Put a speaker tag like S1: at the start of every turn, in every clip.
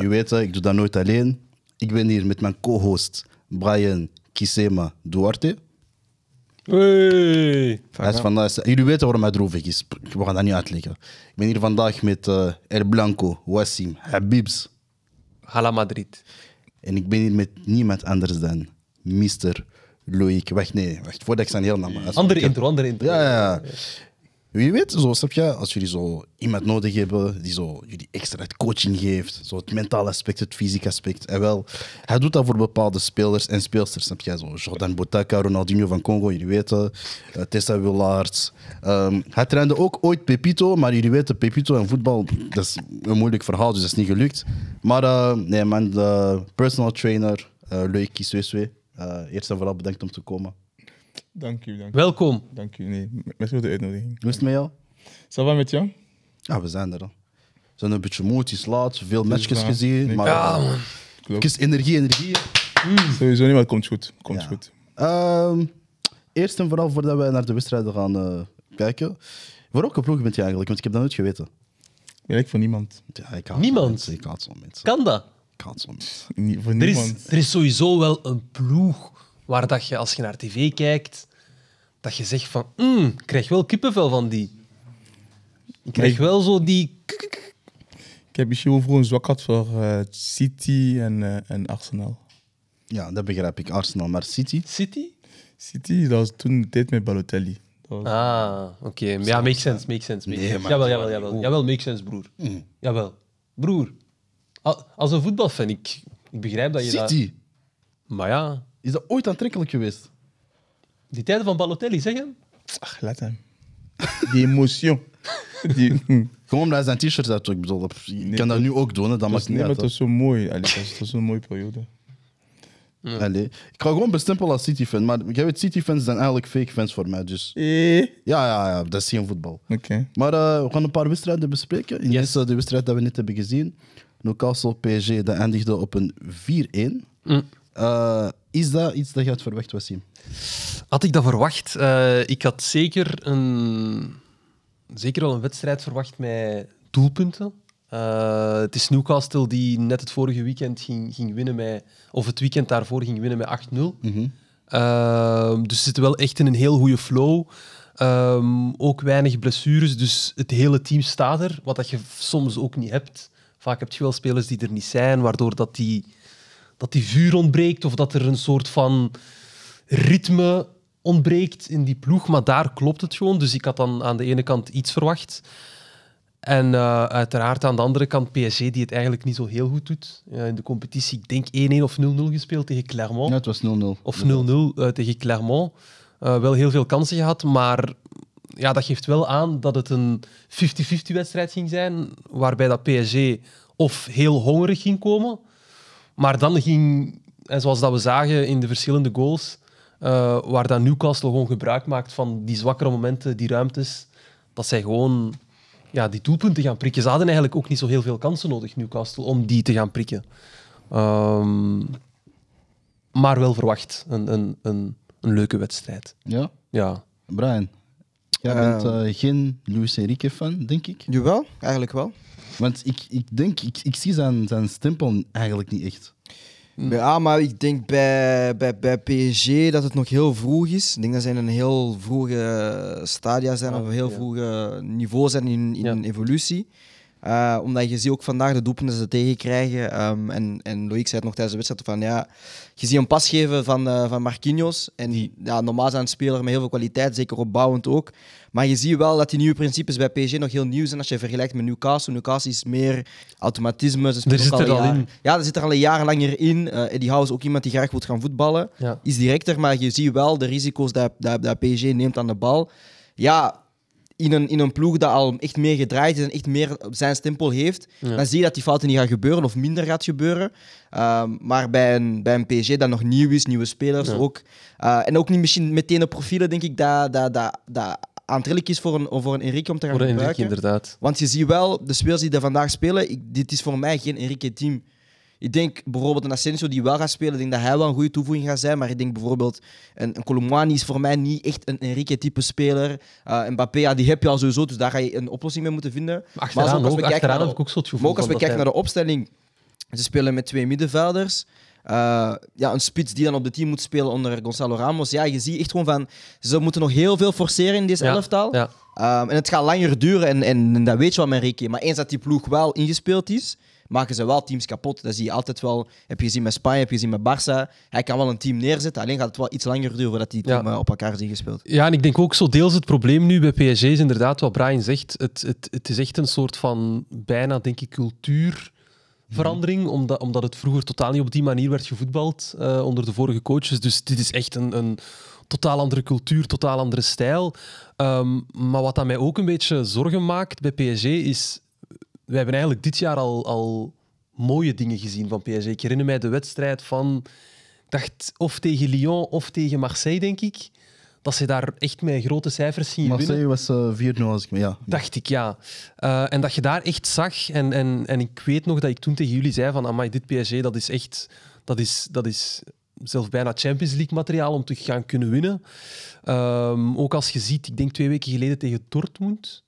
S1: Je weet, hè, ik doe dat nooit alleen. Ik ben hier met mijn co-host Brian Kisema Duarte.
S2: Hey.
S1: Hij is vandaag, jullie weten waarom hij droevig is. We gaan dat niet uitleggen. Ik ben hier vandaag met eh El Blanco, Wassim, Habibs.
S2: Hala Madrid.
S1: En ik ben hier met niemand anders dan Mr. Loïc. Wacht, nee, wacht, voordat ik zijn heel naam...
S2: Andere intro, andere intro.
S1: Ja, ja, ja. Wie weet, zo, snap je, als jullie zo iemand nodig hebben die zo jullie extra het coaching geeft, zo het mentale aspect, het fysieke aspect. En wel, hij doet dat voor bepaalde spelers en speelsters, snap je? Zo Jordan Botaka, Ronaldinho van Congo, jullie weten, eh, Tessa Willaerts. Ehm, hij trainde ook ooit Pepito, maar jullie weten, Pepito en voetbal, dat is een moeilijk verhaal, dus dat is niet gelukt. Maar eh, nee man, de personal trainer, eh Loïc Kisweswe, eh, eerst en vooral bedankt om te komen.
S3: Dank u, dank u.
S2: Welkom.
S3: Dank u, nee. Merci voor de uitnodiging.
S1: Hoe is het met jou?
S3: Ça va met jou?
S1: Ja, we zijn er al. We zijn een beetje moe, het is laat, veel matchjes
S3: waar.
S1: gezien.
S3: Nee.
S1: maar eh,
S3: Klopt.
S1: het is energie, energie.
S3: Sowieso niet, maar het komt goed. Komt
S1: Ja.
S3: goed.
S1: Ehm, eerst en vooral voordat wij naar de wedstrijden gaan eh, kijken. Voor welke ploeg bent je eigenlijk? Want ik heb dat nooit geweten.
S3: Ik ben ik voor niemand.
S1: Ja, ik haat
S2: Niemand.
S1: zo'n mensen, Ik haat zo'n mensen.
S2: Kan dat?
S1: Ik haat zo'n mensen.
S3: Nie- voor
S2: Er
S3: niemand.
S2: is, er is sowieso wel een ploeg waar dat je, als je naar tv kijkt, dat je zegt van, "Mm, ik krijg wel kippenvel van die. Ik krijg
S3: ik-
S2: wel zo die... k- k- k-
S3: Ik heb misschien wel vroeger een zwak gehad voor eh, City en, eh, en Arsenal.
S1: Ja, dat begrijp ik. Arsenal, maar City.
S2: City?
S3: City, dat was toen de tijd met Balotelli. Dat was-
S2: Ah, oké. Ja, makes sense, makes sense. Makes
S1: Nee,
S2: sense.
S1: maar- Mm.
S2: Jawel, jawel, jawel. Jawel, makes sense, broer. Jawel. Broer, a- als een voetbalfan, ik, ik begrijp dat je dat...
S1: City?
S2: Maar ja,
S1: Is dat ooit aantrekkelijk geweest?
S2: die tijden van Balotelli, zeg hem.
S3: Ach, laat hem. Die emotion. Die,
S1: Gewoon omdat hij zijn t-shirt uit. Ik bedoel, pff, je kan dat nu ook doen, hè, dat
S3: dat
S1: maakt
S3: was, nee,
S1: niet
S3: maar
S1: uit.
S3: het
S1: hè.
S3: was zo mooi. Allee, het was, het was zo'n mooie periode.
S1: Allee. Ik ga gewoon bestempelen als City-fan. Maar jij weet, City-fans zijn eigenlijk fake fans voor mij. Dus
S3: Eh.
S1: ja, ja, ja dat is geen voetbal.
S3: Oké.
S1: Maar eh, we gaan een paar wedstrijden bespreken. In eerste de wedstrijd dat we net hebben gezien. Newcastle PSG, dat eindigde op een 4-1. Eh, is dat iets dat je had verwacht, Wassim?
S2: Had ik dat verwacht? Eh, ik had zeker, een, zeker al een wedstrijd verwacht met doelpunten. Eh, het is Newcastle die net het vorige weekend ging, ging winnen met, of het weekend daarvoor ging winnen met 8-0. Ehm, dus ze zitten wel echt in een heel goede flow. Ehm, ook weinig blessures, dus het hele team staat er, wat dat je soms ook niet hebt. Vaak heb je wel spelers die er niet zijn, waardoor dat die, dat die vuur ontbreekt of dat er een soort van ritme ontbreekt in die ploeg, maar daar klopt het gewoon. Dus ik had dan aan de ene kant iets verwacht. En eh, uiteraard aan de andere kant PSG, die het eigenlijk niet zo heel goed doet. Eh, in de competitie, ik denk 1-1 of 0-0 gespeeld tegen Clermont.
S1: Ja, het was 0-0.
S2: Of 0-0 eh, tegen Clermont. Eh, wel heel veel kansen gehad, maar ja, dat geeft wel aan dat het een 50-50 wedstrijd ging zijn, waarbij dat PSG of heel hongerig ging komen, maar dan ging, en zoals dat we zagen in de verschillende goals, eh, waar dat Newcastle gewoon gebruik maakt van die zwakkere momenten, die ruimtes, dat zij gewoon ja, die doelpunten gaan prikken. Ze hadden eigenlijk ook niet zo heel veel kansen nodig, Newcastle, om die te gaan prikken. Ehm, maar wel verwacht. Een, een, een, een leuke wedstrijd.
S1: Ja?
S2: Ja.
S1: Brian, jij
S4: Eh.
S1: bent eh, geen Luis Enrique-fan, denk ik.
S4: Jawel, eigenlijk wel.
S1: Want ik, ik denk, ik, ik zie zijn, zijn stempel eigenlijk niet echt.
S4: Ja, maar ik denk bij, bij, bij PSG dat het nog heel vroeg is. Ik denk dat zij in een heel vroege stadia zijn,
S2: Ah,
S4: of een heel
S2: ja.
S4: vroeg eh, niveau zijn in, in
S2: Ja.
S4: evolutie. Eh, omdat je ziet ook vandaag de doelpunten dat ze tegenkrijgen. Ehm, en, en Loïc zei het nog tijdens de wedstrijd van ja, je ziet een pas geven van, eh, van Marquinhos. En ja, normaal is hij een speler met heel veel kwaliteit, zeker opbouwend ook. Maar je ziet wel dat die nieuwe principes bij PSG nog heel nieuw zijn als je vergelijkt met Newcastle. Newcastle is meer automatisme. Ze spelen
S2: zit
S4: ook
S2: er
S4: een
S2: al
S4: jaar-
S2: in.
S4: ja, dat zit er al een jaar langer in. Eh Eddie Howe is ook iemand die graag wil gaan voetballen.
S2: Ja.
S4: Is directer, maar je ziet wel de risico's dat, dat, dat PSG neemt aan de bal. Ja, in een, in een ploeg dat al echt meer gedraaid is en echt meer op zijn stempel heeft, dan zie je dat die fouten niet gaan gebeuren of minder gaat gebeuren. Ehm, maar bij een, bij een PSG dat nog nieuw is, nieuwe spelers ook. eh, en ook niet misschien meteen de profielen, denk ik, dat, dat, dat, dat aantrekkelijk is voor een, voor een Enrique om te gaan
S2: Voor de Enrique,
S4: gebruiken.
S2: inderdaad.
S4: Want je ziet wel, de spelers die er vandaag spelen, ik, dit is voor mij geen Enrique-team. Ik denk bijvoorbeeld een Asensio die wel gaat spelen, ik denk dat hij wel een goede toevoeging gaat zijn. Maar ik denk bijvoorbeeld, een, een Colomwani is voor mij niet echt een Enrique-type speler. Eh Mbappé, ja, die heb je al sowieso, dus daar ga je een oplossing mee moeten vinden.
S2: Achteraan,
S4: als- als
S2: ook,
S4: we kijken
S2: achteraan
S4: naar
S2: heb ik ook zo het gevoel
S4: maar ook als we
S2: van dat
S4: kijken
S2: hij-
S4: naar de opstelling. Ze spelen met twee middenvelders. Eh, ja, een spits die dan op de team moet spelen onder Gonzalo Ramos. Ja, je ziet echt gewoon van... Ze moeten nog heel veel forceren in deze
S2: Ja,
S4: elftal.
S2: ja.
S4: Ehm, en het gaat langer duren en, en, en dat weet je wel met Ricky. Maar eens dat die ploeg wel ingespeeld is, maken ze wel teams kapot. Dat zie je altijd wel. Heb je gezien met Spanje, heb je gezien met Barça. Hij kan wel een team neerzetten, alleen gaat het wel iets langer duren voordat die
S2: Ja.
S4: team eh, op elkaar zijn gespeeld.
S2: Ja, en ik denk ook zo deels het probleem nu bij PSG is inderdaad wat Brian zegt. Het, het, het is echt een soort van bijna, denk ik, cultuurverandering. Omdat, omdat het vroeger totaal niet op die manier werd gevoetbald eh, onder de vorige coaches. Dus dit is echt een, een totaal andere cultuur, totaal andere stijl. Ehm, maar wat aan mij ook een beetje zorgen maakt bij PSG is... We hebben eigenlijk dit jaar al, al mooie dingen gezien van PSG. Ik herinner mij de wedstrijd van... Ik dacht of tegen Lyon of tegen Marseille, denk ik. Dat ze daar echt met grote cijfers zien
S1: Marseille
S2: winnen.
S1: was eh, 4-0 als ik me... Ja.
S2: Dacht ik, ja. Eh, en dat je daar echt zag. En, en, en ik weet nog dat ik toen tegen jullie zei van... Amai, dit PSG, dat is echt... Dat is, dat is zelfs bijna Champions League materiaal om te gaan kunnen winnen. Ehm, ook als je ziet, ik denk twee weken geleden tegen Dortmund...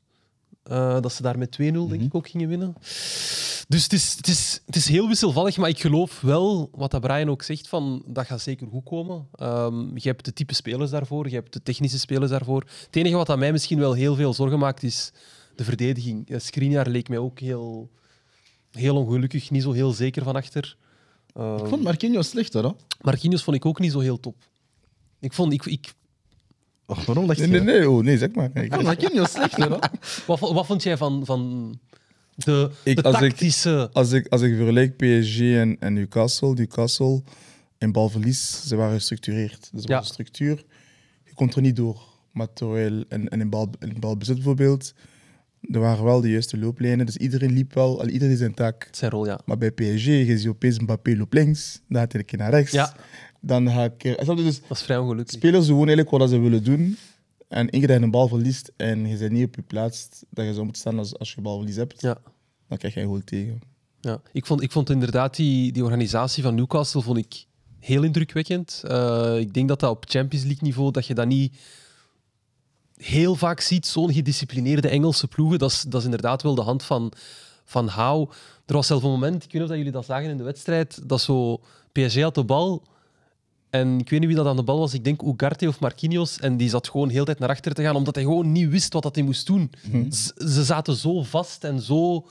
S2: eh, dat ze daar met 2-0 denk ik ook gingen winnen. Dus het is, het, is, het is heel wisselvallig, maar ik geloof wel wat dat Brian ook zegt, van, dat gaat zeker goed komen. Ehm, je hebt de type spelers daarvoor, je hebt de technische spelers daarvoor. Het enige wat aan mij misschien wel heel veel zorgen maakt, is de verdediging. Eh, Skriniar leek mij ook heel, heel ongelukkig, niet zo heel zeker van achter. Ehm,
S1: Ik vond Marquinhos slechter, hoor.
S2: Marquinhos vond ik ook niet zo heel top. Ik vond, ik, ik,
S1: Och, waarom dacht je?
S3: Nee, nee, nee, oh, nee, zeg maar. Ik-
S1: Ik vond Marquinhos slechter, hoor.
S2: wat, vo- wat vond jij van, van de,
S3: Ik-
S2: de
S3: als ik-
S2: tactische...
S3: als ik, als ik vergelijk PSG en, en Newcastle, Newcastle in balverlies, ze waren gestructureerd. Dus er
S2: Ja.
S3: was een structuur, je kon er niet door. Maar terwijl, en, en in, bal, in balbezit bijvoorbeeld, er waren wel de juiste looplijnen. Dus iedereen liep wel, al iedereen zijn taak.
S2: Zijn rol, ja.
S3: Maar bij PSG, je ziet opeens Mbappé loopt links, dan gaat hij een keer naar rechts.
S2: Ja.
S3: Dan ga ik... Snap je? Dus
S2: Dat is vrij ongelukkig.
S3: spelers doen gewoon eigenlijk wat ze willen doen. En één keer dat je een bal verliest en je bent niet op je plaats, dat je zo moet staan als, als je balverlies hebt,
S2: Ja.
S3: dan krijg je een goal tegen.
S2: Ja, ik vond, ik vond inderdaad die, die organisatie van Newcastle vond ik heel indrukwekkend. Eh, ik denk dat dat op Champions League niveau, dat je dat niet heel vaak ziet, zo'n gedisciplineerde Engelse ploegen. Dat is, dat is inderdaad wel de hand van, van Hou. Er was zelf een moment, ik weet niet of dat jullie dat zagen in de wedstrijd, dat zo PSG had de bal. En ik weet niet wie dat aan de bal was. Ik denk Ugarte of Marquinhos. En die zat gewoon heel tijd naar achter te gaan, omdat hij gewoon niet wist wat dat hij moest doen.
S4: Mhm.
S2: Z- Ze zaten zo vast en zo...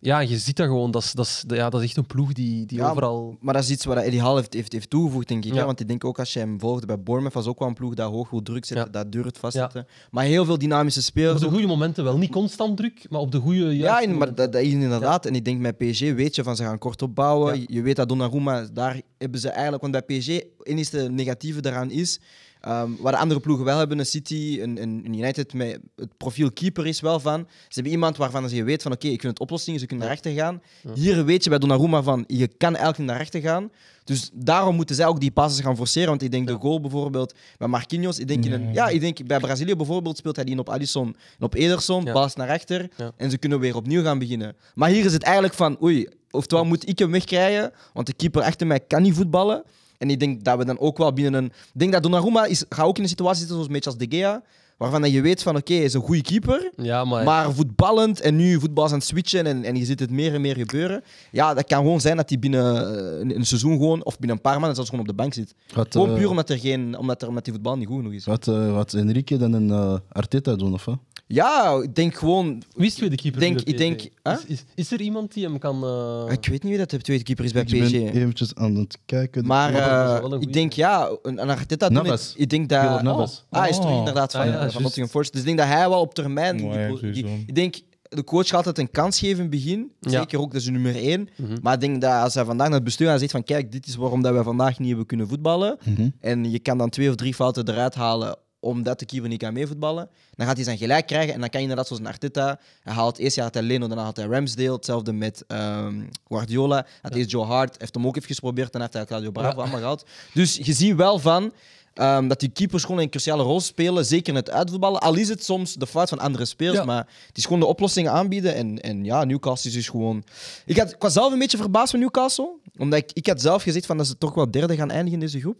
S2: Ja, je ziet dat gewoon. Dat is, dat is, ja, dat is echt een ploeg die, die
S4: Ja,
S2: overal...
S4: Maar dat is iets waar Eddie Hall heeft, heeft, heeft toegevoegd, denk ik.
S2: Ja.
S4: hè. Want ik denk ook als je hem volgde bij Bournemouth, was ook wel een ploeg dat hoog wil druk zetten,
S2: Ja.
S4: dat durft vastzetten. Maar heel veel dynamische
S2: Op
S4: spelers.
S2: de
S4: ook.
S2: goede momenten wel. Niet constant druk, maar op de goede...
S4: Ja,
S2: juiste
S4: in- maar
S2: momenten.
S4: dat, dat is inderdaad. En ik denk met PSG weet je van ze gaan kort opbouwen.
S2: Ja.
S4: Je weet dat Donnarumma, daar hebben ze eigenlijk... Want bij PSG, het enige negatieve daaraan is... ehm waar de andere ploegen wel hebben, een City, een, een een United, met het profiel keeper is wel van. Ze hebben iemand waarvan je weet van oké, ik vind het oplossingen, ze kunnen naar rechter gaan. Hier weet je bij Donnarumma van, je kan elke naar rechter gaan. Dus daarom moeten zij ook die passes gaan forceren. Want ik denk de goal bijvoorbeeld bij Marquinhos, ik denk, in een, ja, ik denk bij Brazilië bijvoorbeeld speelt hij die in op Alisson en op Ederson,
S2: Ja.
S4: pas naar rechter.
S2: Ja.
S4: En ze kunnen weer opnieuw gaan beginnen. Maar hier is het eigenlijk van, oei, oftewel moet ik hem wegkrijgen, want de keeper achter mij kan niet voetballen. En ik denk dat we dan ook wel binnen een... Ik denk dat Donnarumma is, gaat ook in een situatie zitten zoals een beetje als De Gea, waarvan dat je weet van, oké, hij is een goede keeper,
S2: Ja, maar...
S4: maar voetballend en nu voetbal is aan het switchen en, en je ziet het meer en meer gebeuren. Ja, dat kan gewoon zijn dat hij binnen eh, een, een seizoen gewoon, of binnen een paar maanden zelfs gewoon op de bank zit.
S1: Wat,
S4: gewoon
S1: eh,
S4: puur omdat, er geen, omdat, er, omdat die voetbal niet goed genoeg is.
S1: Wat, eh, wat Enrique dan een eh, Arteta doen, of wat?
S4: Ja, ik denk gewoon...
S2: Wist je de keeper?
S4: Denk-
S2: van de
S4: ik denk-
S2: PSG?
S4: Huh?
S2: Is, is, is er iemand die hem kan... eh,
S4: Ik weet niet wie dat de tweede keeper is bij
S1: Ik
S4: PSG.
S1: ben eventjes aan het kijken.
S4: Maar
S2: Maar dat is wel
S4: eh,
S2: een goeie.
S4: ik denk ja, een een Arteta doen
S1: Navas.
S4: het- Ik denk dat.
S1: Keylor Navas.
S4: Oh, ah, hij is terug
S3: Oh.
S4: inderdaad van,
S2: Ah, ja,
S4: eh,
S2: juist.
S4: van Nottingham Forest. Dus ik denk dat hij wel op termijn. die-
S3: Ja,
S4: die-
S3: sowieso.
S4: ik denk, de coach gaat het een kans geven in het begin.
S2: Ja.
S4: Zeker ook, dat is nummer één. Maar ik denk dat als hij vandaag naar het bestuur gaat zegt van kijk, dit is waarom dat wij vandaag niet hebben kunnen voetballen. En je kan dan twee of drie fouten eruit halen omdat de keeper niet kan meevoetballen, dan gaat hij zijn gelijk krijgen. En dan kan je inderdaad zoals een Arteta, hij haalt eerst jaar had hij Leno, daarna had hij Ramsdale. Hetzelfde met ehm, Guardiola. Had eerst Joe Hart, heeft hem ook even geprobeerd. Dan heeft hij Claudio Bravo allemaal gehad. Dus je ziet wel van ehm, dat die keepers gewoon een cruciale rol spelen. Zeker in het uitvoetballen. Al is het soms de fout van andere spelers.
S2: Ja.
S4: Maar het is gewoon de oplossingen aanbieden. En, en ja, Newcastle is dus gewoon... Ik, had, ik was zelf een beetje verbaasd van Newcastle. Omdat ik, ik had zelf gezegd van dat ze toch wel derde gaan eindigen in deze groep.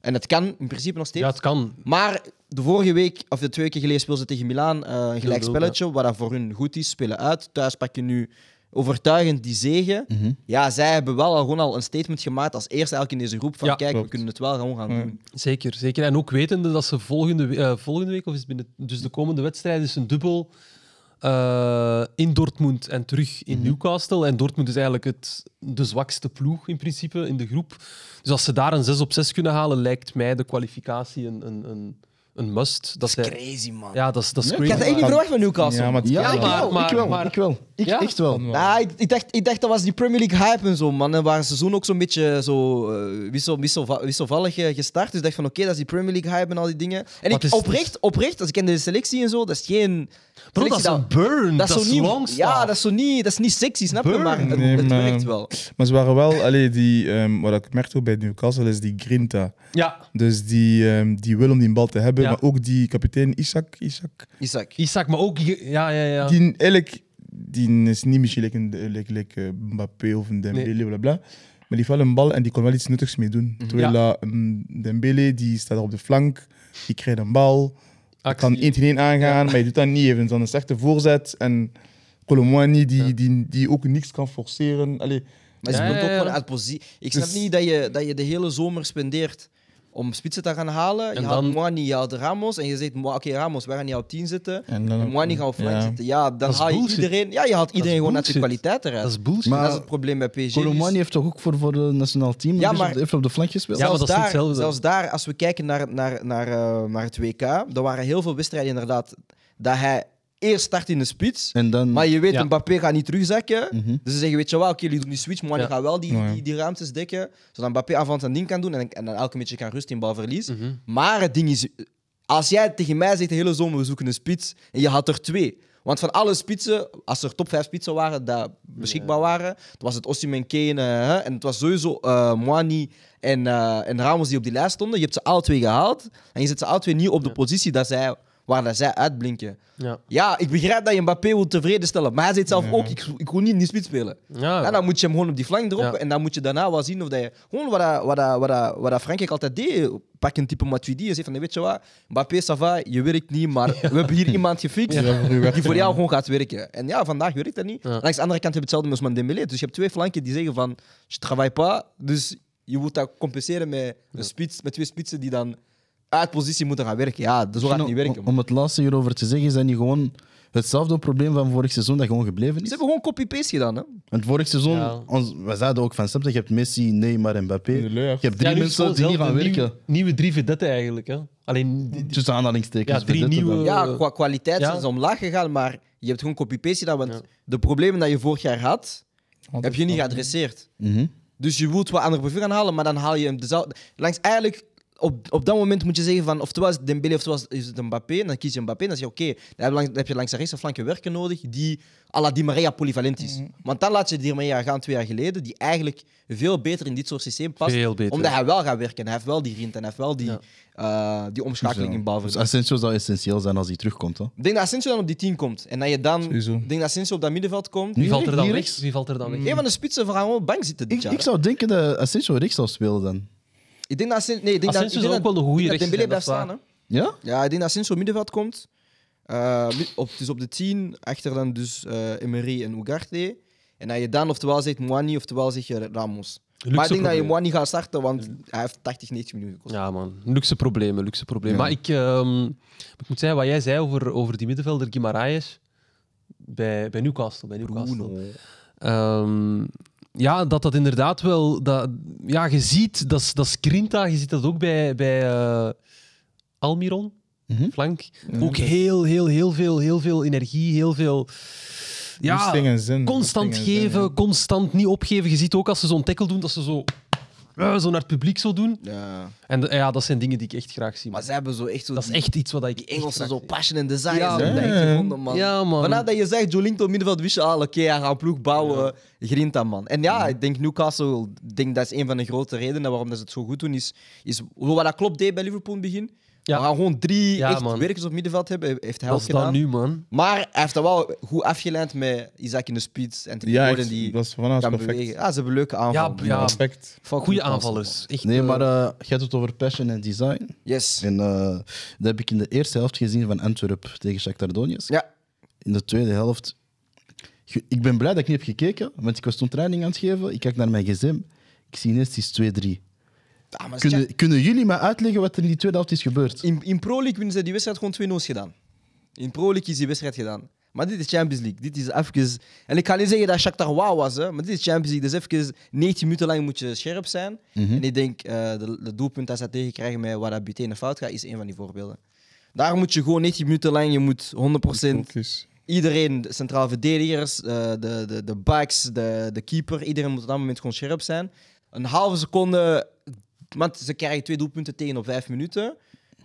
S4: En dat kan in principe nog steeds.
S2: ja, het kan.
S4: Maar de vorige week, of de twee weken geleden, speelden ze tegen Milaan eh, een gelijk
S2: ja.
S4: spelletje. Wat dat voor hun goed is. Spelen uit. Thuis pak je nu overtuigend die zegen.
S1: Mhm.
S4: Ja, zij hebben wel al gewoon al een statement gemaakt als eerste eigenlijk in deze groep van
S2: Ja,
S4: kijk, we
S3: klopt.
S4: kunnen het wel gewoon gaan
S3: Ja.
S4: doen.
S2: Zeker, zeker. En ook wetende dat ze volgende, we- eh, volgende week, of is het binnen, dus de komende wedstrijd, is een dubbel eh, in Dortmund en terug
S4: Mhm.
S2: in Newcastle. En Dortmund is eigenlijk het, de zwakste ploeg in principe in de groep. Dus als ze daar een 6 op 6 kunnen halen, lijkt mij de kwalificatie een, een, een, een must. Dat zij-
S4: Crazy man.
S2: ja, dat is, dat is
S4: Ik had
S2: crazy.
S4: dat echt niet
S3: maar-
S4: verwacht van Newcastle.
S3: Ja, maar het
S1: Ja,
S3: kan
S1: ik,
S3: wel.
S2: maar-
S1: wel,
S2: maar-
S1: ik wel.
S2: maar-
S1: ik wel. Ik
S2: Ja?
S1: echt wel.
S4: Nou, ik, ik, dacht, ik dacht dat was die Premier League hype en zo, man. En waar seizoen ook zo'n beetje zo, eh, wissel, wisselva- wisselvallig eh, gestart. Dus ik dacht van oké, dat is die Premier League hype en al die dingen. En
S2: Maar het
S4: ik,
S2: is-
S4: oprecht, oprecht, als ik ken de selectie en zo, dat is geen.
S2: Bro, dat is
S4: selectie
S2: een burn. Dat is
S4: zo niet,
S2: long
S4: Ja, dat is, zo niet, dat is niet sexy, snap je?
S2: Burn.
S4: Maar het,
S3: Nee,
S4: het
S3: maar-
S4: werkt wel.
S3: Maar ze waren wel, allee, die, ehm, wat ik merkte ook bij Newcastle, is die grinta.
S2: ja.
S3: Dus die, ehm, die wil om die bal te hebben,
S2: Ja.
S3: maar ook die kapitein Isaac. Isaac
S4: Isaac.
S2: Isaac, maar ook... Ja, ja, ja.
S3: Die eigenlijk, die is niet misschien like, een- like, like, eh, Mbappé of een Dembele, bla bla. Maar die valt een bal en die kon wel iets nuttigs mee doen.
S2: Mhm.
S3: Terwijl eh, mm, Dembele, die staat op de flank, die krijgt een bal,
S2: Actie.
S3: kan 1 tegen 1 aangaan, maar je doet dat niet. Even dan een slechte voorzet. En Colomwani, die, die, die ook niks kan forceren. Allee,
S4: Maar ze
S2: Ja,
S4: komt
S2: ja,
S4: ook
S2: ja.
S4: gewoon uit positie. Ik snap
S3: Dus-
S4: niet dat je, dat je de hele zomer spendeert om spitsen te gaan halen. je
S2: En
S4: haalt
S2: dan-
S4: Moani, je haalt Ramos. En je zegt, "Mo- oké Ramos, wij gaan niet op 10 zitten.
S3: en dan
S4: En Moani gaat op flank
S3: Ja.
S4: zitten. Ja, dan
S2: Dat is
S4: haal je
S2: bullshit.
S4: iedereen... Ja, je haalt iedereen gewoon uit zijn
S2: bullshit.
S4: kwaliteit eruit.
S2: Dat is bullshit.
S4: En
S1: Maar-
S4: dat is het probleem bij PSG.
S1: Colomani
S4: Dus
S1: heeft toch ook voor, voor het nationaal team
S4: Ja,
S1: dus
S4: maar-
S1: op de- heeft op de flank gespeeld?
S2: Ja, maar
S4: zelfs
S2: dat is niet
S4: daar,
S2: hetzelfde.
S4: Zelfs daar, als we kijken naar, naar, naar, eh, naar het WK, er waren heel veel wedstrijden inderdaad dat hij eerst start in de spits.
S1: En dan...
S4: Maar je weet,
S2: Ja.
S4: Mbappé gaat niet terugzakken.
S1: Ehm, Mhm.
S4: Dus ze zeggen, weet je wel, oké, jullie doen die switch, maar
S2: Ja.
S4: die gaat wel die,
S3: Ja, ja.
S4: die, die ruimtes dekken. Zodat Mbappé aan van zijn ding kan doen en, en dan elke beetje kan rust in balverlies.
S2: Mhm.
S4: Maar het ding is, als jij tegen mij zegt de hele zomer, we zoeken een spits, en je had er twee. Want van alle spitsen, als er top vijf spitsen waren die beschikbaar waren, dan was het Osimhen, Kane eh, hè, en het was sowieso eh Mwani en, eh, en Ramos die op die lijst stonden. Je hebt ze alle twee gehaald en je zet ze alle twee niet op de positie dat zij, waar dat zij uitblinken.
S2: Ja.
S4: Ja, ik begrijp dat je Mbappé wil tevreden stellen. Maar hij zegt zelf
S3: Ja.
S4: ook, ik, ik wil niet in die spits spelen.
S2: Mhm. Ja,
S4: Ja, dan moet je hem gewoon op die flank droppen.
S2: Ja.
S4: En dan moet je daarna wel zien of dat je... Gewoon wat, dat- wat, dat- wat, dat- wat, dat Frankrijk altijd deed. Pak een type Matuidi en zeg van, weet je wat? Mbappé, ça va, je werkt niet, maar we hebben hier iemand gefixt
S3: Ja, voor u werkt
S4: die voor
S3: het.
S4: jou gewoon gaat werken. En ja, vandaag werkt dat niet.
S2: Ja.
S4: Langs de andere kant heb je hetzelfde met Ousmane Dembélé. Dus je hebt twee flanken die zeggen van, je travaille pas. Dus je moet dat compenseren met, een spits, met twee spitsen die dan uit positie moeten gaan werken. Ja, zo gaat het niet werken.
S1: Om,
S4: man.
S1: om het laatste hierover te zeggen, zijn die gewoon hetzelfde probleem van vorig seizoen dat gewoon gebleven
S4: Ze
S1: is.
S4: hebben gewoon copy-paste gedaan, hè?
S1: Want vorig seizoen,
S2: Ja.
S1: ons, we zeiden ook van, snap je, je hebt Messi, Neymar en Mbappé.
S3: De
S1: Je
S3: lucht.
S1: hebt drie
S2: Ja, nu is
S1: mensen
S2: het
S1: die
S2: gewoon
S1: niet gaan
S2: zelf een
S1: werken.
S2: nieuw- Nieuwe drie vedetten eigenlijk. Hè? Alleen die- die-
S1: Tussen aanhalingstekens.
S2: Ja, drie
S1: vedetten dan.
S2: nieuwe-
S4: Ja,
S2: Eh,
S4: qua kwaliteit
S2: ja.
S4: zijn ze omlaag gegaan, maar je hebt gewoon copy-paste gedaan. Want
S2: Ja.
S4: de problemen dat je vorig jaar had, heb je niet geadresseerd.
S1: Mhm.
S4: Dus je wilt wat ander profiel gaan halen, maar dan haal je hem dezelfde... Langs eigenlijk, op, op dat moment moet je zeggen van... Oftewel is het Dembele, oftewel is- is het Mbappé. En dan kies je Mbappé en dan zeg je, oké, dan heb je langs- dan heb je langs de rechtse flank een werker nodig die à la Di Maria polyvalent is. Want dan laat je Di Maria gaan twee jaar geleden, die eigenlijk veel beter in dit soort systeem past.
S2: Veel beter.
S4: Omdat hij wel gaat werken. Hij heeft wel die rint en hij heeft wel die,
S2: Ja.
S4: eh, die omschakeling
S1: Zo.
S4: in bal.
S1: Dus Asensio zou essentieel zijn als hij terugkomt. Hè?
S4: Ik denk dat Asensio dan op die 10 komt. En dat je dan.
S3: Sowieso.
S4: Ik denk dat Asensio op dat middenveld komt.
S2: Wie valt er dan
S1: Hier
S2: weg?
S1: rechts?
S2: Wie valt er dan weg?
S4: Een van de spitsen van gewoon bank zitten. Dit
S1: Ik,
S4: jaar.
S1: ik zou denken dat Asensio rechts zou spelen dan.
S4: Ik denk dat Asensio. Nee, ik denk dat-
S2: Asensio
S4: ik denk
S2: zou
S4: dat-
S2: ook wel een goede
S4: ik denk dat
S2: rechter
S4: Dembele blijft
S2: zijn,
S4: staan.
S2: dat
S1: Ja?
S4: hè. Ja, ik denk dat Asensio op middenveld komt. Eh, mid- op, dus op de 10, achter dan dus eh Emery en Ugarte. En dat je dan oftewel zegt Mwani, oftewel zeg je Ramos. maar ik denk dat je
S2: probleem.
S4: Mwani gaat starten, want hij heeft 80, 90 minuten gekost.
S2: Ja, man. Luxe problemen, luxe problemen. Maar ik, ehm, ik moet zeggen, wat jij zei over, over die middenvelder Guimaraes bij, bij Newcastle. Bij Newcastle. Ehm, ja, dat dat inderdaad wel... Dat, ja, je ziet, dat is- dat is Grinta, je ziet dat ook bij, bij eh, Almiron,
S1: Mhm.
S2: flank. Ook heel, heel, heel veel, heel veel energie, heel veel... Ja,
S3: Goesting en zin.
S2: constant
S3: Goesting en zin,
S2: geven,
S3: ja.
S2: constant niet opgeven. Je ziet ook als ze zo'n tackle doen, dat ze zo, eh, zo naar het publiek zo doen.
S4: Ja.
S2: En eh, ja, dat zijn dingen die ik echt graag zie.
S4: Maar
S2: man.
S4: ze hebben zo echt zo
S2: dat is
S4: die-
S2: echt iets wat ik
S4: Die
S2: echt
S4: Engelsen
S2: graag
S4: zo
S2: zie.
S4: passion en design.
S2: Ja,
S4: ze hebben
S3: man.
S4: dat echt gevonden, man.
S2: Ja, man.
S4: Maar nadat je zegt, Jolinton middenveld, wist je al, oké, hij gaat een ploeg bouwen. Grinta, man. En ja, ik denk Newcastle, ik denk dat is een van de grote redenen waarom dat ze het zo goed doen. Is, is wat dat klopt deed bij Liverpool in het begin.
S2: Ja.
S4: We gaan gewoon drie
S2: Ja,
S4: echt
S2: man.
S4: werkers op middenveld hebben, heeft hij
S2: Dat
S4: ook
S2: is dat
S4: gedaan.
S2: nu, man.
S4: Maar hij heeft dat wel goed afgeleid met Isaac in de spits en
S3: Ja, echt,
S4: Gordon die
S3: dat is vanaf
S4: kan
S3: perfect.
S4: bewegen. Ja, ze hebben leuke
S2: Ja,
S4: aanvallen.
S2: ja.
S3: Perfect.
S4: Fuck
S2: Goede
S4: Newcastle,
S2: aanvallers. Echt,
S1: Nee,
S2: eh,
S1: maar eh je hebt het over passion en design.
S4: man. Yes.
S1: En eh, dat heb ik in de eerste helft gezien van Antwerp tegen Shakhtar Donetsk.
S4: Ja.
S1: In de tweede helft, ge- ik ben blij dat ik niet heb gekeken, want ik was toen training aan het geven. Ik kijk naar mijn gsm. Ik zie ineens, het is 2-3.
S4: Ah, maar Jack-
S1: Kunnen, kunnen jullie mij uitleggen wat er in die tweede helft is gebeurd?
S4: in, in Pro League winnen ze die wedstrijd gewoon 2-0 gedaan. In Pro League is die wedstrijd gedaan. Maar dit is Champions League. Dit is even... En ik ga niet zeggen dat Shakhtar wauw was, hè, maar dit is Champions League. Dus even 19 minuten lang moet je scherp zijn. En ik denk, eh de, de doelpunt dat ze tegenkrijgen met waar dat Butene fout gaat, is een van die voorbeelden. Daar moet je gewoon 19 minuten lang, je moet 100%
S3: Focus.
S4: iedereen, de centraal verdedigers, eh, de, de, de backs, de, de keeper, iedereen moet op dat moment gewoon scherp zijn. Een halve seconde, want ze krijgen twee doelpunten tegen op vijf minuten.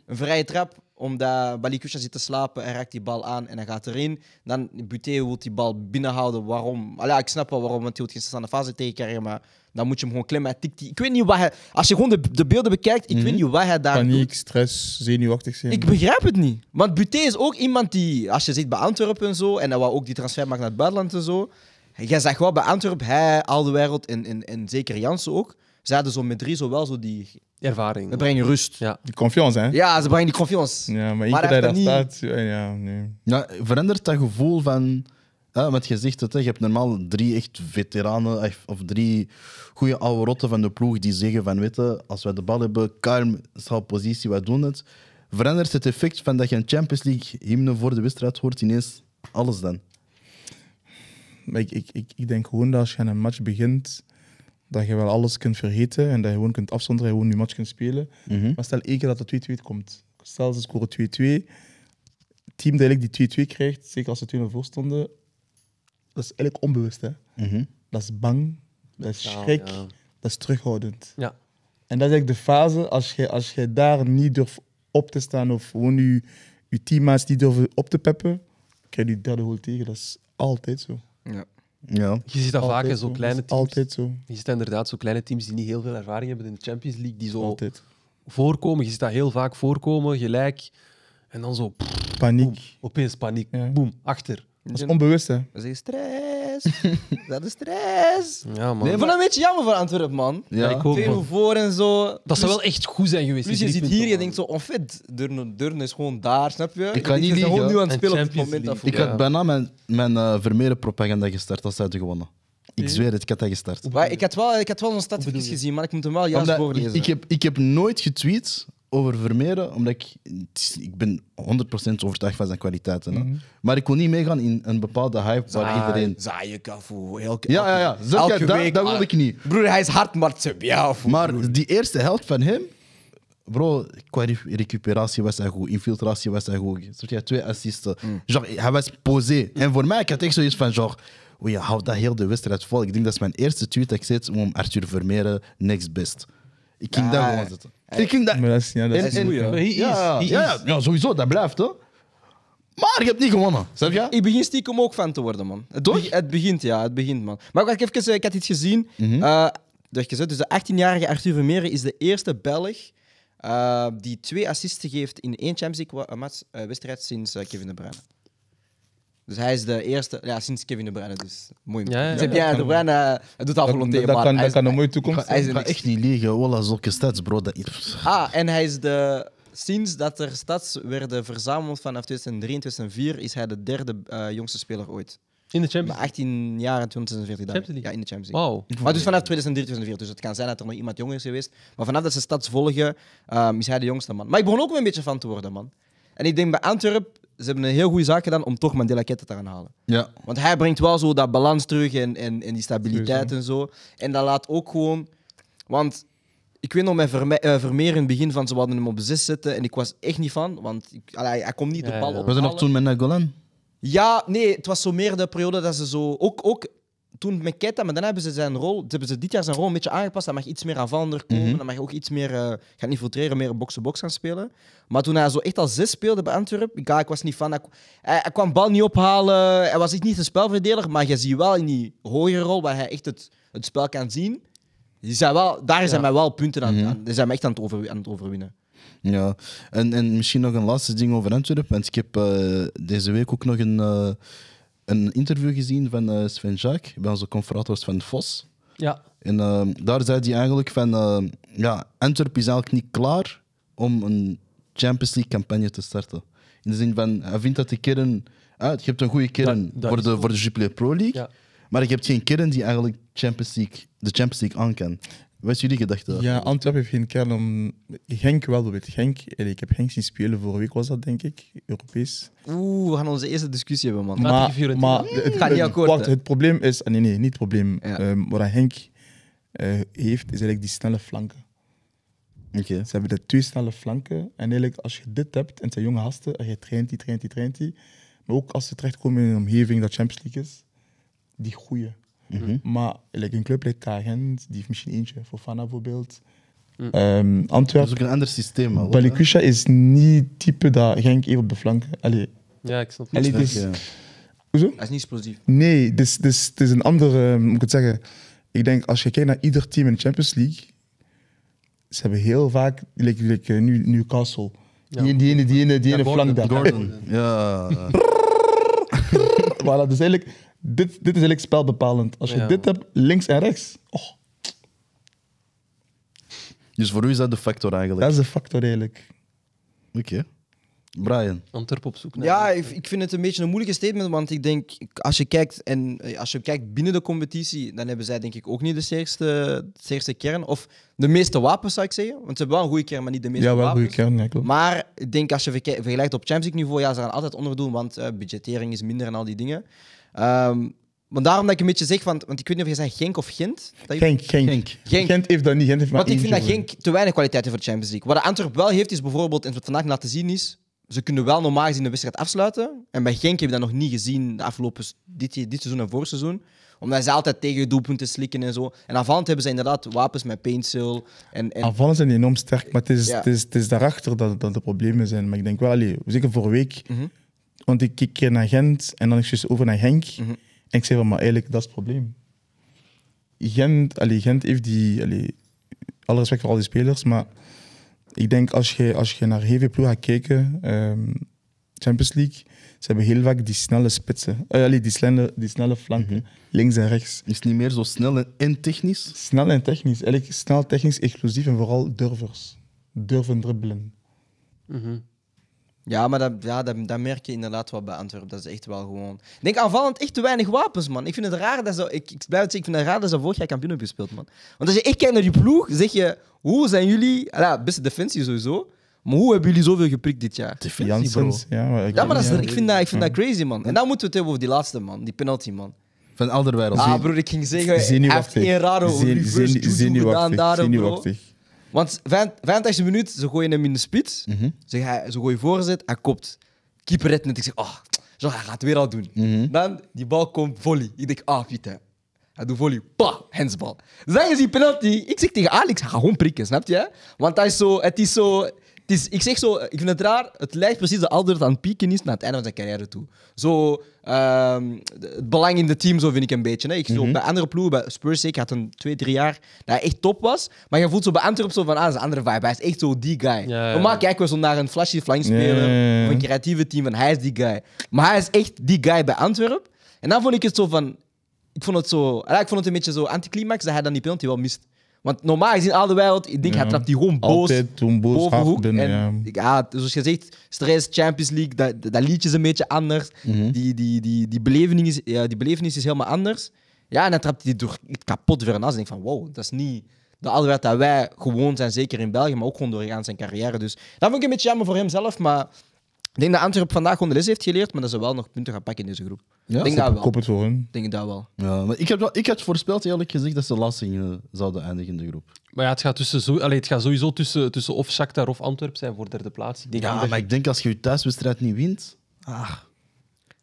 S4: Een vrije trap, omdat Balikusha zit te slapen, hij raakt die bal aan en hij gaat erin. Dan Buteo wil die bal binnenhouden. Waarom? Allee, ik snap wel waarom, want hij wil geen staande fase tegenkrijgen, maar dan moet je hem gewoon klemmen. Hij tikt die. Ik weet niet wat hij... Als je gewoon de, de beelden bekijkt, ik weet niet wat hij daar doet.
S3: Paniek, stress, zenuwachtig zijn.
S2: Hmm.
S4: Ik begrijp het niet. Want Buté is ook iemand die, als je zit bij Antwerpen en zo, en dat wou ook die transfer maakt naar het buitenland en zo. Jij zag wel bij Antwerpen, hij, al de wereld en, en, en zeker Jansen ook. Ze hadden zo met drie zo wel zo die.
S2: eh, Ervaring.
S4: We brengen rust.
S2: Ja.
S3: Die confiance, hè?
S4: Ja, ze brengen die confiance.
S3: Ja, maar één
S4: Maar
S3: keer
S4: hij
S3: dat je
S4: heeft
S3: daar
S4: dat
S3: staat... Ja, ja, nee.
S1: Ja, verandert dat gevoel van. hè, want je zegt het, hè, je hebt normaal drie echt veteranen eh, of drie goede oude rotten van de ploeg die zeggen van weet je, als wij de bal hebben, kalm, schaal positie, wij doen het. Verandert het effect van dat je een Champions League hymne voor de wedstrijd hoort ineens alles dan?
S3: Maar ik, ik, ik, ik denk gewoon dat als je aan een match begint, dat je wel alles kunt vergeten en dat je gewoon kunt afzonderen en gewoon je match kunt spelen.
S4: Mhm.
S3: Maar stel één keer dat het 2-2 komt. Stel ze scoren 2-2. Het team dat eigenlijk die 2-2 krijgt, zeker als ze 2-0 voor stonden, dat is eigenlijk onbewust. Hè?
S4: Mhm.
S3: Dat is bang, dat is
S2: Ja,
S3: schrik,
S2: ja.
S3: dat is terughoudend.
S2: Ja.
S3: En dat is eigenlijk de fase, als je, als je daar niet durft op te staan of gewoon je, je teammaats niet durven op te peppen, krijg je die derde goal tegen. Dat is altijd zo.
S4: Ja.
S1: Ja.
S2: Je ziet dat vaak
S3: Altijd
S2: in zo'n
S3: zo.
S2: kleine
S3: Dat is
S2: teams. Oh.
S3: Altijd zo.
S2: Je ziet dat inderdaad zo kleine teams die niet heel veel ervaring hebben in de Champions League, die zo
S3: Altijd.
S2: voorkomen. Je ziet dat heel vaak voorkomen, gelijk. En dan zo, pff, boem,
S3: Paniek.
S2: opeens paniek,
S3: Ja.
S2: boem, achter.
S3: Dat is onbewust, hè?
S4: Dat is stress. dat is stress.
S2: Ja, man.
S4: Nee, ik vond dat een beetje jammer voor Antwerpen, man.
S2: Ja, ik ook,
S4: Twee
S2: man.
S4: voor en zo.
S2: Dat zou wel echt goed zijn geweest.
S4: Plus
S2: die
S4: je
S2: drie
S4: zit hier, je
S2: punten,
S4: denkt zo, "Oh, on fait, Deurne, Deurne is gewoon daar, snap je?
S1: kan niet
S4: Ze zijn gewoon
S1: liegen.
S4: nu aan het
S2: En
S4: spelen op dit
S2: Champions
S4: moment. dat
S2: League.
S1: Ik
S4: voetbal.
S2: Ja.
S1: had bijna mijn, mijn eh, Vermeeren propaganda gestart als zij hadden gewonnen. Ik zweer het, ik had dat gestart.
S4: Maar ik had wel, ik had wel zo'n statistiekjes gezien, maar ik moet hem wel juist
S1: Omdat
S4: voorlezen.
S1: Ik heb, ik heb nooit getweet over Vermeeren, omdat ik, het is- ik ben 100% overtuigd van zijn kwaliteiten.
S4: Mhm.
S1: hè. Maar ik wil niet meegaan in een bepaalde hype waar iedereen...
S4: Zaaien Cafu, elke,
S1: Ja, ja, ja.
S4: elke-
S1: Zet
S4: elke
S1: jij, dat,
S4: week-
S1: dat wil
S4: ah,
S1: ik niet.
S4: Broer, hij is hard, maar het is- ja, of-
S1: Maar die eerste helft van hem... Bro, qua re- recuperatie was hij goed, infiltratie was hij goed. Zodat hij twee assisten. Genre, hij was posé. En voor mij, ik had echt zoiets van, genre... Oh ja, houdt dat heel de wedstrijd vol. Ik denk dat is mijn eerste tweet dat ik zet om Arthur Vermeeren next best. Ik ging
S4: Ja,
S1: daar
S4: hij-
S1: gewoon zetten. Ik ging dat...
S3: Maar dat is, ja, dat
S1: En-
S3: is
S1: en-
S3: niet-
S4: goeie.
S2: Maar hij is,
S1: ja,
S2: hij is.
S1: ja, ja, ja, sowieso, dat blijft hoor. Maar je hebt niet gewonnen, snap je?
S4: Ik begin stiekem ook fan te worden, man. Het, beg- het begint, ja, het begint, man. Maar wacht even, eh, ik had iets gezien.
S3: Mhm.
S4: Eh, dat je zegt, dus de 18-jarige Arthur Vermeeren is de eerste Belg eh, die twee assisten geeft in één Champions League wa- match, eh, wedstrijd sinds eh, Kevin De Bruyne. Dus hij is de eerste, ja, sinds Kevin De Bruyne, dus mooi.
S2: Ja, ja,
S4: Dus
S2: ja,
S4: heb jij
S3: dat
S4: De
S3: kan.
S4: Bruyne, eh, hij doet al
S3: Dat,
S4: volontair,
S3: dat
S4: maar
S3: kan,
S4: hij
S3: dat
S4: is-
S3: kan een
S4: hij-
S3: mooie
S1: Ik
S3: toekomst
S1: ga,
S4: hij
S3: zijn.
S4: is
S1: ik
S4: een
S1: ga
S4: niks.
S1: echt niet liegen, Wallah, zulke stats, bro. Dat...
S4: Ah, en hij is de. Sinds dat er stads werden verzameld vanaf 2003 en 2004, is hij de derde eh, jongste speler ooit.
S2: In de Champions
S4: Maar 18 jaar en 2046 dagen.
S2: Champions League?
S4: Ja, in de Champions League.
S2: Wauw.
S4: Maar dus vanaf 2003, 2004. Dus het kan zijn dat er nog iemand jonger is geweest. Maar vanaf dat ze stads volgen, ehm, is hij de jongste man. Maar ik begon ook wel een beetje van te worden, man. En ik denk bij Antwerp, ze hebben een heel goede zaak gedaan om toch Mandela Kette te gaan halen.
S1: Ja.
S4: Want hij brengt wel zo dat balans terug en, en, en die stabiliteit en zo. En dat laat ook gewoon. Want ik weet nog met Verme eh, Vermeer in het begin van ze wilden hem op zes zetten. En ik was echt niet van, want ik, allee, hij, hij komt niet
S2: Ja,
S4: de bal
S2: ja.
S4: op.
S1: We zijn nog toen met Nagolan.
S4: Ja, nee, het was zo meer de periode dat ze zo. Ook, ook toen met Keita, maar dan hebben ze zijn rol. Hebben ze dit jaar zijn rol een beetje aangepast. Hij mag iets meer aanvallender komen. Dan mag je ook iets meer eh, gaan infiltreren, meer box-to-box gaan spelen. Maar toen hij zo echt al zes speelde bij Antwerpen, ja, ik was niet van. Hij, hij, hij kwam bal niet ophalen. Hij was echt niet een spelverdediger. Maar je ziet wel in die hogere rol waar hij echt het, het spel kan zien. Die zijn wel, daar zijn mij wel punten aan. aan- die zijn mij echt aan het, over, aan het overwinnen.
S1: Ja, en, en misschien nog een laatste ding over Antwerpen. Want ik heb eh, deze week ook nog een, eh, een interview gezien van eh, Sven Jaak, bij onze conferators van Vos.
S2: Ja.
S1: En ehm, daar zei hij eigenlijk van, ehm, ja, Antwerp is eigenlijk niet klaar om een Champions League campagne te starten. In de zin van, hij vindt dat de kern... Ah, je hebt een goede kern
S2: Dat- dat
S1: voor,
S2: is
S1: de, voor de Jupiler Pro League,
S2: Ja.
S1: maar je hebt geen kern die eigenlijk Champions League, de Champions League aan kan. Wat is jullie gedachte?
S3: Ja, Antwerpen heeft geen kern om... Genk wel, bijvoorbeeld. Genk, en ik heb Genk zien spelen, vorige week was dat, denk ik, Europees.
S4: Oeh, we gaan onze eerste discussie hebben, man.
S2: Maar- tegen
S3: Maar,
S2: Fiorentina.
S3: maar het,
S4: Ga niet
S3: het-
S4: akkoord,
S3: wacht,
S4: hè?
S3: het probleem is... ah, Nee, nee, niet het probleem.
S4: Ja.
S3: Ehm, wat Henk heeft, is eigenlijk die snelle flanken.
S1: Oké.
S3: Ze hebben de twee snelle flanken. En eigenlijk, als je dit hebt, en het zijn jonge gasten, en je traint die, traint die, traint die. Maar ook als ze terechtkomen in een omgeving dat Champions League is, die goeie.
S1: Mhm.
S3: Maar like, een club like Kagen, die heeft misschien eentje. Fofana bijvoorbeeld. Ehm,
S1: Dat is
S3: Antwerpen.
S1: ook een ander systeem al. hè?
S3: Balikusha is niet type dat Genk even op de flanken. Allee,
S2: Ja, ik snap het.
S3: allee, het is...
S1: Ja.
S3: Hoezo?
S4: Hij is niet explosief.
S3: Nee, het is, het is, het is een andere. eh, Moet ik het zeggen? Ik denk als je kijkt naar ieder team in de Champions League. Ze hebben heel vaak. Like, like, eh, nu, Newcastle. Die, die ene, die ene, die
S2: Ja,
S3: ene
S2: Gordon,
S3: flank daar.
S1: Gordon. Ja.
S3: Voilà, dus eigenlijk, dit, dit is eigenlijk spelbepalend. Als je
S2: Ja.
S3: dit hebt, links en rechts. Oh,
S1: Dus voor u is dat de factor eigenlijk.
S3: dat is de factor eigenlijk.
S1: Oké. Brian.
S2: Antwerpen op zoek naar.
S4: Ja, ik, ik vind het een beetje een moeilijke statement, want ik denk, als je kijkt, en, eh, als je kijkt binnen de competitie, dan hebben zij denk ik ook niet de sterkste, de sterkste kern. Of de meeste wapens, zou ik zeggen. Want ze hebben wel een goede kern, maar niet de meeste
S3: Ja, wel
S4: wapens.
S3: goede kern, ja, klopt.
S4: Maar ik denk als je verke- vergelijkt op Champions League niveau, ja, ze gaan altijd onderdoen, want eh, budgettering is minder en al die dingen. Ehm, maar daarom dat ik een beetje zeg, want, want ik weet niet of je zei Genk of Gent. Dat je-
S3: Genk, Genk. Genk.
S4: Genk.
S3: heeft dat niet. Gent heeft maar
S4: want ik vind dat
S3: eentje,
S4: Genk te weinig kwaliteit heeft voor de Champions League. Wat de Antwerp wel heeft, is bijvoorbeeld, en wat vandaag laten zien is, ze kunnen wel normaal gezien de wedstrijd afsluiten. En bij Genk heb je dat nog niet gezien de afgelopen s- dit, dit seizoen en vorig seizoen. Omdat ze altijd tegen doelpunten slikken en zo. En aanvallend hebben ze inderdaad wapens met paintsil. En, en
S3: Aanvallen zijn enorm sterk, maar het is,
S4: Ja.
S3: het is, het is daarachter dat, dat de problemen zijn. Maar ik denk wel, allee, zeker vorige week,
S4: Mhm.
S3: want ik keek keer naar Gent en dan ik dus over naar Genk.
S4: Mhm.
S3: En ik zei van, maar eigenlijk, dat is het probleem. Gent, allee, Gent heeft die, allee, alle respect voor al die spelers, maar ik denk als je, als je naar HV Ploeg gaat kijken, ehm, Champions League, ze hebben heel vaak die snelle spitsen, Eh, allee, die, snelle, die snelle flanken,
S4: Mhm.
S3: links en rechts.
S1: Is niet meer zo snel en- en technisch.
S3: Snel en technisch. Eigenlijk snel, technisch, explosief en vooral durvers. Durven dribbelen.
S2: Mhm.
S4: Ja, maar dat, ja, dat, dat merk je inderdaad wel bij Antwerpen. Dat is echt wel gewoon. Ik denk aanvallend echt te weinig wapens, man. Ik vind het raar dat ze. Ik, ik blijf het zeggen, ik vind het raar dat ze vorig jaar kampioen hebben gespeeld, man. Want als je echt kijkt naar die ploeg, zeg je. Hoe zijn jullie. Ja, beste defensie sowieso. Maar hoe hebben jullie zoveel geprikt dit jaar?
S1: Defensie, bro.
S3: Janssens. Ja, maar, ik-
S4: Ja, maar dat is,
S3: ja.
S4: ik vind, dat, ik vind dat crazy, man. En dan moeten we het hebben over die laatste, man. Die penalty, man.
S1: Van Alderweireld.
S4: Ah, broer, ik ging zeggen. Hij heeft
S3: Zenuwachtig.
S4: geen rare
S3: Zen-
S4: reverse
S3: zen-
S4: juju gedaan
S3: zenuwachtig,
S4: daar, bro.
S3: zenuwachtig.
S4: Want 85 minuten, ze gooien hem in de spits. ze, hij, ze gooien voorzet, hij kopt. Keeper redt net. Ik zeg, oh, zo, hij gaat het weer al doen. Dan, die bal komt volley. Ik denk, ah, Pieter. Hij doet volley, pa, handsbal. Zij is die penalty. Ik zeg tegen Alex, hij gaat gewoon prikken, snap je? Want hij is zo, het is zo... Het is, ik zeg zo, ik vind het raar. Het lijkt precies dat Aldert aan het pieken is naar het einde van zijn carrière toe. Zo, ehm, het belang in het team, zo vind ik een beetje. Hè. Ik,
S3: Mhm.
S4: zo, Bij andere ploegen, bij Spurs zeker, had een twee, drie jaar dat hij echt top was. Maar je voelt zo bij Antwerp zo van, ah, dat is een andere vibe. Hij is echt zo die guy.
S2: ja, ja.
S4: Normaal kijken we zo naar een flashy flying speler
S3: Ja, ja, ja.
S4: of een creatieve team en hij is die guy. Maar hij is echt die guy bij Antwerp. En dan vond ik het zo van, ik vond het zo, ja, ik vond het een beetje zo anticlimax dat hij dan die penalty wel mist. Want normaal gezien, al de wereld, ik denk, hij
S3: Ja.
S4: trapt die gewoon boos.
S3: Altijd gewoon boos,
S4: bovenhoek.
S3: hard binnen,
S4: En,
S3: ja.
S4: ja, zoals gezegd, stress, Champions League, dat, dat dat liedje is een beetje anders.
S3: Mhm.
S4: die, die, die, die, belevenis, ja, die belevenis is helemaal anders. Ja, en dan trapt hij die door het kapot weer naast. En ik denk van, wow, dat is niet de Alderweireld dat wij gewoon zijn, zeker in België, maar ook gewoon doorgaan zijn carrière. Dus dat vond ik een beetje jammer voor hemzelf, maar... Ik denk dat Antwerp vandaag gewoon de les heeft geleerd, maar dat ze wel nog punten gaan pakken in deze groep.
S1: Ja,
S4: ik denk dat
S3: Ik
S4: wel.
S3: Kop het voor hem.
S4: Ik denk dat wel.
S1: Ja, maar ik, heb wel, ik had voorspeld, eerlijk gezegd, dat ze lastig eh, zouden eindigen in de groep.
S2: Maar ja, het gaat, tussen zo, allee, het gaat sowieso tussen, tussen of Shakhtar of Antwerp zijn voor derde plaats. Ik denk niet
S1: Ja,
S2: dat
S1: maar ik denk als je je thuiswedstrijd niet wint, ah,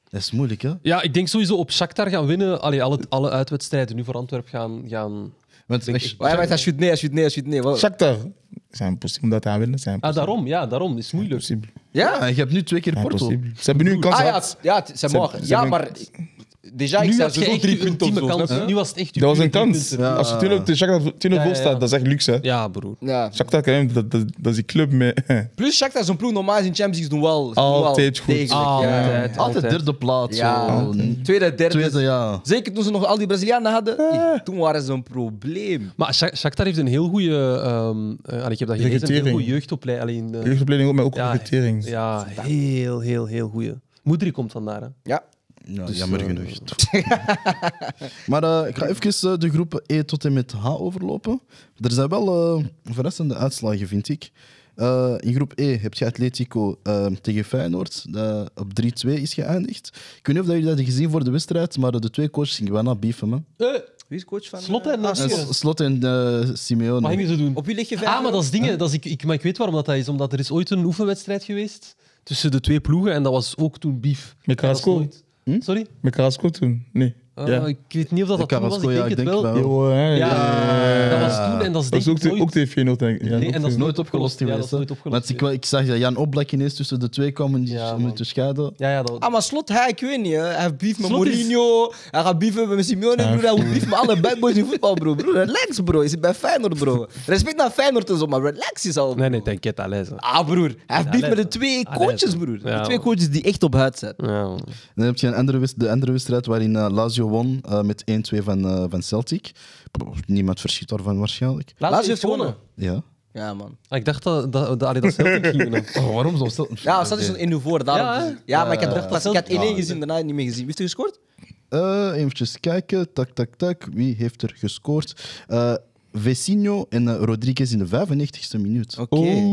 S1: dat is moeilijk, hè?
S2: Ja, ik denk sowieso op Shakhtar gaan winnen. Allee, alle, alle uitwedstrijden nu voor Antwerp gaan... gaan...
S1: Want als je-
S4: Maar hij hij shoot nee, hij shoot nee, hij shoot nee. Wel-
S3: Shakhtar. Zijn possible dat hij winnen. Zijn
S2: Ah, daarom. Ja, daarom. is moeilijk.
S3: possible.
S4: Ja?
S1: ja, je hebt nu twee keer
S3: Zijn
S1: Porto.
S3: possible. Ze hebben nu een kans
S4: Ah ja,
S3: gehad.
S4: ja, het zijn
S3: Ze-
S4: morgen.
S3: ze
S4: Ja,
S3: hebben-
S4: maar Deja, ik
S2: nu
S4: sta
S2: had je
S4: sowieso
S2: echt
S4: drie
S2: je
S4: punten
S2: ultieme
S4: op zo,
S2: kans.
S4: snap je?
S2: Nu was het echt je
S3: Dat was een
S2: pure
S3: kans.
S2: drie punten.
S3: Als je 2-0 tegen Shakhtar 2-0
S2: Ja,
S3: voor
S2: ja, ja.
S3: staat, dat is echt luxe. hè.
S2: Ja, broer.
S4: Ja.
S3: Shakhtar, kan hem- dat, dat, dat is die club met...
S4: Plus, Shakhtar is een ploeg normaal is in Champions League, ze doen wel. ze doen
S3: Altijd
S4: wel
S3: goed.
S4: degelijk,
S2: Altijd,
S4: ja.
S1: Altijd derde plaats.
S4: Ja.
S1: zo.
S4: Tweede, derde.
S1: Tweede, ja.
S4: Zeker toen ze nog al die Brazilianen hadden. eh, Toen waren ze een probleem.
S2: Maar Shak- Shakhtar heeft een heel goede... ehm eh, allee, ik heb dat gelezen, een heel
S3: Recrutering.
S2: goede jeugdopleiding. alleen, eh,
S3: Jeugdopleiding ook, maar ook
S2: ja,
S3: recrutering.
S2: Ja, heel, heel, heel goede. Moedri komt vandaar, hè.
S4: Ja.
S1: Ja, jammer genoeg. maar eh, ik ga even eh, de groepen E tot en met H overlopen. Er zijn wel eh, verrassende uitslagen, vind ik. Eh, in groep E heb je Atletico eh, tegen Feyenoord. dat op 3-2 is geëindigd. Ik weet niet of dat jullie dat hebben gezien voor de wedstrijd, maar eh, de twee coaches gingen bijna beefen. Man.
S2: Eh,
S4: Wie is coach van...
S2: Slot
S4: eh,
S2: en
S1: Eh,
S2: Nasser.
S1: Slot en eh,
S2: Mag ik
S1: Simeone.
S2: niet zo doen?
S4: Op wie lig je verder?
S2: Ah, maar dat is dingen. Dat is, ik, ik, maar ik weet waarom dat, dat is. Omdat er is ooit een oefenwedstrijd geweest tussen de twee ploegen. En dat was ook toen beef.
S3: Met
S2: Dat was
S3: Carrasco?
S2: nooit- Sorry?
S3: Met Carrasco toen? Nee.
S2: Ah,
S3: ja.
S2: Ik weet niet of dat, dat toen was.
S1: Carrasco,
S2: Ik denk
S1: ja, ik denk
S2: het wel.
S4: Oh.
S1: wel.
S3: Jo, hè,
S2: Ja,
S3: ja.
S2: dat was toen en dat is
S3: Dat
S2: denk
S3: is ook,
S2: ik
S3: de,
S2: nooit...
S3: ook de Feyenoord, denk ik. Ja,
S2: Nee, en dat is
S1: Nooit opgelost
S2: Ja, dat
S1: geweest.
S2: is nooit
S1: hè.
S2: opgelost
S1: Want ik,
S2: geweest.
S1: ik zag dat Jan Oblak ineens tussen de twee kwam om die
S2: Ja,
S1: om die te scheiden.
S2: Ja, ja, dat...
S4: Ah, maar Slot, hij, ik weet niet. Hè. Hij heeft beef met
S2: Slot is-
S4: Mourinho. Hij gaat beefen met Simeone,
S3: Ja.
S4: broer. Hij heeft beef met alle bad boys in voetbal, bro. Broer, relax, bro. Je zit bij Feyenoord, bro. Respect naar Feyenoord en zo, maar relax is al.
S2: Nee, nee, denk je het lezen.
S4: Ah, broer. Hij heeft
S2: Ja,
S4: beef met de
S2: lezen.
S4: twee
S2: Ah,
S4: coaches,
S2: lezen.
S4: broer. De
S2: Ja,
S4: twee
S2: man.
S4: coaches die echt op huid zijn.
S2: Ja, man.
S1: Dan heb je een andere, wis- de andere wedstrijd waarin eh, Lazio won eh, met 1-2 van, eh, van Celtic. Pff, niemand verschiet daarvan waarschijnlijk.
S4: Lazio heeft gewonnen.
S1: Ja.
S4: Ja, man.
S2: Ah, ik dacht dat, dat, dat, allee, dat Celtic ging winnen.
S1: waarom zo Celtic?
S4: Ja, dat is een 1-0 voor. Daarom.
S2: Ja, hè?
S4: Ja, ja, maar ik had,
S2: Ja.
S4: dacht, pas- ik had 1-1 gezien, daarna niet meer gezien. Wie heeft er gescoord?
S1: even Eh, kijken. Tak, tak, tak. Wie heeft er gescoord? Eh Vecinho en eh, Rodriguez in de 95ste minuut.
S4: Oké.
S3: Oeh.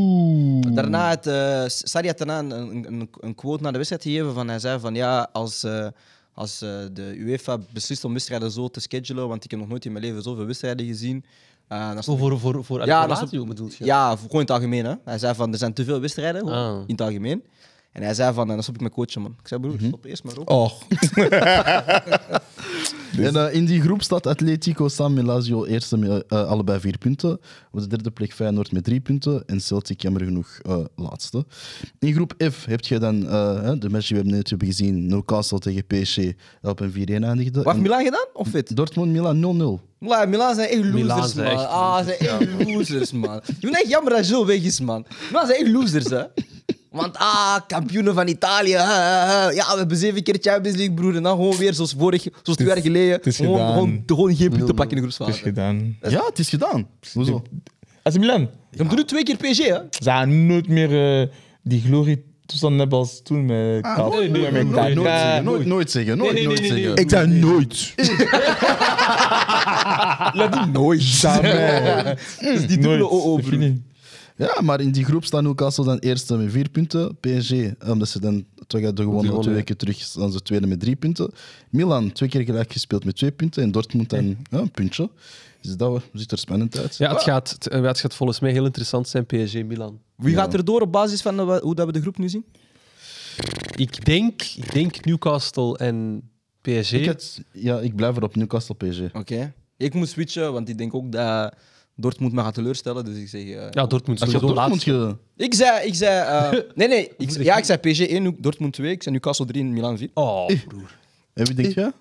S4: Oh. Daarna had eh, Sarri had daarna een, een, een- een quote naar de wedstrijd gegeven van hij zei van ja, als, eh, als eh, de UEFA beslist om wedstrijden zo te schedulen, want ik heb nog nooit in mijn leven zoveel wedstrijden gezien. eh, dan
S2: Zo
S4: stond-
S2: voor, voor, voor
S4: Ja,
S2: ja,
S4: dat is-
S2: Lazio bedoel je?
S4: ja, voor- gewoon in het algemeen. Hè. Hij zei van er zijn te veel wedstrijden, gewoon,
S2: Ah.
S4: in het algemeen. En hij zei van, eh, dan stop ik met coachen man. Ik zei
S3: Mhm.
S4: broer, stop eerst maar op.
S3: Och.
S1: En eh, in die groep staat Atletico samen met Lazio eerste met eh, allebei vier punten. Op de derde plek Feyenoord met drie punten. En Celtic, jammer genoeg, eh, laatste. In groep F heb je dan eh, hè, de match die we net hebben gezien. Newcastle tegen PSG dat op een 4-1 eindigde.
S4: Wat
S1: En
S4: heeft Milan gedaan? Of fit?
S1: Dortmund-Milan 0-0.
S4: Milan, Milan zijn echt losers,
S2: Milan
S4: man.
S2: zijn echt
S4: ah, ze zijn echt losers, man. Ik vind het echt jammer dat Jules weg is, man. Milan zijn echt losers, hè. Want, ah, kampioenen van Italië. hè, hè, hè. Ja, we hebben zeven keer Champions League, broer. En dan gewoon weer zoals vorig, zoals twee jaar geleden.
S3: het is
S4: gewoon,
S3: gedaan.
S4: gewoon, gewoon geen punten pakken in de
S3: Het is
S4: groepsfase.
S3: gedaan.
S1: Ja, het is gedaan. Hoezo?
S3: AC Milan.
S4: We doen nu twee keer PSG, hè.
S3: Ze gaan nooit meer eh, die glorie toestand hebben als toen met
S4: Ah,
S3: Kaap.
S1: nooit,
S2: nee,
S3: met Ah,
S1: Nooit,
S2: nooit,
S1: nooit
S3: Dakar.
S1: zeggen, nooit, nooit zeggen, nooit,
S2: nee,
S1: nooit
S2: nee, nee,
S1: zeggen.
S2: nee.
S3: Ik zei nooit. Laat die nooit Jamais. Dus die
S4: dubbele OO, broer.
S1: Ja, maar in die groep staat Newcastle dan eerste met vier punten. PSG, eh, omdat ze dan toch hadden gewonnen twee weken terug, staan ze tweede met drie punten. Milan, twee keer gelijk gespeeld met twee punten. En Dortmund dan ja, een puntje. Dus dat ziet er spannend uit.
S2: Ja, het gaat, het, eh, het gaat volgens mij heel interessant zijn, PSG-Milan.
S4: Wie gaat er door op basis van eh, hoe dat we de groep nu zien?
S2: Ik denk, ik denk Newcastle en PSG.
S1: Ik, had- ja, ik blijf erop, Newcastle PSG.
S4: Oké. Ik moet switchen, want ik denk ook dat Dortmund me gaat teleurstellen. Dus ik zeg... eh,
S2: Ja, Dortmund
S1: Als je
S2: sowieso
S1: Dortmund
S2: laatst.
S1: ge...
S4: Ik zei... Ik zei eh, nee, nee. Ik, ja, ik zei PSG 1, Dortmund 2. Ik zei Newcastle 3 en Milan 4.
S2: Oh, broer.
S1: En wie denk je?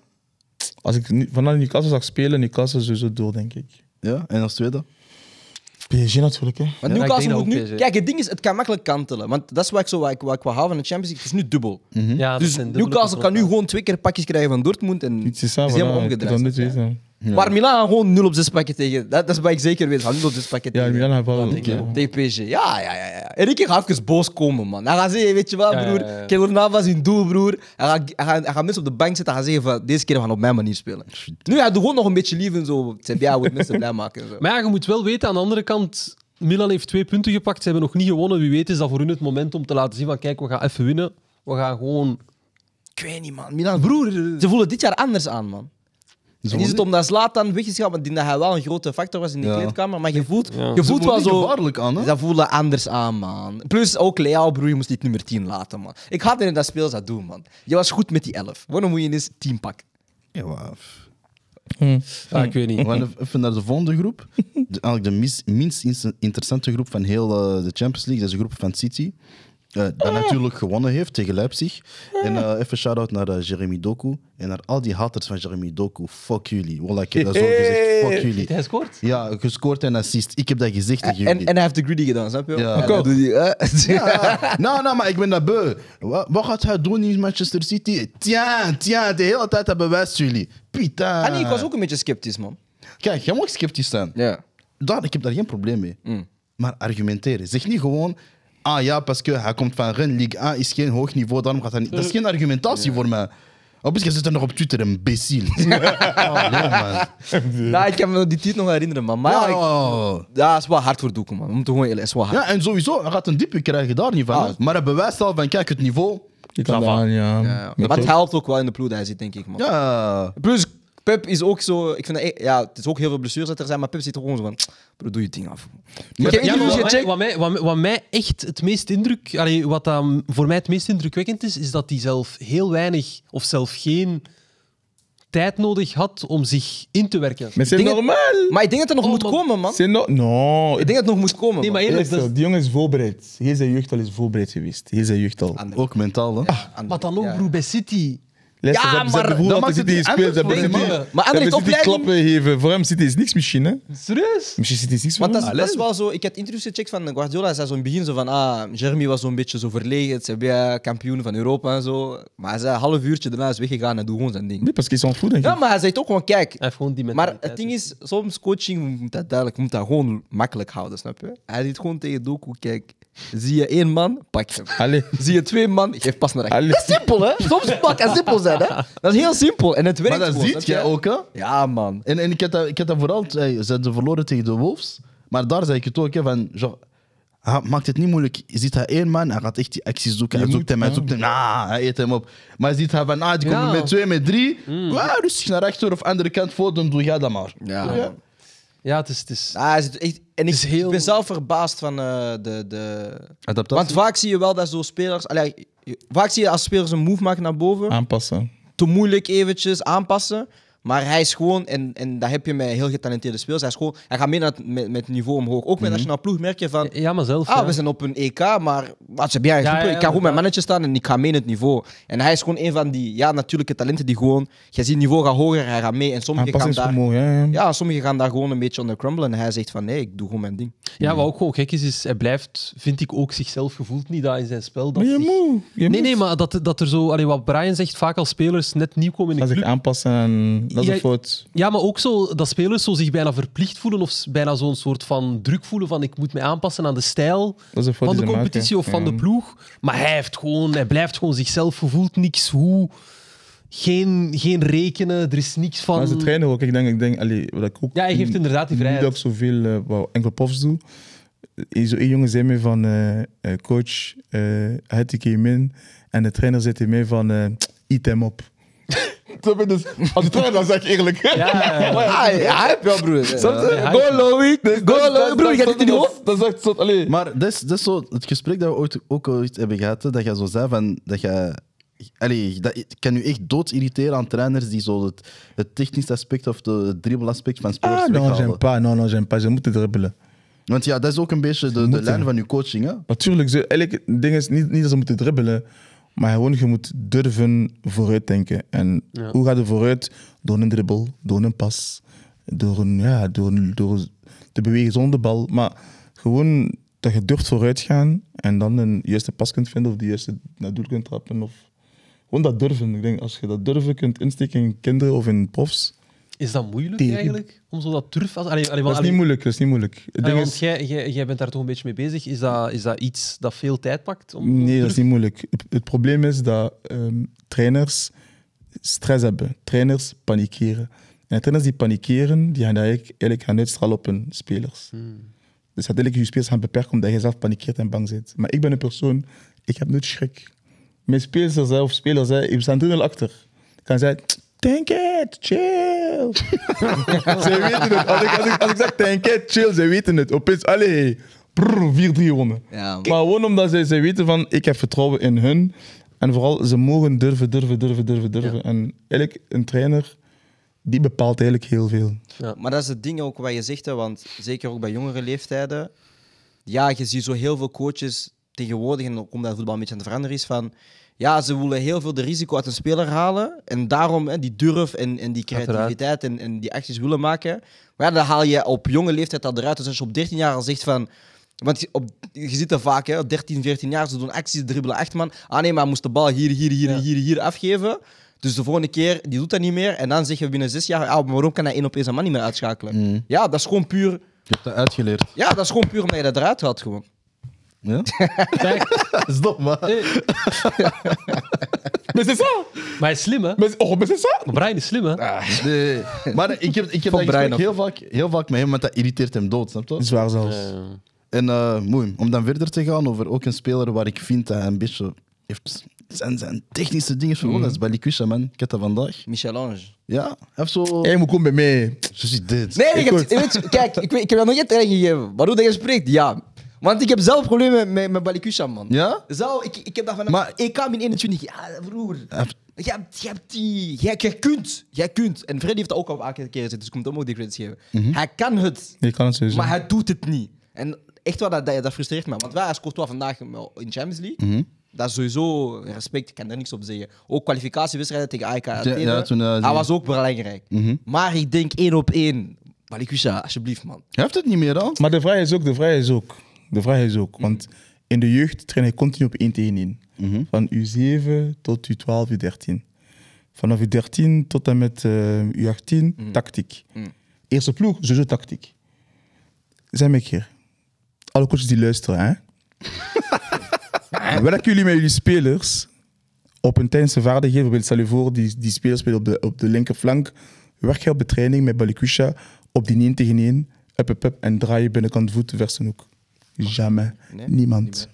S3: Als ik nu- vanaf Newcastle zag spelen, Newcastle sowieso door, denk ik.
S1: Ja, en als tweede?
S3: PSG natuurlijk, hè.
S4: Want
S2: Ja, ik
S4: Newcastle
S2: denk
S4: moet
S2: dat
S4: nu...
S2: ook PSG.
S4: Kijk, het ding is, het kan makkelijk kantelen. Want dat is wat ik, zo, wat ik, wat ik wil halen van de Champions League. Het is nu dubbel.
S2: Mhm. Ja, dat
S4: dus
S2: zijn dubbele
S4: Newcastle kan nu
S2: contrasten.
S4: gewoon twee keer pakjes krijgen van Dortmund. En
S3: Iets
S4: het
S3: is
S4: is
S3: samen.
S4: helemaal
S3: ja, ik kan dat
S4: omgedraaid.
S3: niet weten.
S4: Maar Milan gaat gewoon 0 op 6 pakken tegen... Dat, dat is wat ik zeker weet. Van 0 op 6 pakken
S3: Ja,
S4: tegen,
S3: Milan heeft wel...
S4: tegen- tegen PSG. Ja, ja, ja. ja. Enrique gaat even boos komen, man. Hij gaat zeggen, weet je wat,
S2: Ja, ja, ja,
S4: broer?
S2: ja.
S4: Kijk, Ronaldo was in doel, broer. Hij gaat, hij, gaat, hij gaat mensen op de bank zetten. Hij gaat zeggen van, deze keer gaan we op mijn manier spelen. Nu, hij doet gewoon nog een beetje lief en zo. Sebia moet mensen blij maken en zo.
S2: Maar ja, je moet wel weten, aan de andere kant, Milan heeft twee punten gepakt. Ze hebben nog niet gewonnen. Wie weet is dat voor hun het moment om te laten zien van kijk, we gaan even winnen. We gaan gewoon...
S4: Ik weet niet, man. Milan,
S2: Broer,
S4: Ze voelen dit jaar anders aan, man.
S1: Dus
S4: En is het omdat Zlatan weg is gegaan, want ik denk dat hij wel een grote factor was in de
S1: Ja.
S4: kleedkamer, maar je voelt, je
S2: Ze
S4: voelt wel zo...
S1: gevaarlijk aan, hè?
S4: Dat voelde anders aan, man. Plus ook Leao, broer, je moest niet nummer 10 laten, man. Ik had in dat speel dat doen, man. Je was goed met die 11. Waarom moet je eens 10 pakken?
S1: Ja, maar-
S2: ah, ik weet niet.
S1: We gaan even naar de volgende groep. De, eigenlijk de mis- minst ins- interessante groep van heel eh, de Champions League. Dat is de groep van City. eh, dat natuurlijk gewonnen heeft tegen Leipzig. En eh, even shout-out naar eh, Jeremy Doku. En naar al die haters van Jeremy Doku. Fuck jullie. Wallah, ik heb dat zo gezegd. Fuck jullie.
S2: Hij scoort.
S1: Ja, gescoord en assist. Ik heb dat gezegd tegen
S4: En,
S1: jullie.
S4: en hij heeft de greedy gedaan, snap je?
S1: Ja.
S4: En dat doet hij, hè?
S1: Ja, nou, nou, maar ik ben dat beu. Wat, wat gaat hij doen in Manchester City? Tja, tja, de hele tijd dat bewijst jullie. Pita.
S4: Ah nee, ik was ook een beetje sceptisch, man.
S1: Kijk, jij mag sceptisch zijn.
S4: Ja.
S1: Daar, ik heb daar geen probleem mee.
S4: Mm.
S1: Maar argumenteren. Zeg niet gewoon... Ah ja, parce que hij komt van Rennes. Ligue 1 is geen hoog niveau, daarom gaat hij niet... Dat
S4: Eh,
S1: is geen argumentatie voor mij. Op je zit er nog op Twitter, een becil. oh, nee, man.
S4: Nou, ik kan me die titel nog herinneren, man. Maar ja, ik-
S1: Oh.
S4: ja, het is wel hard voor Doeken, man. We moeten gewoon eerlijk, het is wel hard.
S1: Ja, en sowieso, hij gaat een diepe krijgen daar niet van.
S4: Ah.
S1: Maar hij bewijst al van, kijk, het niveau...
S3: Ik kan aan, ja.
S4: Ja, ja. Maar het helpt ook wel in de ploeg dat hij zit, denk ik, man.
S1: Ja,
S4: Plus, Pep is ook zo... Ik vind dat, e- ja, het is ook heel veel blessures dat er zijn, maar Pep zit er gewoon zo van... Bro, doe je ding af. Ik heb
S2: Ja, maar
S4: interviews
S2: wat, mij,
S4: gecheckt.
S2: wat, mij, wat, mij- wat mij echt het meest indruk, allee, wat dan voor mij het meest indrukwekkend is, is dat hij zelf heel weinig of zelf geen tijd nodig had om zich in te werken.
S3: Maar zijn
S4: Dingen-
S3: normaal.
S4: Maar ik denk dat het nog
S2: Oh,
S4: moet
S2: man.
S4: komen, man. dus-
S3: Zijn no no.
S4: Ik denk dat het nog moet komen,
S2: Nee, maar
S4: man.
S2: eerlijk,
S3: Eerlijk,
S2: dat is-
S3: die jongen is voorbereid. Heel zijn jeugd al is voorbereid geweest. Heel zijn jeugd al.
S4: Ander-
S1: ook mentaal, hè.
S4: ander-
S2: maar dan ook,
S4: ja.
S2: broer, bij City.
S3: Leicester,
S4: Ja,
S3: ze hebben- ze
S4: maar
S3: hebben
S1: dat
S3: gewoon
S1: maakt het
S3: altijd City
S1: niet
S3: gespeeld. Ze
S1: anders
S3: hebben
S1: voor
S3: City-
S2: die
S3: ze
S2: mannen.
S4: Maar
S3: hebben
S4: Anderlecht
S3: City
S4: opleiding-
S3: klappen geven. Voor hem City is niks misschien, hè?
S2: Serieus?
S3: Misschien City is niks voor
S4: Want dat is,
S3: hem.
S1: Ah,
S4: dat is wel zo... Ik had interviews gecheckt van Guardiola. Hij zei zo in het begin zo van... Ah, Jeremy was zo'n beetje zo verlegen. Het CBA, kampioen van Europa en zo. Maar hij zei een half uurtje daarna is weggegaan en doe gewoon zijn ding.
S3: Nee, parce qu'ils sont fous, denk
S4: Ja,
S3: ik.
S4: maar hij zei ook gewoon... Kijk,
S2: Hij heeft gewoon die
S4: Maar
S2: mentaliteit.
S4: het ding is, soms coaching je moet dat duidelijk, je moet dat gewoon makkelijk houden, snap je? Hij zit gewoon tegen Doku, kijk, zie je één man, pak hem.
S3: Allee.
S4: Zie je twee man, geef pas naar rechts.
S3: Allee.
S4: Dat is simpel, hè? Soms pak en simpel zijn, hè? Dat is heel simpel en het werkt
S1: Maar dat
S4: gewoon,
S1: ziet
S4: snap
S1: jij
S4: je?
S1: ook, hè.
S4: Ja, man.
S1: En, en ik, had dat, ik had dat vooral, eh, ze hadden verloren tegen de Wolves. Maar daar zei ik het ook, hè, van, genre, hij maakt het niet moeilijk. Je ziet hij één man, hij gaat echt die acties zoeken.
S3: Je
S1: Hij zoekt
S3: moet,
S1: hem, hij
S3: ja.
S1: zoekt hem. Ah, hij eet hem op. Maar je ziet hij van, ah, die
S2: Ja.
S1: komt met twee, met drie. Ah, rustig naar achter of andere kant voor, dan doe jij dat maar.
S4: Ja,
S1: Snap je?
S4: man.
S2: Ja, het is... Het is...
S4: Ah, hij zit echt, en ik
S2: Het is heel-
S4: ben zelf verbaasd van eh, de, de...
S1: Adaptatie.
S4: Want vaak zie je wel dat zo spelers... Allee, vaak zie je als spelers een move maken naar boven,
S2: Ah.
S3: Aanpassen.
S4: te moeilijk eventjes aanpassen. Maar hij is gewoon, en, en dat heb je met heel getalenteerde spelers, hij, is gewoon, hij gaat mee naar het, met, met het niveau omhoog. Ook met nationaal ploeg merk je van,
S2: Mhm. Ja, maar zelf.
S4: ah,
S2: ja.
S4: we zijn op een EK, maar wat ze bij een
S2: Ja,
S4: groepen,
S2: ja,
S4: ik kan goed
S2: inderdaad.
S4: met mannetje staan en ik ga mee in het niveau. En hij is gewoon een van die, ja, natuurlijke talenten die gewoon, je ziet het niveau gaat hoger, hij gaat mee. En sommigen gaan daar,
S3: Aanpassingsvermogen, hè?
S4: ja, sommigen gaan daar gewoon een beetje onder crumblen. En hij zegt van, nee, ik doe gewoon mijn ding.
S2: Ja, wat ook gewoon gek is, is hij blijft, vind ik ook, zichzelf gevoeld niet dat in zijn spel. Dat
S3: Maar je
S2: zich-
S3: moet. je
S2: Nee,
S3: moet.
S2: nee, maar dat, dat er zo... Allee, wat Brian zegt, vaak als spelers net nieuw komen in
S3: Dat
S2: de
S3: zich
S2: club.
S3: aanpassen, en dat is
S2: Ja,
S3: een fout.
S2: Ja, maar ook zo dat spelers zo zich bijna verplicht voelen of s- bijna zo'n soort van druk voelen van ik moet mij aanpassen aan de stijl
S3: Dat is een fout
S2: van de
S3: die ze
S2: competitie
S3: maken.
S2: of van
S3: Ja.
S2: de ploeg. Maar hij, heeft gewoon, hij blijft gewoon zichzelf, gevoelt niks hoe, geen, geen rekenen, er is niks van...
S3: Maar ze trainen ook. Ik denk, ik denk allee, wat ik ook
S2: Ja, hij geeft inderdaad die vrijheid.
S3: Niet ook zoveel eh wat enkel profs doe. Eh, Zo één jongen zei mij van eh, eh, coach, eh hij came in en de trainer zei tegen mij van eh eat hem op. Snap je? dus, als de trainer dan zeg ik eerlijk.
S2: Ja,
S4: Ah, hij heeft wel, broer.
S3: Snap je?
S2: ja,
S3: Go Loïc,
S4: go, Loïc, broer, je hebt het in je hoofd.
S3: Dat zegt zo, allee.
S1: Maar dat is, dat is zo het gesprek dat we ooit, ook ooit hebben gehad. hè, Dat je zo zei van, dat je... Allee, dat ik kan nu echt dood irriteren aan trainers die zo het, het technisch aspect of de, het dribbelaspect van spelers
S3: Ah, non,
S1: weghalen.
S3: j'aime pas, non, non, j'aime pas. Ze moeten dribbelen.
S1: Want ja, dat is ook een beetje de, de
S3: Moeten.
S1: lijn van je coaching. Hè?
S3: Natuurlijk, ze, eigenlijk, het ding is niet, niet dat ze moeten dribbelen, maar gewoon je moet durven vooruitdenken. En hoe gaat je vooruit? Door een dribbel, door een pas, door, een, ja, door, een- door te bewegen zonder bal. Maar gewoon dat je durft vooruit gaan en dan een juiste pas kunt vinden of de juiste naar het doel kunt trappen. Of, gewoon dat durven. Ik denk, als je dat durven kunt insteken in kinderen of in profs,
S2: Is dat moeilijk
S3: Tegen.
S2: eigenlijk? Om zo dat turf... Als, allee, allee, Eh,
S3: dat is niet
S2: allee,
S3: moeilijk. Dat is niet moeilijk. Het
S2: allee,
S3: ding
S2: want
S3: is,
S2: jij, jij, jij bent daar toch een beetje mee bezig. Is dat, is dat iets dat veel tijd pakt? Om
S3: Nee, dat is niet moeilijk. Het, het probleem is dat ehm, trainers stress hebben. Trainers panikeren. En trainers die panikeren, die gaan dat eigenlijk, eigenlijk gaan uitstralen op hun spelers. Dus uiteindelijk je spelers gaan beperken omdat je zelf panikeert en bang bent. Maar ik ben een persoon, ik heb nooit schrik. Mijn spelers hè, of spelers, hè, die staan 3-0 achter. Ik kan zeggen, think it, chill. ze weten het. Als ik, als, ik, als ik zeg think it, chill, ze weten het. Opeens, allee, brrr, 4-3 gewonnen.
S4: Ja, man.
S3: Maar gewoon omdat zij, zij weten van, ik heb vertrouwen in hun. En vooral, ze mogen durven, durven, durven, durven, durven. En eigenlijk, een trainer, die bepaalt eigenlijk heel veel.
S4: Maar dat is het ding ook wat je zegt, hè, want zeker ook bij jongere leeftijden. Ja, je ziet zo heel veel coaches tegenwoordig, en ook omdat voetbal een beetje aan het veranderen is, van ja, ze willen heel veel de risico uit een speler halen. En daarom hè, die durf en, en die creativiteit en, en die acties willen maken. Maar ja, dan haal je op jonge leeftijd al eruit. Dus als je op 13 jaar al zegt van. Want je- op, je ziet dat vaak, hè, op 13, 14 jaar, ze doen acties, dribbelen acht man. Ah nee, maar hij moest de bal hier, hier, hier,
S2: Ja.
S4: hier, hier afgeven. Dus de volgende keer, die doet dat niet meer. En dan zeggen we binnen zes jaar, ah, maar waarom kan hij één op één zijn man niet meer uitschakelen? Ja, dat is gewoon puur
S1: Je hebt dat uitgeleerd.
S4: ja, dat is gewoon puur omdat je dat eruit haalt gewoon.
S1: Ja? dat is dom, man.
S3: Mais c'est ça!
S2: Maar hij is slim, hè?
S3: Mais, oh, mais c'est ça!
S2: Brian is slim, hè?
S1: Nee. Maar ik heb, ik heb dat
S4: Brein
S1: gesprek heel vaak, heel vaak met hem, want dat irriteert hem dood, snap je?
S3: Zwaar zelfs.
S2: Eh,
S1: En eh, mooi, om dan verder te gaan over ook een speler waar ik vind dat hij een beetje heeft zijn, zijn technische dingen verloren. Dat is Balikwisha, man. Ik heb dat vandaag.
S4: Michelange.
S1: Ja, hij heeft zo...
S3: Hé, moet komen bij mij.
S1: Ze ziet dit.
S4: Nee, ik heb,
S3: goed.
S4: je weet, kijk, ik, weet, ik heb dat nog geen training gegeven. Waarom dat je spreekt? Ja. Want ik heb zelf problemen met, met Balikushan, man.
S1: Ja?
S4: Zo, ik, ik heb dat vanaf
S1: Maar-
S4: EK min 21. Ja, broer.
S1: Hij heeft-
S4: Jij, hebt- jij, hebt die, jij, jij kunt. Jij kunt. En Freddy heeft dat ook al een aantal keer gezegd, dus ik moet hem ook die credits geven. Hij kan het,
S3: Nee, ik kan het sowieso.
S4: maar hij doet het niet. En echt waar, dat, dat, dat frustreert me. Want wij als Courtois vandaag in Champions League,
S1: Mhm.
S4: dat is sowieso respect, ik kan daar niks op zeggen. Ook kwalificatiewedstrijden tegen AEK Athene,
S1: ja, toen, eh,
S4: hij
S1: die- Mhm.
S4: was ook belangrijk. Maar ik denk één op één. Balikusha, alsjeblieft, man.
S1: Hij heeft het niet meer al.
S3: Maar de vraag is ook, de vraag is ook, de vraag is ook, want in de jeugd train je continu op 1 tegen 1.
S4: Mhm.
S3: Van U7 tot U12, U13. Vanaf U13 tot en met eh, U18, tactiek. Eerste ploeg, sowieso tactiek. Zijn we hier. Alle coaches die luisteren, hè. Welke jullie met jullie spelers op een tijdse vaardigheden, bijvoorbeeld stel je voor, die, die speler speelt op de, op de linkerflank, werk je op de training met Balikusha op die 9 tegen 1, up, up, up, en draai je binnenkant voet vers een hoek. Jamais.
S4: Nee,
S3: Niemand.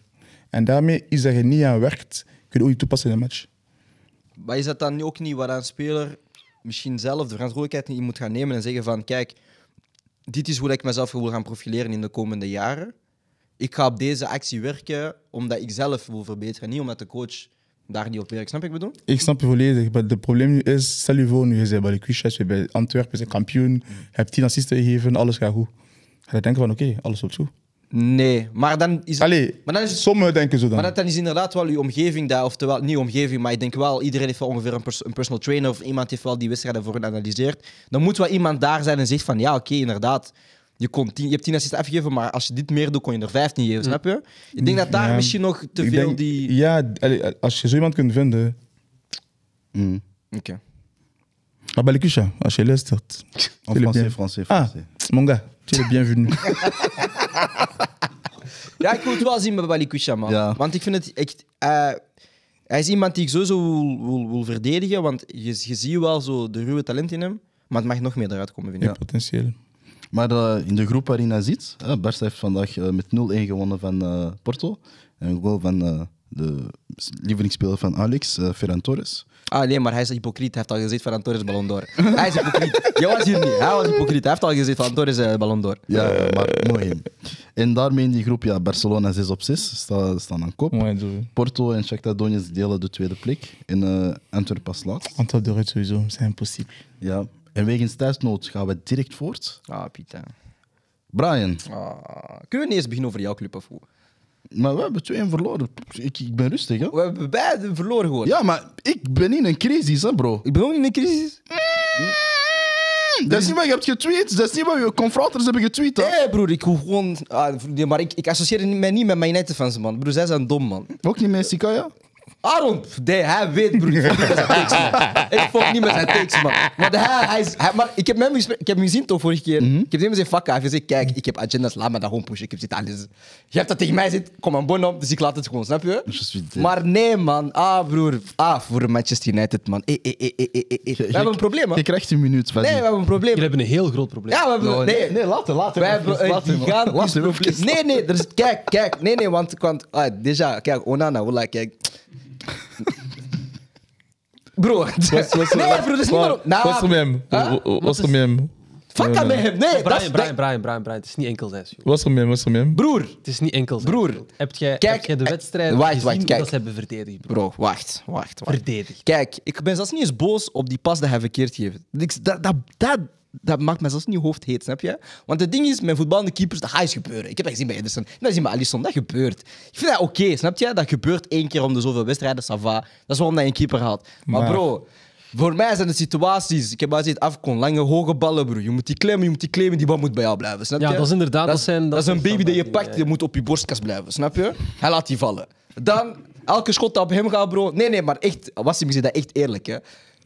S3: En daarmee is dat je niet aan werkt, kun je ook niet toepassen in een match.
S4: Maar is dat dan ook niet waar een speler misschien zelf de verantwoordelijkheid niet in moet gaan nemen en zeggen van, kijk, dit is hoe ik mezelf wil gaan profileren in de komende jaren. Ik ga op deze actie werken omdat ik zelf wil verbeteren, niet omdat de coach daar niet op werkt. Snap je wat ik bedoel?
S3: Ik snap je volledig, maar het probleem nu is, stel je voor, nu je bent Balikusha, je bent bij Antwerpen, je bent kampioen,
S1: Mm.
S3: je hebt 10 assisten gegeven, alles gaat goed. Ga je denken van, oké, alles op goed.
S4: Nee, maar dan is
S3: Allee,
S4: maar dan is het
S3: sommigen denken zo dan.
S4: Maar dat, dan is inderdaad wel uw omgeving daar, oftewel niet omgeving, maar ik denk wel, iedereen heeft wel ongeveer een, pers- een personal trainer of iemand heeft wel die wedstrijden voor hen analyseert. Dan moet wel iemand daar zijn en zegt van ja, oké, inderdaad. Je, kon tien, je hebt 10 assists afgegeven, maar als je dit meer doet, kon je er 15 geven, snap je? Ik denk dat daar
S3: Ja,
S4: misschien nog te
S3: Ik
S4: veel
S3: denk-
S4: die.
S3: Ja, allee, als je zo iemand kunt vinden,
S4: Oké.
S3: Maar Balikusha, als je luistert.
S1: En
S3: tu l'es bien-
S1: français, français,
S3: Ah,
S1: français.
S3: mon gars, tu es bienvenu.
S4: Ja, ik wil het wel zien met Balikusha, man.
S1: Ja.
S4: Want ik vind het echt. eh, hij is iemand die ik sowieso wil, wil, wil verdedigen, want je, je ziet wel zo de ruwe talent in hem, maar het mag nog meer eruit komen, vind ik.
S3: Ja. Potentieel.
S1: Maar eh, in de groep waarin hij zit, eh, Barca heeft vandaag eh, met 0-1 gewonnen van eh, Porto. En een goal van eh, de lievelingsspeler van Alex, eh, Ferran Torres.
S4: Ah nee, maar hij is hypocriet. Hij heeft al gezegd van Antoris Ballon d'Or. Hij is hypocriet. Jij was hier niet. Hij was hypocriet. Hij heeft al gezegd van Antoris eh, Ballon d'Or.
S1: Ja, maar mooi. hem. En daarmee in die groep, ja, Barcelona 6 op 6 sta- staan aan kop.
S3: Mooi zo.
S1: Porto en Shakhtar Donetsk delen de tweede plek. En eh Antwerpen als laatst.
S3: Antwerp de Red sowieso, c'est impossible.
S1: Ja. En wegens thuisnood gaan we direct voort.
S4: Ah, Pieter.
S1: Brian,
S4: Ah. Kunnen we niet eens beginnen over jouw club of hoe?
S1: maar we hebben 2-1 verloren. Ik, ik ben rustig, hè?
S4: We hebben beide verloren gewoon.
S1: Ja, maar ik ben in een crisis, hè, bro.
S4: Ik ben ook niet in een crisis.
S1: Dat is niet wat je hebt getweet. Dat is niet wat je confronters hebben getweet, hè?
S4: Nee, broer. Ik hoef gewoon... Ah, nee, maar ik, ik associeer mij niet met mijn nette fans, man. Broer, zij zijn dom, man.
S1: Ook niet met Sikaya?
S4: Aaron, nee, hij weet, broer. Ik fuck niet met zijn takes, man. Ik fuck niet met zijn takes, man. Want hij, hij is... Hij, maar ik heb, met hem gesprek, ik heb hem gezien toch vorige keer. Ik heb tegen hem gezegd, fuck, hij heeft gezegd, kijk, ik heb agendas, laat me dat gewoon pushen. Ik heb zit alles. Je hebt dat tegen mij zit, kom aan bon op, dus ik laat het gewoon, snap je?
S1: is wie dit.
S4: Maar nee, man. Ah, broer. Ah, voor Manchester United, man. Eh, eh, eh, eh, eh, eh. We hebben een probleem, man.
S1: Je krijgt een minuut van
S4: Nee, we
S1: die.
S4: hebben een probleem.
S2: Jullie hebben een heel groot probleem.
S4: Ja, we hebben... Oh, Nee,
S1: later, later.
S4: wij hebben een gigantisch probleem. Nee, nee, er is, kijk, kijk. Nee, nee, want... want ah, déjà, kijk, Onana, voilà, kijk. Bro, nee, bro, dat is niet meer...
S3: Was er met hem?
S1: ah,
S4: Huh?
S3: Was er met hem?
S4: Fuck dat met hem, nee. dat is-
S2: Brian, Brian, Brian, Brian, Brian. Het is niet enkel zijs, joh.
S3: Was er met hem? Was er met hem?
S4: Broer,
S2: Het is niet enkel zijs.
S4: Broer,
S2: Heb jij,
S4: kijk,
S2: heb jij de
S4: eh,
S2: wedstrijd
S4: wacht,
S2: gezien
S4: wacht,
S2: hoe
S4: kijk.
S2: dat ze hebben verdedigd? bro?
S4: bro, wacht, wacht, wacht.
S2: Verdedigd.
S4: Kijk, ik ben zelfs niet eens boos op die pas dat hij verkeerd geeft. Ik- Dat, dat, dat, dat maakt mij zelfs niet hoofd heet, snap je? Want het ding is, mijn voetballende keepers, dat gaat eens gebeuren. Ik heb dat gezien bij Ederson, dat heb ik gezien bij Alisson, dat gebeurt. Ik vind dat oké, snap je? Dat gebeurt één keer om de zoveel wedstrijden, ça va. Dat is waarom dat je een keeper haalt. Maar,
S3: Maar-
S4: bro, voor mij zijn het situaties, ik heb al gezien, afkon, lange, hoge ballen, bro. Je moet die claimen, je moet die claimen, die bal moet bij jou blijven, snap
S2: Ja,
S4: je?
S2: dat is inderdaad-
S4: Dat,
S2: dat zijn- dat
S4: dat is
S2: zijn
S4: een baby dat je
S2: standaard
S4: pakt,
S2: dingen,
S4: die moet op je borstkast blijven, snap je? Hij laat die vallen. Dan, elke schot dat op hem gaat, bro. Nee, nee, maar echt, was ik zei dat echt eerlijk, hè.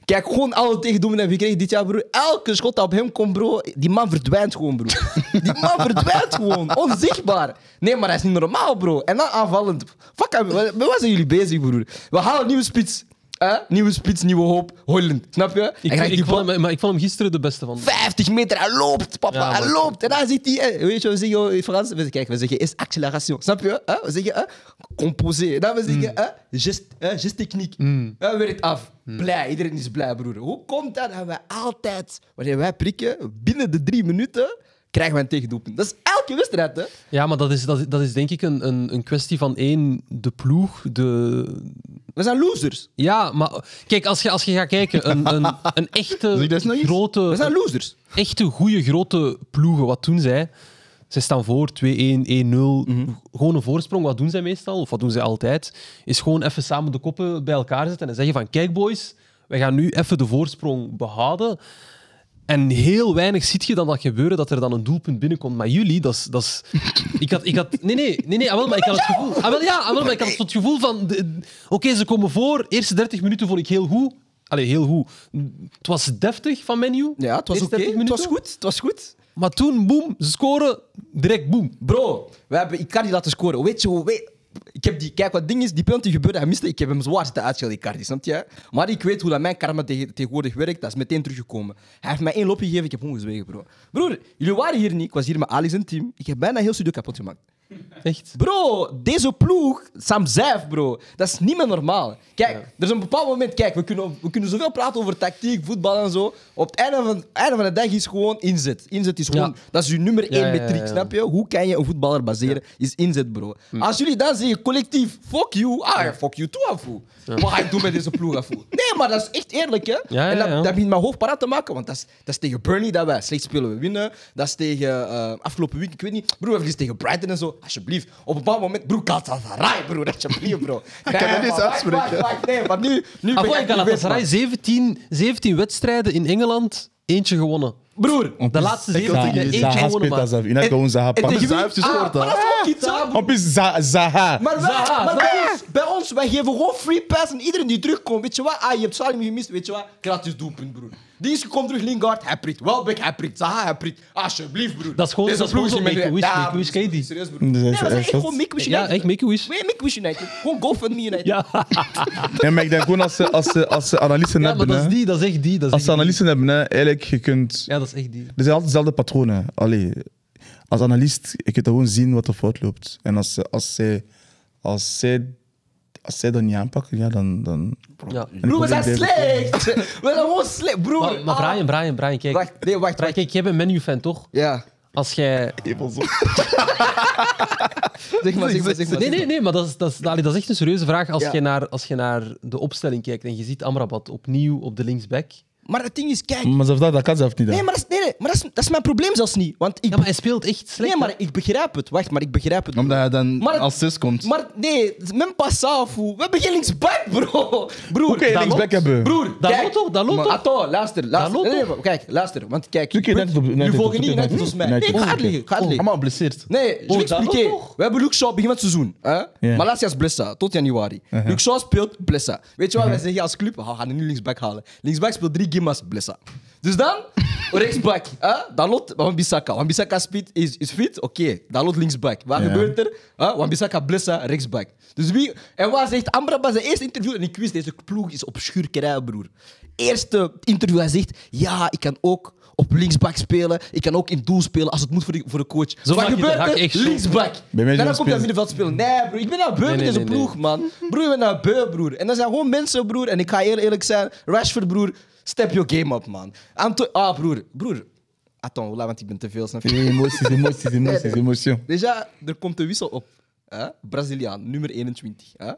S4: Kijk, gewoon alle tegendoemen hebben gekregen dit jaar, bro. Elke schot dat op hem komt, bro, die man verdwijnt gewoon, bro. Die man verdwijnt gewoon, onzichtbaar. Nee, maar hij is niet normaal, bro. En dan aanvallend. Fuck, hem, waar waar zijn jullie bezig, broer? We halen nieuwe spits. hè? Nieuwe spits, nieuwe hoop. Holland, snap je? Hij
S2: Ik,
S4: krijgt
S2: ik,
S4: die bal-
S2: vond hem, maar ik vond hem gisteren de beste van.
S4: 50 meter, hij loopt, papa,
S2: Ja,
S4: hij
S2: maar-
S4: loopt. En dan zit hij, eh, weet je, we zeggen oh, in Frans, we zeggen, kijk, we zeggen is acceleration, snap je? hè? We zeggen, eh, composé. Dan we zeggen, hè, gest, hè, gesttechniek. Dan weer het af. Blij, iedereen is blij, broer. Hoe komt dat dat wij altijd, wanneer wij prikken, binnen de drie minuten, krijgen we een tegendoelpunt? Dat is elke wedstrijd, hè?
S2: Ja, maar dat is, dat, is- dat is denk ik een, een, een kwestie van één, de ploeg, de...
S4: We zijn losers.
S2: Ja, maar kijk, als je, als je gaat kijken, een, een, een
S1: Zeg
S2: echte
S1: dat nog eens?
S4: We
S2: grote,
S4: zijn losers.
S2: echte goede grote ploegen, wat doen zij? Zij staan voor 2-1, 1-0.
S4: Mhm.
S2: Gewoon een voorsprong. Wat doen zij meestal? Of wat doen zij altijd? Is gewoon even samen de koppen bij elkaar zetten en zeggen van kijk boys, wij gaan nu even de voorsprong behouden. En heel weinig ziet je dan dat gebeuren, dat er dan een doelpunt binnenkomt. Maar jullie, dat is- dat is... Ik had... Ik had nee, nee, nee, nee ah, wel, maar ik had het gevoel... Ah, wel, ja, ah, wel, maar ik had het gevoel van... de- Oké, ze komen voor. Eerste 30 minuten vond ik heel goed. Allee, heel goed. Het was deftig van menu.
S4: Ja, het was
S2: Eerste
S4: oké.
S2: 30
S4: Het
S2: minuten.
S4: was goed, het was goed.
S2: Maar toen, boem, ze scoren, direct boem.
S4: Bro, we hebben Icardi laten scoren. Weet je hoe... Weet, ik heb die, kijk, wat ding is, die penalty gebeurde, hij miste. Ik heb hem zwaar zitten uitschelden, Icardi, snap je? Maar ik weet hoe dat mijn karma tegen- tegenwoordig werkt. Dat is meteen teruggekomen. Hij heeft mij één loopje gegeven, ik heb gewoon gezwegen, bro. Broer, jullie waren hier niet. Ik was hier met Ali zijn team. Ik heb bijna heel studio kapot gemaakt.
S2: Echt.
S4: Bro, deze ploeg, Sam Zijf, bro, dat is niet meer normaal. Kijk, er is een bepaald moment, kijk, we kunnen, we kunnen zoveel praten over tactiek, voetbal en zo. Op het einde van, einde van de dag is gewoon inzet. Inzet is gewoon,
S2: Ja.
S4: dat is je nummer één
S2: Ja, ja, ja,
S4: metriek,
S2: ja.
S4: snap je? Hoe kan je een voetballer baseren? Is inzet, bro. Als jullie dan zeggen, collectief, fuck you, ah, fuck you too, afu. Wat ga ik doen met deze ploeg, afu? Nee, maar dat is echt eerlijk, hè?
S2: ja,
S4: en dat,
S2: ja.
S4: dat begint mijn hoofd paraat te maken, want dat is, dat is tegen Burnley dat wij slecht spelen, we winnen. Dat is tegen eh, afgelopen week, ik weet niet. Broer, we verliezen tegen Brighton en zo. Alsjeblieft. Op een bepaald moment, broer, Galatasaray, broer, alsjeblieft, bro. Ik
S1: kan dat niet uitspreken.
S4: Nee, maar nu, nu
S2: Ah,
S4: ben
S2: wel,
S4: ik geweest, man.
S2: Galatasaray, 17, 17 wedstrijden in Engeland, eentje gewonnen.
S4: Broer.
S3: En
S2: De
S3: plus,
S2: laatste
S3: Zaha-
S2: 17 en eentje
S3: Zaha
S2: gewonnen,
S3: speelt
S2: maar...
S3: als af. Ina gewoon Zaha
S4: En
S3: pakken.
S4: tegen wie?
S1: Zuif heeft gescoord,
S4: Ah, maar
S1: hè?
S4: dat is ook iets, hè?
S3: En plus Za- Zaha.
S4: Maar, wij,
S2: Zaha,
S4: maar bij,
S2: Zaha.
S4: ons, bij ons, wij geven gewoon free pass en iedereen die terugkomt, weet je wat? Ah, je hebt Salim gemist, weet je wat? Gratis doelpunt, broer. Die is gekomen terug, Lingard, hij prikt. Welbeck, hij prikt. Zaha, hij prikt. Alsjeblieft, broer.
S2: Dat is gewoon- dat is
S4: ploeg
S2: gewoon
S4: niet
S2: zo'n
S4: meer-
S2: make-a-wish,
S4: Ja,
S2: make-a-wish, ken je die?
S4: Serieus, broer.
S3: Dat is
S4: Nee,
S3: echt-
S4: dat is echt
S3: echt-
S4: gewoon Make-Wish
S2: Ja,
S4: United.
S2: echt Make-A-Wish.
S4: Nee, Make-Wish United. Gewoon GoFundMe United.
S2: Ja,
S3: Nee, maar ik denk gewoon als ze, als ze, als ze analisten
S2: ja, maar
S3: hebben.
S2: dat is
S3: hè.
S2: die, dat is echt die. Dat is
S3: Als ze
S2: echt die.
S3: analisten hebben, hè, eigenlijk, je kunt.
S2: Ja, dat is echt die.
S3: Er zijn altijd dezelfde patronen. Allee, als analist, je kunt gewoon zien wat er fout loopt. En als, ze- als, zij, als, zij, als zij dat niet aanpakken, ja, dan. dan...
S2: Ja.
S4: Broer, we zijn
S3: Ik hoor
S4: slecht. We zijn gewoon slecht, broer.
S2: Maar, maar
S4: Ah.
S2: Brian, Brian, Brian, kijk.
S4: Wacht, nee,
S2: Brian,
S4: wacht, wacht.
S2: kijk, jij bent menu-fan, toch?
S4: Ja,
S2: Als jij...
S4: zeg maar, zeg maar, zeg maar.
S2: Nee, nee, nee, maar dat is, dat is, allee, dat is echt een serieuze vraag. Als,
S4: Ja.
S2: je naar, als je naar de opstelling kijkt en je ziet Amrabat opnieuw op de linksback...
S4: Maar het ding is, kijk.
S3: Maar zelfs dat, dat kan zelf niet. hè.
S4: Nee, maar, dat is, nee, nee, maar dat, is, dat is mijn probleem zelfs niet. Want ik,
S2: Ja, maar hij speelt echt slecht.
S4: nee, maar
S2: hè?
S4: ik begrijp het. Wacht, maar ik begrijp het.
S1: Omdat hij dan
S4: Maar het-
S1: als zes komt.
S4: Maar nee, même pas ça, fou. We hebben geen linksback, bro. Broer,
S3: Hoe kun je
S4: dat
S3: linksback
S4: loopt.
S3: hebben?
S4: Broer,
S2: Dat
S4: kijk.
S2: loopt toch? Dat loopt
S4: Maar
S2: toch?
S4: Attends, luister, luister.
S2: loopt
S4: nee, nee, maar kijk, luister, want kijk.
S3: Zoek je net op- net
S4: Nu
S3: op- zoek
S4: volgen
S3: je net
S4: niet, net
S3: op-
S4: volgens mij.
S3: net
S4: Nee, ik
S3: op-
S4: ga het liggen, ik ga het liggen.
S1: Allemaal blesseerd.
S4: Nee, je
S2: Oh,
S4: moet
S2: dat
S4: expliqueer.
S2: ook nog?
S4: We hebben Luke Shaw begin van het seizoen. Hè?
S3: Ja.
S4: Malasia is Blessa tot januari. Luke Shaw speelt Blessa. Weet je wat wij zeggen als club? We gaan hem nu linksback halen. Linksback speelt drie gimas Blessa. Dus dan, rechtsback. Hè? Dalot, Wan-Bissaka. Wan-Bissaka speelt- is, is fit, oké. Dalot linksback. Wat
S3: Ja.
S4: gebeurt er? Hè? Wan-Bissaka, Blessa, rechtsback. Dus wie... En waar zegt Amrabat zijn eerste interview? En ik wist, deze ploeg is op schurkerij, broer. Eerste interview, hij zegt, ja, ik kan ook... Op linksback spelen. Ik kan ook in doel spelen als het moet voor de, voor de coach.
S2: Zo
S4: Wat
S2: maak je de
S4: gebeurt
S2: hak
S4: er?
S2: echt zo.
S4: Linksback.
S3: Bij mij
S4: En
S3: zijn
S4: dan komt hij
S3: spelers-
S4: middenveld spelen. Nee, broer. Ik ben naar beu
S2: Nee,
S4: met
S2: nee,
S4: deze
S2: nee,
S4: ploeg, man. Broer, ik ben naar beu, broer. En dat zijn gewoon mensen, broer. En ik ga heel eerlijk zijn. Rashford, broer. Step your game up, man. Anto ah, broer. Broer. Attends, laat, want ik ben te veel. Snap je?
S3: Emoties, emoties, emoties, emoties.
S4: Déjà, er komt een wissel op. Hè? Braziliaan, nummer 21. Hè?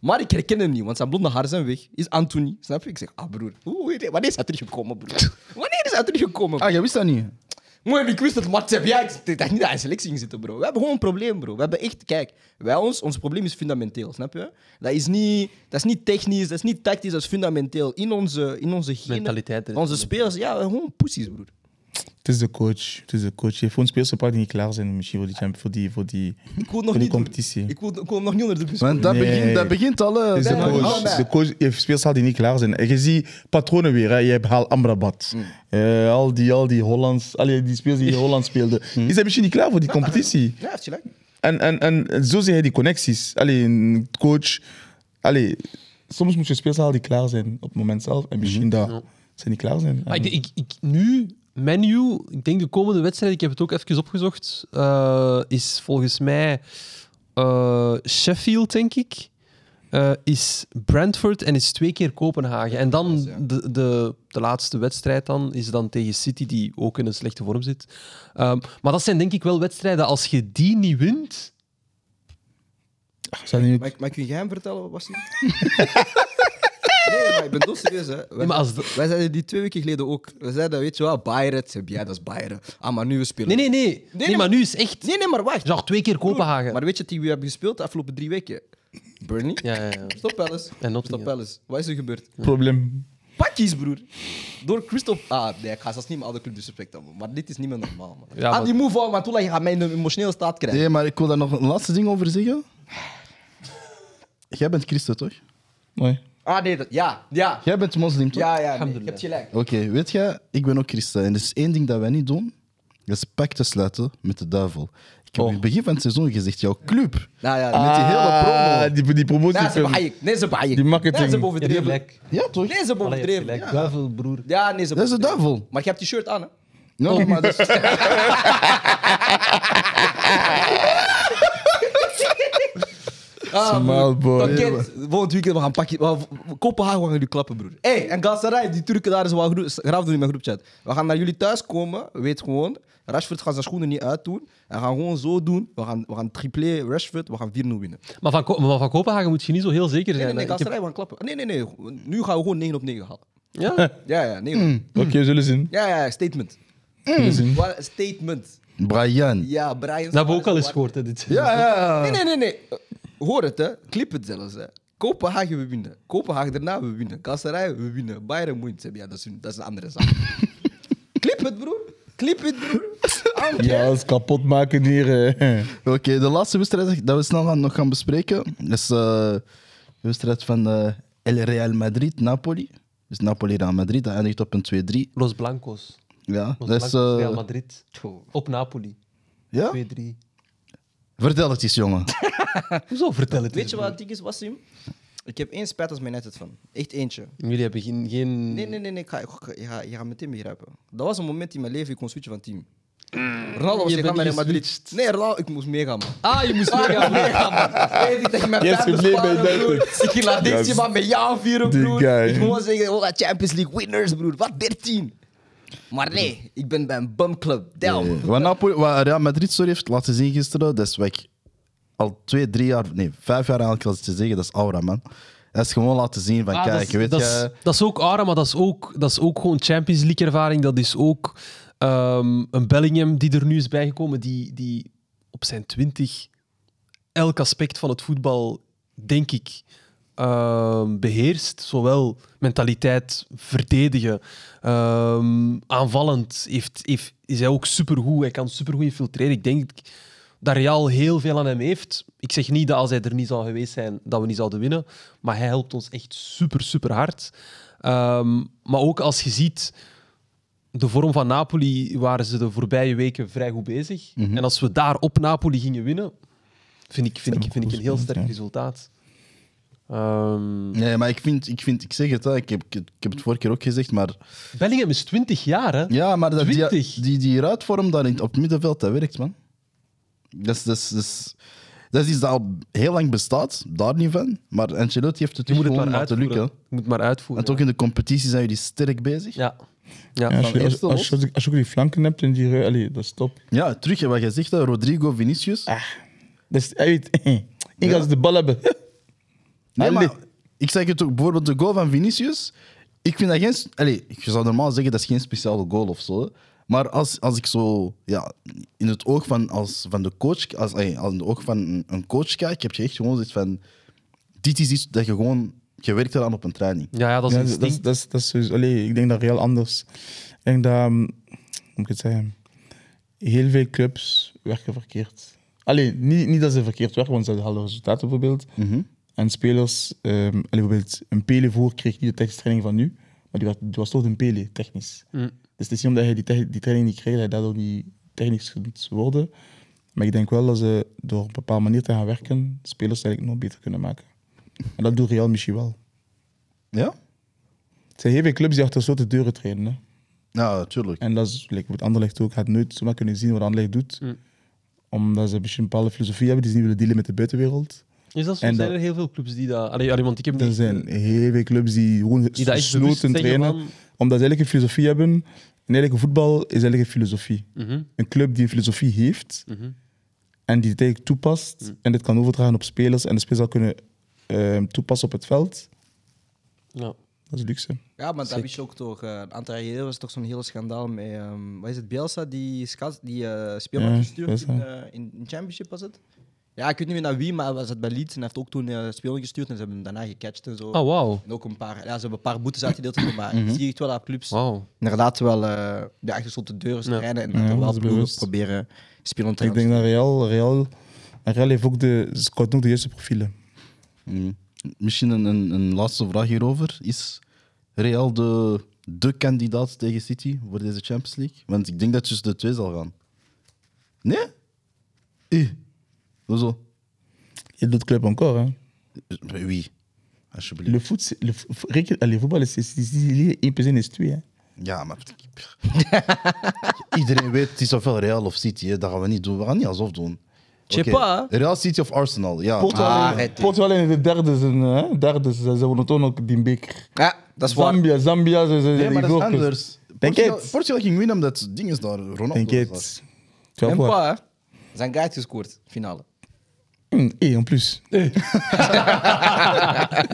S4: Maar ik herken hem niet, want zijn blonde haar zijn weg. Is Anthony, snap je? Ik zeg, ah broer, hoe- hoe- wanneer is hij teruggekomen, broer? Wanneer is zijn teruggekomen.
S1: Ah, jij wist dat niet?
S4: Mooi, ik wist dat WhatsApp. Ja, ik ik dacht niet dat hij in selectie ging zitten, bro. We hebben gewoon een probleem, bro. We hebben echt, kijk, wij ons, ons probleem is fundamenteel, snap je? Dat is niet, dat is niet technisch, dat is niet tactisch, dat is fundamenteel. In onze, in onze genen,
S2: Mentaliteit, hè.
S4: Onze spelers, ja, gewoon poesies, broer.
S3: Het is de coach. Het is de coach. Je hebt gewoon spelers die niet klaar zijn misschien voor die, champ- voor die, voor die,
S4: Ik wil
S3: voor
S4: nog
S3: die
S4: niet. door-
S3: competitie.
S4: Ik wil, ik wil nog niet onder de bus.
S1: Want dat,
S3: Nee.
S1: begint, dat begint al. eh,
S3: Het is de
S1: bij-
S4: nee,
S3: coach.
S4: nee, nee.
S3: De coach je hebt spelers die niet klaar zijn. En je ziet patronen weer. Hè. Je hebt Haal Amrabat. Eh, al, die, al die Hollands, al die die spelers die in Holland speelden. Die zijn misschien niet klaar voor die competitie.
S4: Ja, heeft gelijk.
S3: En, en, en zo zie je die connecties. Allee, een coach. Allee, soms moet je spelers halen die klaar zijn op het moment zelf. En misschien dat ze niet klaar zijn.
S2: Maar
S3: En-
S2: ik, ik, ik- nu, menu, ik denk de komende wedstrijd, ik heb het ook even opgezocht, eh, is volgens mij eh, Sheffield, denk ik. eh, is Brentford en is twee keer Kopenhagen. En dan de, de, de laatste wedstrijd dan, is dan tegen City, die ook in een slechte vorm zit. Ehm, maar dat zijn denk ik wel wedstrijden, als je die niet wint...
S3: Zijn die-
S4: Maar, ik- maar kun jij hem vertellen, wat was die? Nee, maar ik ben toch serieus, hè. Wij,
S2: Nee, maar als de-
S4: wij zeiden die twee weken geleden ook. We zeiden, weet je wel, Bayern, ja, dat is Bayern. Ah, maar nu we spelen.
S2: Nee, nee, nee. Nee,
S4: nee,
S2: maar nu is echt...
S4: Nee, nee, maar wacht.
S2: Genre twee keer Kopenhagen.
S4: Maar weet je tegen wie we hebben gespeeld de afgelopen drie weken? Burnley.
S2: Ja, ja, ja.
S4: Stop Palace.
S2: En Nottingham.
S4: Stop Palace. Wat is er gebeurd?
S3: probleem.
S4: Pakjes, broer. Door Christophe... Ah, nee, ik ga zelfs niet mijn oude club disrespecten, man. maar dit is niet meer normaal, man.
S2: Ja,
S4: ah,
S2: maar-
S4: die move van Matula, je gaat mij in een emotionele staat krijgen.
S1: Nee, maar ik wil daar nog een laatste ding over zeggen. Jij bent christen, toch?
S3: Nee.
S4: Ah, nee, dat... Ja, ja.
S1: Jij bent moslim, toch?
S4: Ja, ja, nee, je
S2: Alhamdulillah.
S4: hebt gelijk.
S1: Oké, weet je, ik ben ook christen. En er is één ding dat wij niet doen. Dat is pacten sluiten met de duivel. Ik heb in het begin van het seizoen gezegd, jouw club.
S4: Nou,
S2: Ah.
S4: ja,
S1: Met die hele promo.
S3: Ah, die, die
S4: Nee, ze
S3: promotiefilm.
S4: hebben Ajax. Nee, ze hebben Ajax.
S3: Die marketing.
S4: Nee, ze hebben
S2: Ja, die
S4: overdreven.
S2: gelijk.
S1: Ja, toch?
S4: Nee, ze hebben
S2: Allee, je hebt
S4: overdreven.
S2: gelijk. Duivel, broer.
S4: Ja, nee, ze
S1: Dat is de
S4: overdreven.
S1: duivel.
S4: Maar je hebt die shirt aan, hè?
S1: No, maar dat is...
S4: Ah,
S3: Smile, boy.
S4: Dan kent, volgend weekend we gaan pakken. we gaan- Kopenhagen, we gaan jullie klappen, broer. Hé, hey, en Galatasaray, die Turken daar is wel groe- graaf doen in mijn groepchat. We gaan naar jullie thuis komen, weet gewoon. Rashford gaat zijn schoenen niet uitdoen. En gaan gewoon zo doen. We gaan, we gaan triplé Rashford, we gaan 4-0 winnen.
S2: Maar van, Ko- maar van Kopenhagen moet je niet zo heel zeker
S4: Nee, nee,
S2: zijn.
S4: nee,
S2: hè. Ik heb-
S4: Galatasaray, we gaan klappen. Nee, nee, nee. Nu gaan we gewoon 9 op 9 halen.
S2: Ja?
S4: Ja, ja, 9 op-
S1: Mm.
S3: Oké, zullen zien.
S4: Ja, ja, ja, statement.
S3: Zullen zien.
S4: Wat een Statement.
S1: Brian.
S4: Ja, Brian.
S2: Dat hebben we ook al eens gehoord, hè, dit.
S1: Ja, ja.
S4: Nee, nee, nee, nee. Eh, Hoor het, hè. Clip het zelfs, hè. Kopenhagen, we winnen. Kopenhagen, daarna, we winnen. Kasserij, we winnen. Bayern moet Ja, dat is een, dat is een andere zaak. Clip het, broer. Clip het, broer. Aan-
S3: Ja, alles kapot maken hier. eh.
S1: Oké, de laatste wedstrijd dat we snel gaan, nog gaan bespreken is eh, de wedstrijd van eh, El Real Madrid-Napoli. Dus Napoli-Real Madrid, dat eindigt op een 2-3.
S2: Los Blancos.
S1: Ja,
S2: Los
S1: dat is...
S2: Blancos,
S1: eh, Ah.
S2: Real Madrid. Op Napoli.
S1: ja?
S2: 2-3.
S1: Vertel het eens, jongen.
S2: Hoezo vertel het
S4: Weet
S2: eens,
S4: je wat het ding is, Wassim? Ik heb één spijt als mijn net het van. Echt eentje.
S2: broer. Jullie hebben geen... geen...
S4: Nee, nee, nee, nee. Ik ga, ik ga- je, gaat, je gaat meteen begrijpen. Dat was een moment in mijn leven, ik kon switchen van team. Ronaldo was
S2: Je
S4: gegaan
S2: bent
S4: naar Real
S2: niet
S4: Madrid.
S2: geswitcht.
S4: Nee, Ronaldo, ik moest meegaan, man.
S2: Ah, je moest
S4: Ja,
S2: meegaan.
S4: nee, man. Weet ik dat je mijn
S3: Yes,
S4: tijd
S3: we bleven
S4: besparen,
S3: bij
S4: broer.
S3: Duitsland.
S4: Ik ging laat
S3: Ja,
S4: deze man met jou vieren,
S3: die
S4: broer.
S3: guy.
S4: Ik moet wel zeggen, hola, Champions League winners, broer. Wat 13? Maar nee, ik ben bij een bumclub. Damn.
S1: Eh, Wat, Napoli, wat Real Madrid sorry heeft laten zien gisteren, dat is wat ik al twee, drie jaar, nee, vijf jaar eigenlijk als te zeggen, dat is aura, man. Dat is gewoon laten zien van,
S2: Ah,
S1: kijk,
S2: dat, is,
S1: weet
S2: dat,
S1: je...
S2: is, dat is ook Aura, maar dat is ook, dat is ook gewoon Champions League ervaring. Dat is ook ehm, een Bellingham die er nu is bijgekomen, die, die op zijn twintig elk aspect van het voetbal, denk ik, ehm, beheerst. Zowel mentaliteit, verdedigen, ehm, aanvallend. Heeft, heeft, is hij ook supergoed. Hij kan supergoed infiltreren. Ik denk dat Real heel veel aan hem heeft. Ik zeg niet dat als hij er niet zou geweest zijn, dat we niet zouden winnen. Maar hij helpt ons echt super, super hard. Ehm, maar ook als je ziet de vorm van Napoli waren ze de voorbije weken vrij goed bezig. En als we daar op Napoli gingen winnen, vind ik, vind ik, vind ik een heel sterk resultaat. Ehm,
S1: Nee, maar ik vind, ik, vind, ik zeg het, hè, ik, heb, ik heb het vorige keer ook gezegd, maar...
S2: Bellingham is 20 jaar, hè?
S1: Ja, maar dat, die,
S2: 20.
S1: die, die ruitvorm daar in, op het middenveld, dat werkt, man. Dat is, dat, is, dat, is, dat is iets dat al heel lang bestaat, daar niet van. Maar Ancelotti heeft het
S2: Je moet het
S1: gewoon
S2: maar
S1: laten
S2: uitvoeren.
S1: lukken.
S2: Je moet het maar uitvoeren.
S1: Want ook in de competitie zijn jullie sterk bezig. Ja,
S2: Ja. Ja.
S3: Ja, als, je, als,
S1: eerste
S3: als, je, als je ook die flanken hebt en die reu- allee, dat is top.
S1: terug, hè, wat je zegt, hè, Rodrigo, Vinicius.
S3: Dat is, hij weet, ik ga ze de bal hebben.
S1: Nee,
S3: Allee.
S1: maar ik zeg het ook, bijvoorbeeld de goal van Vinicius. Ik vind dat geen... s- Allee, ik zou normaal zeggen dat is geen speciale goal of zo. Maar als, als ik zo ja, in het oog van, als, van de coach, als, allee, als in het oog van een- een coach kijk, heb je echt gewoon zoiets van: dit is iets dat je gewoon gewerkt hebt aan op een training.
S2: Ja, ja, dat is
S3: Ja,
S2: een
S3: dat, is-
S2: instinct.
S3: dat, is- dat is sowieso- allee, ik denk dat heel anders. Ik denk dat, ehm, hoe moet ik het zeggen, heel veel clubs werken verkeerd. Allee, niet, niet dat ze verkeerd werken, want ze hadden halen resultaten bijvoorbeeld. En spelers, ehm, allee, bijvoorbeeld een Pele voor kreeg niet de technische training van nu, maar die, werd, die was toch een Pele, technisch.
S2: Mm.
S3: Dus het is niet omdat hij die, te- die training niet kreeg, dat hij daardoor niet technisch kunt worden. Maar ik denk wel dat ze door op een bepaalde manier te gaan werken, spelers eigenlijk nog beter kunnen maken. En dat doet Real misschien wel.
S1: Ja?
S3: Het zijn heel veel clubs die achter gesloten deuren trainen. Hè.
S1: Ja, natuurlijk.
S3: En dat is, like, met Anderlecht ook, gaat nooit zomaar kunnen zien wat Anderlecht doet.
S2: Mm.
S3: Omdat ze misschien een bepaalde filosofie hebben die ze niet willen dealen met de buitenwereld.
S2: Is dat zo?
S3: en
S2: Zijn
S3: dat-
S2: er heel veel clubs die dat... Allee, allee, want ik heb
S3: Er
S2: niet-
S3: zijn heel veel clubs die gewoon
S2: Die dat echt bewust
S3: gesloten
S2: zeggen
S3: trainen,
S2: van-
S3: omdat ze eigenlijk een filosofie hebben. En eigenlijk voetbal is eigenlijk een filosofie.
S2: Mhm.
S3: Een club die een filosofie heeft en die het eigenlijk toepast
S2: Mm.
S3: en dit kan overdragen op spelers en de spelers dat kunnen ehm, toepassen op het veld,
S2: Ja.
S3: dat is luxe.
S4: Ja, maar dat wist je ook toch. eh, Een aantal jaar geleden was toch zo'n hele schandaal met. ehm, wat is het? Bielsa die, skat, die eh speelman
S3: Ja,
S4: gestuurd in,
S3: Bielsa.
S4: eh, in, in Championship was het? Ja, ik weet niet meer naar wie, maar was het bij Leeds en hij heeft ook toen eh speelman gestuurd en ze hebben hem daarna gecatcht en zo.
S2: Oh, wauw.
S4: En ook een paar, ja, ze hebben een paar boetes uitgedeeld, en zo, maar
S3: Mhm.
S4: zie je echt wel dat clubs
S2: Wauw.
S4: inderdaad wel eh de achterste deuren
S2: Ja.
S4: strijden en
S3: Ja,
S4: dat er
S3: dat
S4: wel
S3: is
S4: ploegen
S3: bewust.
S4: proberen spelen te
S3: Ik denk dat Real, Real, Real heeft ook de, scout ook de juiste profielen.
S1: Mm. Misschien een, een, een laatste vraag hierover. Is Real de, de kandidaat tegen City voor deze Champions League? Want ik denk dat tussen de twee zal gaan. Nee? Eh. Hoezo?
S3: Je doet club encore, hè?
S1: Wie? Alsjeblieft.
S3: Le foot, le, vo- vo- reken- allez, voetbal is, is, is, is 1 plus 1 is 2. Hè.
S1: Ja, maar. Iedereen weet, het is ofwel Real of City. Hè. Dat gaan we niet doen. We gaan niet alsof doen.
S4: Je
S1: Oké.
S4: sais pas,
S1: Real City of Arsenal, ja.
S3: Portugal,
S4: Ah,
S3: is-
S4: het-
S3: Portugal is de hein, derde, zijn, hè? derde ze, ze wonnen toen ook die beker.
S4: Ja, dat is waar.
S3: Zambia, Zambia, ze zijn
S1: Nee, maar dat is
S3: die
S1: anders.
S3: Denk
S1: Portugal,
S3: het.
S1: Portugal ging winnen omdat het ding is daar. Ronaldo
S3: Denk je
S1: was
S3: het?
S4: En
S3: 12 jaar.
S4: pa, zijn guide gescoord, finale.
S3: Hm, eh, en plus.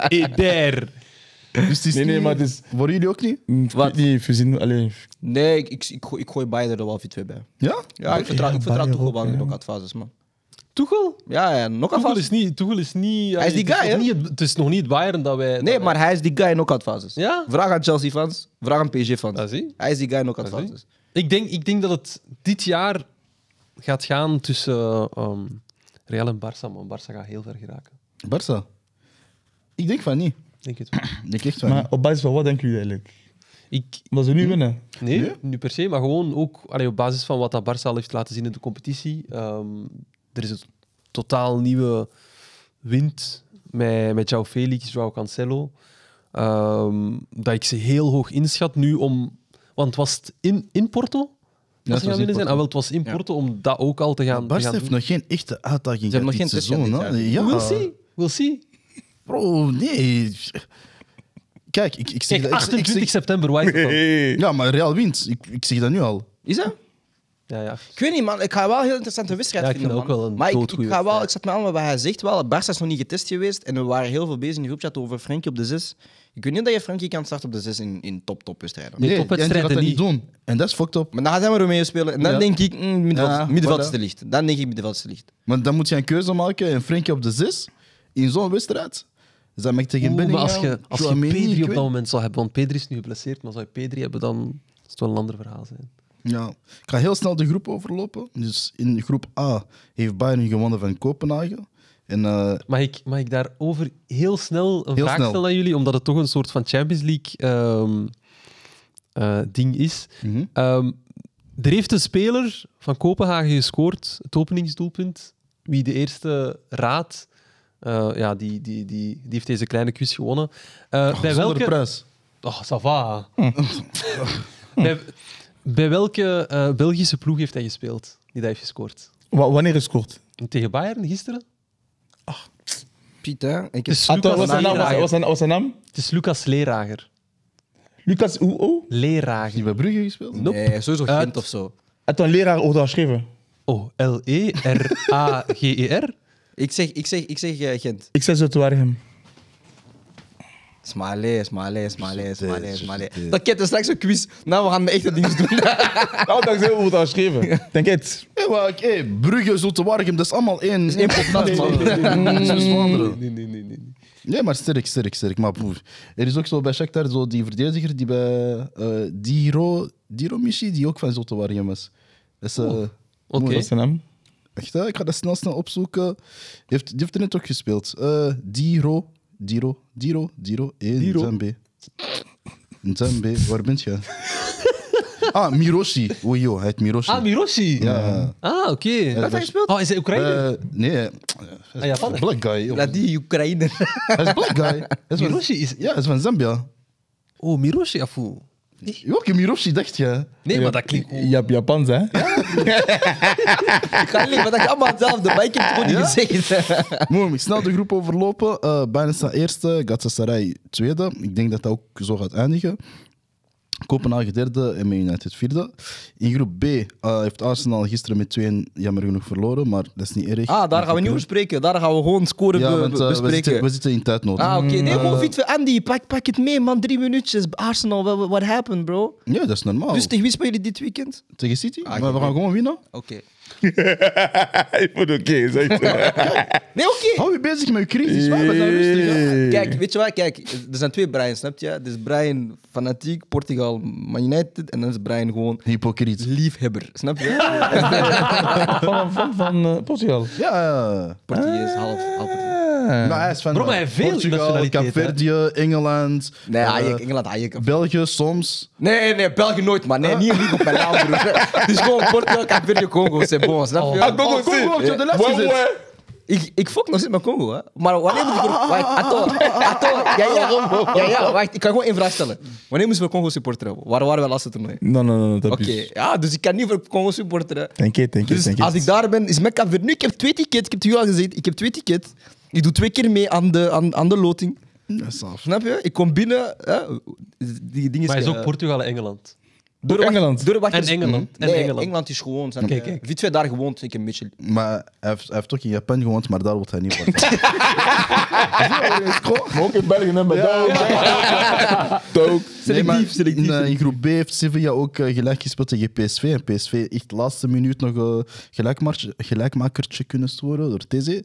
S2: Eder.
S1: daar. Dus het is
S3: Nee, nee,
S1: niet-
S3: maar het is-
S1: Voor jullie ook niet?
S3: Hm, ik
S4: Wat?
S3: weet niet, Fusino, allez.
S4: Nee, ik, ik, ik, gooi, ik gooi Bayern er wel 4-2 bij.
S1: Ja?
S4: Ja, ik vertrouw, ik vertrouw
S3: Bayern
S4: toch
S3: ook,
S4: wel in
S3: ja.
S4: de knock-outfases, man.
S2: Toegel?
S4: Ja, ja,
S2: Toegel
S4: knock-outfases.
S2: is niet... Toegel is niet
S4: Hij is die
S2: het
S4: guy,
S2: nog
S4: hè?
S2: niet het- Het is nog niet het Bayern dat wij...
S4: Nee,
S2: dat
S4: maar
S2: wij-
S4: hij is die guy in knock-outfases.
S2: Ja?
S4: Vraag aan Chelsea-fans, vraag aan
S2: Ah,
S4: PSG-fans.
S2: zie.
S4: Hij is die guy in
S2: Ah, zie.
S4: knock-outfases.
S2: Ik denk, ik denk dat het dit jaar gaat gaan tussen ehm, Real en Barça. Maar Barça gaat heel ver geraken.
S1: Barça? Ik denk van niet.
S2: Ik Denk het wel.
S1: Ik denk echt van
S3: Maar
S1: niet.
S3: op basis van wat denken jullie eigenlijk?
S2: Ik,
S3: Omdat ze nu winnen.
S2: nee,
S1: Nee?
S2: niet per se, maar gewoon ook allee, op basis van wat dat Barça al heeft laten zien in de competitie. Ehm, er is een totaal nieuwe wind met, met João Felix, João Cancelo. Ehm, dat ik ze heel hoog inschat nu om... Want was het in, in Porto?
S1: het
S2: Dat
S1: was
S2: ze
S1: in
S2: gaan winnen zijn?
S1: Porto.
S2: Ah, wel, het was in
S4: Ja.
S2: Porto om dat ook al te gaan, te
S1: Barça
S2: gaan
S1: heeft
S2: doen.
S1: nog geen echte uitdaging
S4: Ze hebben
S1: gehad
S4: nog
S1: dit
S4: geen
S1: seizoen.
S4: testjaar
S1: hè?
S4: dit
S1: Ja.
S2: We'll see. We'll see.
S1: Bro, nee. Kijk, ik, ik zeg
S2: Kijk,
S1: dat... ik- ik
S2: 28
S1: zeg-
S2: september, White.
S3: Hey.
S1: Ja, maar Real wint. Ik, ik zeg dat nu al.
S4: Is dat?
S2: Ja, ja.
S4: Ik weet niet, man. Ik ga wel een heel interessante wedstrijd
S2: Ja, ik
S4: vinden,
S2: vind dat
S4: man.
S2: ook wel een
S4: Maar ik,
S2: doodgoeie
S4: ik, ga wel,
S2: wedstrijd.
S4: ik zat me aan met wat hij zegt. Wel, Barça is nog niet getest geweest. En we waren heel veel bezig in de groepchat over Frenkie op de 6. Ik weet niet dat je Frenkie kan starten op de 6 in, in top-topwedstrijden.
S2: Nee,
S1: Nee, en die
S2: topwedstrijden
S1: gaat dat niet
S2: niet.
S1: doen. En dat is fucked up.
S4: Maar dan gaat hij maar Romeo spelen. En dan
S1: Ja.
S4: denk ik, mm, middenveld,
S1: Ja,
S4: middenveld
S1: voilà.
S4: is te licht. Dan denk ik middenveld is te licht.
S1: Want dan moet je een keuze maken. En Frenkie op de zes in zo'n wedstrijd. Is dat met tegen
S2: Oeh, maar
S1: Bellingham?
S2: als je, als je
S1: Tchouaméni, ik
S2: Pedri op
S1: weet-
S2: dat moment zou hebben, want Pedri is nu geblesseerd, maar zou je Pedri hebben, dan is het wel een ander verhaal zijn.
S1: Ja. Ik ga heel snel de groep overlopen. Dus in groep A heeft Bayern gewonnen van Kopenhagen. En eh,
S2: Mag ik, mag ik daarover heel snel een
S1: Heel
S2: vraag
S1: snel.
S2: stellen aan jullie, omdat het toch een soort van Champions League ehm, eh, ding is.
S1: Mhm.
S2: Ehm, er heeft een speler van Kopenhagen gescoord, het openingsdoelpunt. Wie de eerste raadt, eh, ja, die, die, die, die heeft deze kleine quiz gewonnen. Eh, bij
S1: Oh, zonder
S2: welke...
S1: prijs.
S2: Oh, ça va. bij, bij welke eh, Belgische ploeg heeft hij gespeeld die dat heeft gescoord?
S3: Wa- Wanneer is het kort?
S2: Tegen Bayern gisteren?
S4: Piet, hè? Ik heb
S2: Het is
S3: Wat
S2: Lucas
S3: was zijn naam?
S2: Lerager.
S3: Wat was zijn- wat was zijn naam?
S2: Het is Lucas Lerager.
S3: Lucas Oeo?
S1: Is die
S2: Lerager.
S1: bij Brugge gespeeld?
S2: Nope.
S4: nee, sowieso
S2: Uit.
S4: Gent of zo.
S3: Had een leraar over geschreven?
S2: Oh, L-E-R-A-G-E-R?
S4: Ik zeg, ik zeg, ik zeg eh, Gent.
S3: Ik zei zo te waren hem.
S4: Smalé, smalé, smalé,
S2: eh,
S4: smalé,
S1: dit,
S4: smalé.
S1: dit.
S4: Dat kent straks een quiz. Nou, we gaan de echte dingen doen.
S3: Nou, dankzij hoe we het al schreven. Denk het.
S1: Hey, maar, hey, Brugge, Zulte Waregem, dat is allemaal één. Dat is
S4: één pot nat, man.
S3: Hum,
S1: Vlaanderen.
S2: Nee, nee, nee, nee.
S1: Nee, maar sterk, sterk, sterk. Maar broer, er is ook zo bij Shakhtar zo die verdediger die bij eh Diro, Diro Michi, die ook van Zulte Waregem was. Dat is, eh,
S2: Oké.
S3: Mooi, Dat is zijn naam.
S1: Echt, hè? ik ga dat snel, snel opzoeken. Die heeft, die heeft er net ook gespeeld. Eh, Diro, Diro, Diro, Diro, in
S3: Diro.
S1: Zambi. Zambi, waar bent je? ah, Miroshi. Oei, joh, hij heet Miroshi.
S2: Ah, Miroshi.
S1: Ja.
S2: Ah, oké.
S1: dat is-
S4: gespeeld?
S2: Oh, is hij Oekraïne?
S1: Eh, nee, hij is
S2: Ah, Japaner.
S1: black guy. joh.
S4: Laat die Oekraïne.
S1: Hij is black guy. Hij is van-
S2: Miroshi is-
S1: Ja, hij is van Zambia.
S2: oh, Miroshi, afu.
S1: Welke Miroshi dacht je?
S2: Nee, maar dat klinkt...
S3: Je hebt Japans, hè?
S4: Ik ga niet, maar dat is allemaal hetzelfde. Maar ik heb het gewoon niet gezegd.
S1: Mooi, ik snel de groep overlopen. Eh Bayern staat eerste, Galatasaray tweede. Ik denk dat dat ook zo gaat eindigen. Kopenhagen derde en Man United vierde. In groep B eh, heeft Arsenal gisteren met 2-1 jammer genoeg verloren, maar dat is niet erg.
S4: Ah, daar gaan we niet over spreken. Daar gaan we gewoon scoren
S1: Ja,
S4: be-
S1: want eh, we,
S4: bespreken.
S1: zitten, we zitten Eh, in tijdnood.
S4: Ah, oké. Nee, gewoon fietsen. Andy, pak, pak het mee, man. Drie minuutjes. Arsenal, what, what happened, bro?
S1: Ja, dat is normaal.
S4: Dus tegen wie spelen jullie dit weekend?
S1: Tegen City?
S4: Ah,
S1: maar we
S4: oké.
S1: gaan gewoon winnen.
S4: Oké.
S3: Ik vond het oké, zeg
S4: Nee, oké.
S1: Hou je bezig met je crisis, wij we
S4: Eh.
S1: zijn rustig. hè.
S4: Kijk, weet je wat? Kijk, er zijn twee Brian, snap je? Er is Brian fanatiek, Portugal, Man United. En dan is Brian gewoon
S1: Hypocriet.
S4: liefhebber, snap je?
S3: Van, van, van eh, Portugal.
S1: Ja, ja.
S4: Portugees, half. half Portugees.
S2: Ah.
S1: Maar hij is van
S2: Bro, maar
S1: eh,
S2: hij heeft veel
S1: Portugal,
S2: nationaliteiten, hè.
S1: Capverdië, Engeland,
S4: Nee,
S1: eh,
S4: Hayek, Engeland, Hayek.
S1: België soms.
S4: Nee, nee, België nooit, man. Nee, niet lief op mijn naam, broer. Het is gewoon Portugal, Cape Congo, c'est bon, snap je?
S2: Oh.
S3: Congo,
S1: Oh, Congo had je op de lijst gezet.
S4: Ik, ik fok nog steeds met Congo, hè. Maar wanneer moet ik... voor- Wacht, atto, atto. Ja, ja, ja, ja, wacht. Ik kan gewoon één vraag stellen. Wanneer moesten we Congo supporteren? Waar waren we laatste toernooi?
S3: No, no, no, no, dat
S4: Oké,
S3: is...
S4: ja, dus ik kan niet voor Congo supporteren.
S3: Denk het, denk het,
S4: Dus
S3: denk
S4: als
S3: het.
S4: ik daar ben, is mijn Cape Nu, ik heb twee tickets. Ik heb het u al gezegd. Ik heb twee tickets. Ik doe twee keer mee aan de, aan, aan de loting.
S1: Dat is af.
S4: Snap je? Ik kom binnen. Hè? Die dingen
S2: Maar hij is ook
S4: eh,
S2: Portugal en Engeland.
S4: Door Mhm.
S3: Engeland.
S2: En Engeland. En
S4: Nee, Engeland.
S2: Engeland.
S4: is gewoon. Zijn
S2: Kijk, kijk.
S4: Wie twee daar gewoond, ik een beetje.
S1: Maar hij heeft, hij heeft ook in Japan gewoond, maar daar wordt hij niet voor.
S3: Maar ook in België, hè, met dat ook.
S1: Nee, maar
S4: Selectief, selectief,
S1: In, eh, in groep B heeft Sevilla ook eh, gelijk gespeeld tegen PSV. En PSV echt laatste minuut nog een gelijkmakertje kunnen scoren door TZ.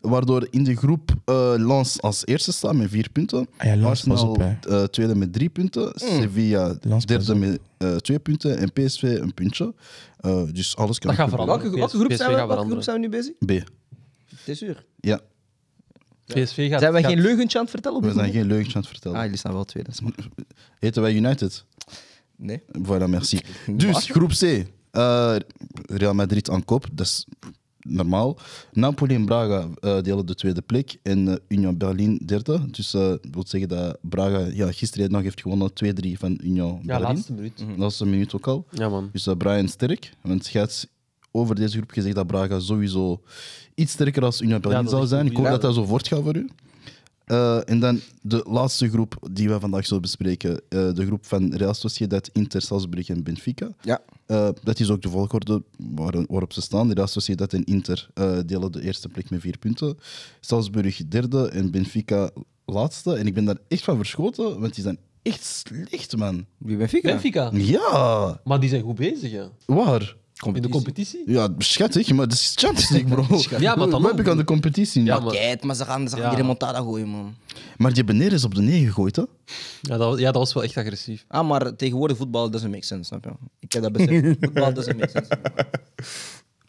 S1: Waardoor in de groep eh Lens als eerste staat met vier punten.
S3: Ah ja, Lens, pas
S1: Arsenal
S3: op, hè.
S1: eh, tweede met drie punten.
S4: Mm.
S1: Sevilla
S3: pas
S1: derde met eh, twee punten. En PSV een puntje. Eh, dus alles kan
S2: Dat gaat
S1: nog gebeuren.
S4: Welke,
S2: PS-
S4: welke, groep,
S2: PSV
S4: zijn we,
S2: gaat
S4: welke
S2: veranderen.
S4: groep zijn we nu bezig?
S1: B.
S4: Het is uur.
S1: Ja,
S2: PSV gaat...
S4: Zijn wij
S2: gaat-
S4: geen leugentje aan het vertellen? Op
S1: we
S4: dit
S1: zijn
S4: moment?
S1: geen leugentje aan het vertellen. Hm.
S4: Ah, jullie staan wel tweede. dat is maar-
S1: Heten wij United?
S4: Nee.
S1: Voilà, merci. Dus, groep C. Eh, Real Madrid aan kop, dat is normaal. Napoli en Braga eh, delen de tweede plek. En eh, Union Berlin derde. Dus eh, dat wil zeggen dat Braga ja, gisteren nog heeft gewonnen 2-3 van Union
S2: Ja,
S1: Berlin.
S2: laatste Mhm. minuut.
S1: Laatste minuut ook al.
S2: Ja, man.
S1: Dus eh, Brian sterk. Want je hebt over deze groep gezegd dat Braga sowieso iets sterker als Union Berlin
S2: dat
S1: zou
S2: is
S1: zijn.
S2: een
S1: Ik hoop
S2: goeie.
S1: dat dat zo voortgaat voor u. Eh, en dan de laatste groep die we vandaag zullen bespreken. Eh, de groep van Real Sociedad, Inter, Salzburg en Benfica.
S4: Ja.
S1: Eh, dat is ook de volgorde waar- waarop ze staan. Real Sociedad en Inter eh, delen de eerste plek met vier punten. Salzburg derde en Benfica laatste. En ik ben daar echt van verschoten, want die zijn echt slecht, man.
S4: Wie ben ik?
S2: Benfica.
S1: Ja,
S2: Maar die zijn goed bezig, ja.
S1: waar?
S2: In de competitie.
S1: Ja, schattig, maar het is Champions League, bro.
S2: Ja, maar dan
S1: Wat heb
S2: nog.
S1: ik aan de competitie? nu?
S2: Ja,
S1: maar...
S2: maar-
S4: Kijk, maar ze gaan, ze gaan
S2: Ja.
S4: die remontada gooien, man.
S1: die hebben neer is op de 9 gegooid, hè?
S2: Ja, dat, ja, dat was wel echt agressief.
S4: Ah, maar tegenwoordig voetbal doesn't make sense, snap je? Ik heb dat beseft. voetbal doesn't make sense.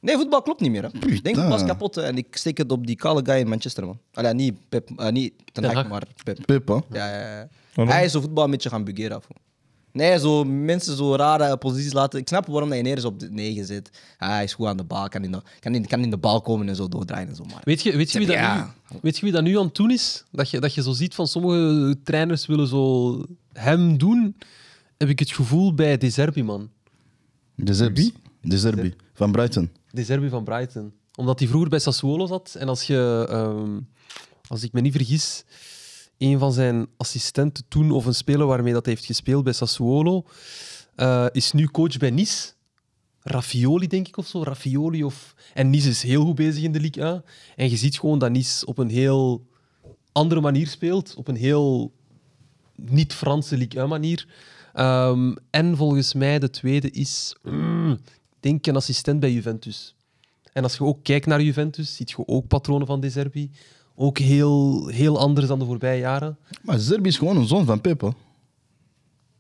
S4: Nee, voetbal klopt niet meer. Hè. Ik denk voetbal is kapot hè, en ik steek het op die kale guy in Manchester, man. Allee, niet Pep, eh, niet Ten
S2: Ten
S4: Hag,
S2: Hag.
S4: maar Pep.
S1: Pip, hè?
S4: Ja, ja, ja.
S3: Waarom?
S4: Hij is zo voetbal een beetje gaan bugeren. foe. Nee, zo mensen zo rare posities laten. Ik snap waarom hij ineens op de 9 zit. Hij is goed aan de bal, kan in de, kan in, kan in de bal komen en zo doordraaien en zo. Maar.
S2: Weet je, weet, je wie dat
S4: Ja.
S2: nu, weet je wie dat nu aan het doen is? Dat je, dat je zo ziet van sommige trainers willen zo hem doen. Heb ik het gevoel bij De Zerbi, man.
S1: De Zerbi. De Zerbi. Van Brighton.
S2: De Zerbi van Brighton. Omdat hij vroeger bij Sassuolo zat. En als je, ehm, als ik me niet vergis, een van zijn assistenten toen, of een speler waarmee dat hij heeft gespeeld bij Sassuolo, eh, is nu coach bij Nice. Raffioli, denk ik, of zo. Raffioli of... En Nice is heel goed bezig in de Ligue 1. En je ziet gewoon dat Nice op een heel andere manier speelt. Op een heel niet-Franse Ligue 1-manier. Ehm, en volgens mij de tweede is, mm, ik denk, een assistent bij Juventus. En als je ook kijkt naar Juventus, ziet je ook patronen van De Zerbi. Ook heel, heel anders dan de voorbije jaren.
S1: Maar Zerbi is gewoon een zoon van Pepe.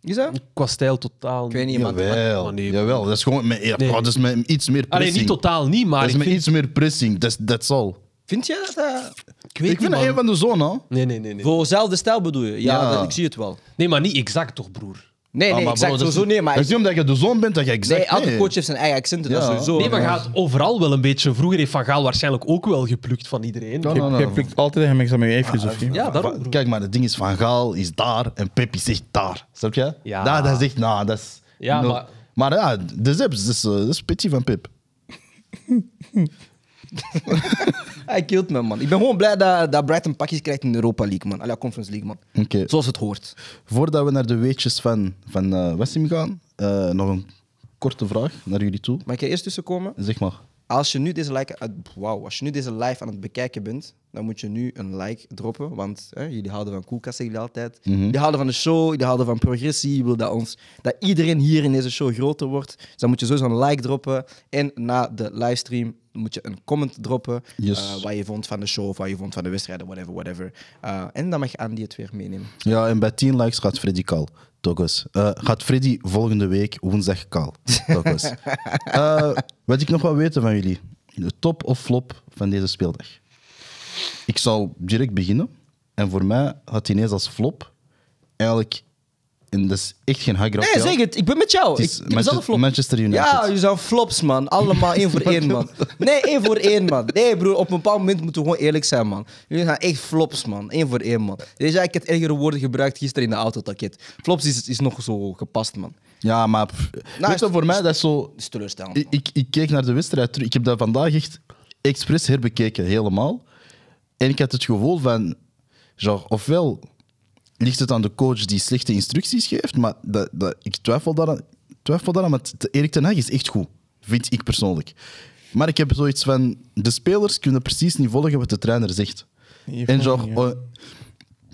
S4: Is dat?
S2: Qua stijl totaal
S4: Ik weet niet, maar...
S1: Jawel,
S2: maar nee.
S1: jawel. Dat is gewoon met, ja, oh,
S2: Nee.
S1: dat is met iets meer pressing.
S2: Alleen niet totaal niet, maar
S1: Dat is
S2: ik,
S1: met
S2: vind,
S1: iets meer pressing, that's, that's all.
S4: Vind jij dat dat...
S2: ik weet
S1: ik vind
S2: niet,
S1: dat een
S2: man.
S1: van de zonen. hoor.
S2: Nee, nee, nee, nee.
S4: Voor dezelfde stijl bedoel je? Ja,
S1: Ja.
S4: dat- ik zie het wel.
S2: Nee, maar niet exact toch, broer?
S4: Nee,
S1: Ah,
S4: nee,
S1: maar
S4: exact.
S1: bro, dat is-
S4: sowieso nee, maar...
S1: Dat is
S4: Ik,
S1: niet omdat je de zoon bent dat je exact...
S4: nee, elke coach heeft zijn eigen accenten, dat
S1: Ja.
S4: sowieso.
S2: Nee, maar
S4: Ja.
S2: gaat overal wel een beetje. Vroeger heeft Van Gaal waarschijnlijk ook wel geplukt van iedereen.
S1: Ja.
S3: Je,
S1: Nou, nou,
S3: je
S1: nou.
S3: prikt altijd een gemengd aan met je eigen filosofie.
S2: Ah, Ja, daarom.
S1: Va-
S2: broer.
S1: Kijk maar, het ding is Van Gaal is daar en Peppi zegt daar. Snap je?
S2: Ja.
S1: Daar, dat zegt, nou, dat is...
S2: Ja,
S1: no-
S2: maar-
S1: Maar ja, de Zips, dat is, eh, dat is petit van Pip.
S4: Hij killt me, man. Ik ben gewoon blij dat, dat Brighton pakjes krijgt in de Europa League, man. Allee, Conference League, man.
S1: Oké.
S4: Zoals het hoort.
S1: Voordat we naar de weetjes van, van eh, Wessim gaan, eh, nog een korte vraag naar jullie toe.
S4: Mag ik er eerst tussenkomen?
S1: Zeg maar.
S4: Als je nu deze like... ah, Wauw, als je nu deze live aan het bekijken bent, dan moet je nu een like droppen, want hè, jullie houden van koelkasten, jullie altijd. Jullie houden van de show, jullie houden van progressie, je wil dat, ons, dat iedereen hier in deze show groter wordt. Dus dan moet je sowieso een like droppen. En na de livestream moet je een comment droppen,
S1: Yes.
S4: eh, wat je vond van de show of wat je vond van de wedstrijden, whatever, whatever. Eh, en dan mag je Andy het weer meenemen.
S1: Ja, en bij 10 likes gaat Freddy kaal. Douglas. Eh, gaat Freddy volgende week woensdag kaal. Douglas. Eh, wat ik nog wil weten van jullie. De top of flop van deze speeldag? Ik zal direct beginnen. En voor mij had ineens als flop eigenlijk... En dat is echt geen hagra.
S4: Nee, zeg het. Ik ben met jou.
S1: Het is
S4: Ik, ik ben
S1: Manchester-
S4: zelf flop.
S1: Manchester United.
S4: Ja, jullie zijn flops, man. Allemaal één voor één, man. Nee, één voor één, man. Nee, broer, op een bepaald moment moeten we gewoon eerlijk zijn, man. Jullie zijn echt flops, man. Eén voor één, man. Deze, ik heb ergere woorden gebruikt gisteren in de autotaket. Flops is, is nog zo gepast, man.
S1: Ja, maar... pff, weet je, voor mij dat is zo...
S4: Dat is teleurstellend.
S1: Ik, ik, ik keek naar de wedstrijd terug. Ik heb dat vandaag echt expres herbekeken, helemaal. En ik had het gevoel van... Genre, ofwel ligt het aan de coach die slechte instructies geeft, maar dat, dat, ik twijfel daaraan, twijfel daaraan, want de- Erik ten Hag is echt goed, vind ik persoonlijk. Maar ik heb zoiets van... De spelers kunnen precies niet volgen wat de trainer zegt.
S3: Je
S1: en
S3: vond
S1: genre...
S3: niet,
S1: oh,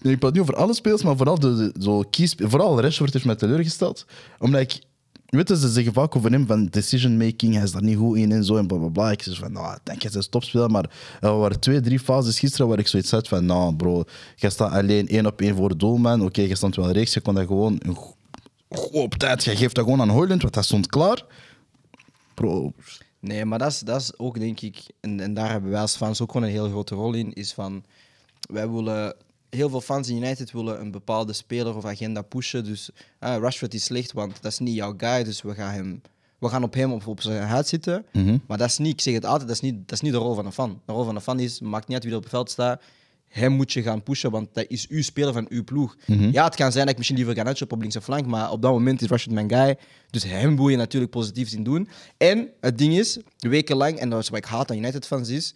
S1: nee, ik praat niet over alle spelers, maar vooral, de, de- zo kies, vooral Rashford heeft mij teleurgesteld. Omdat ik... Weet je, ze zeggen vaak over hem van decision-making, hij is daar niet goed in en zo en blablabla. Bla, bla. Ik zeg van, nou, ik denk hij is een topspeler, maar er waren twee, drie fases gisteren waar ik zoiets had van, nou bro, jij staat alleen één op één voor het doelman. Oké, je stond wel rechts, je kon dat gewoon een go- go- op tijd, je geeft dat gewoon aan Hoyland, want dat stond klaar. Bro,
S4: Nee, maar dat is, dat is ook, denk ik, en, en daar hebben wij als fans ook gewoon een heel grote rol in, is van, wij willen, heel veel fans in United willen een bepaalde speler of agenda pushen, dus ah, Rashford is slecht, want dat is niet jouw guy, dus we gaan, hem, we gaan op hem op, op zijn huid zitten. Maar dat is niet, ik zeg het altijd, dat is niet, dat is niet de rol van een fan. De rol van een fan is, maakt niet uit wie er op het veld staat, hem moet je gaan pushen, want dat is uw speler van uw ploeg. Ja, het kan zijn dat ik misschien liever Garnacho op op linkse flank, maar op dat moment is Rashford mijn guy. Dus hem wil je natuurlijk positief zien doen. En het ding is, wekenlang, en dat is wat ik haat aan United fans is,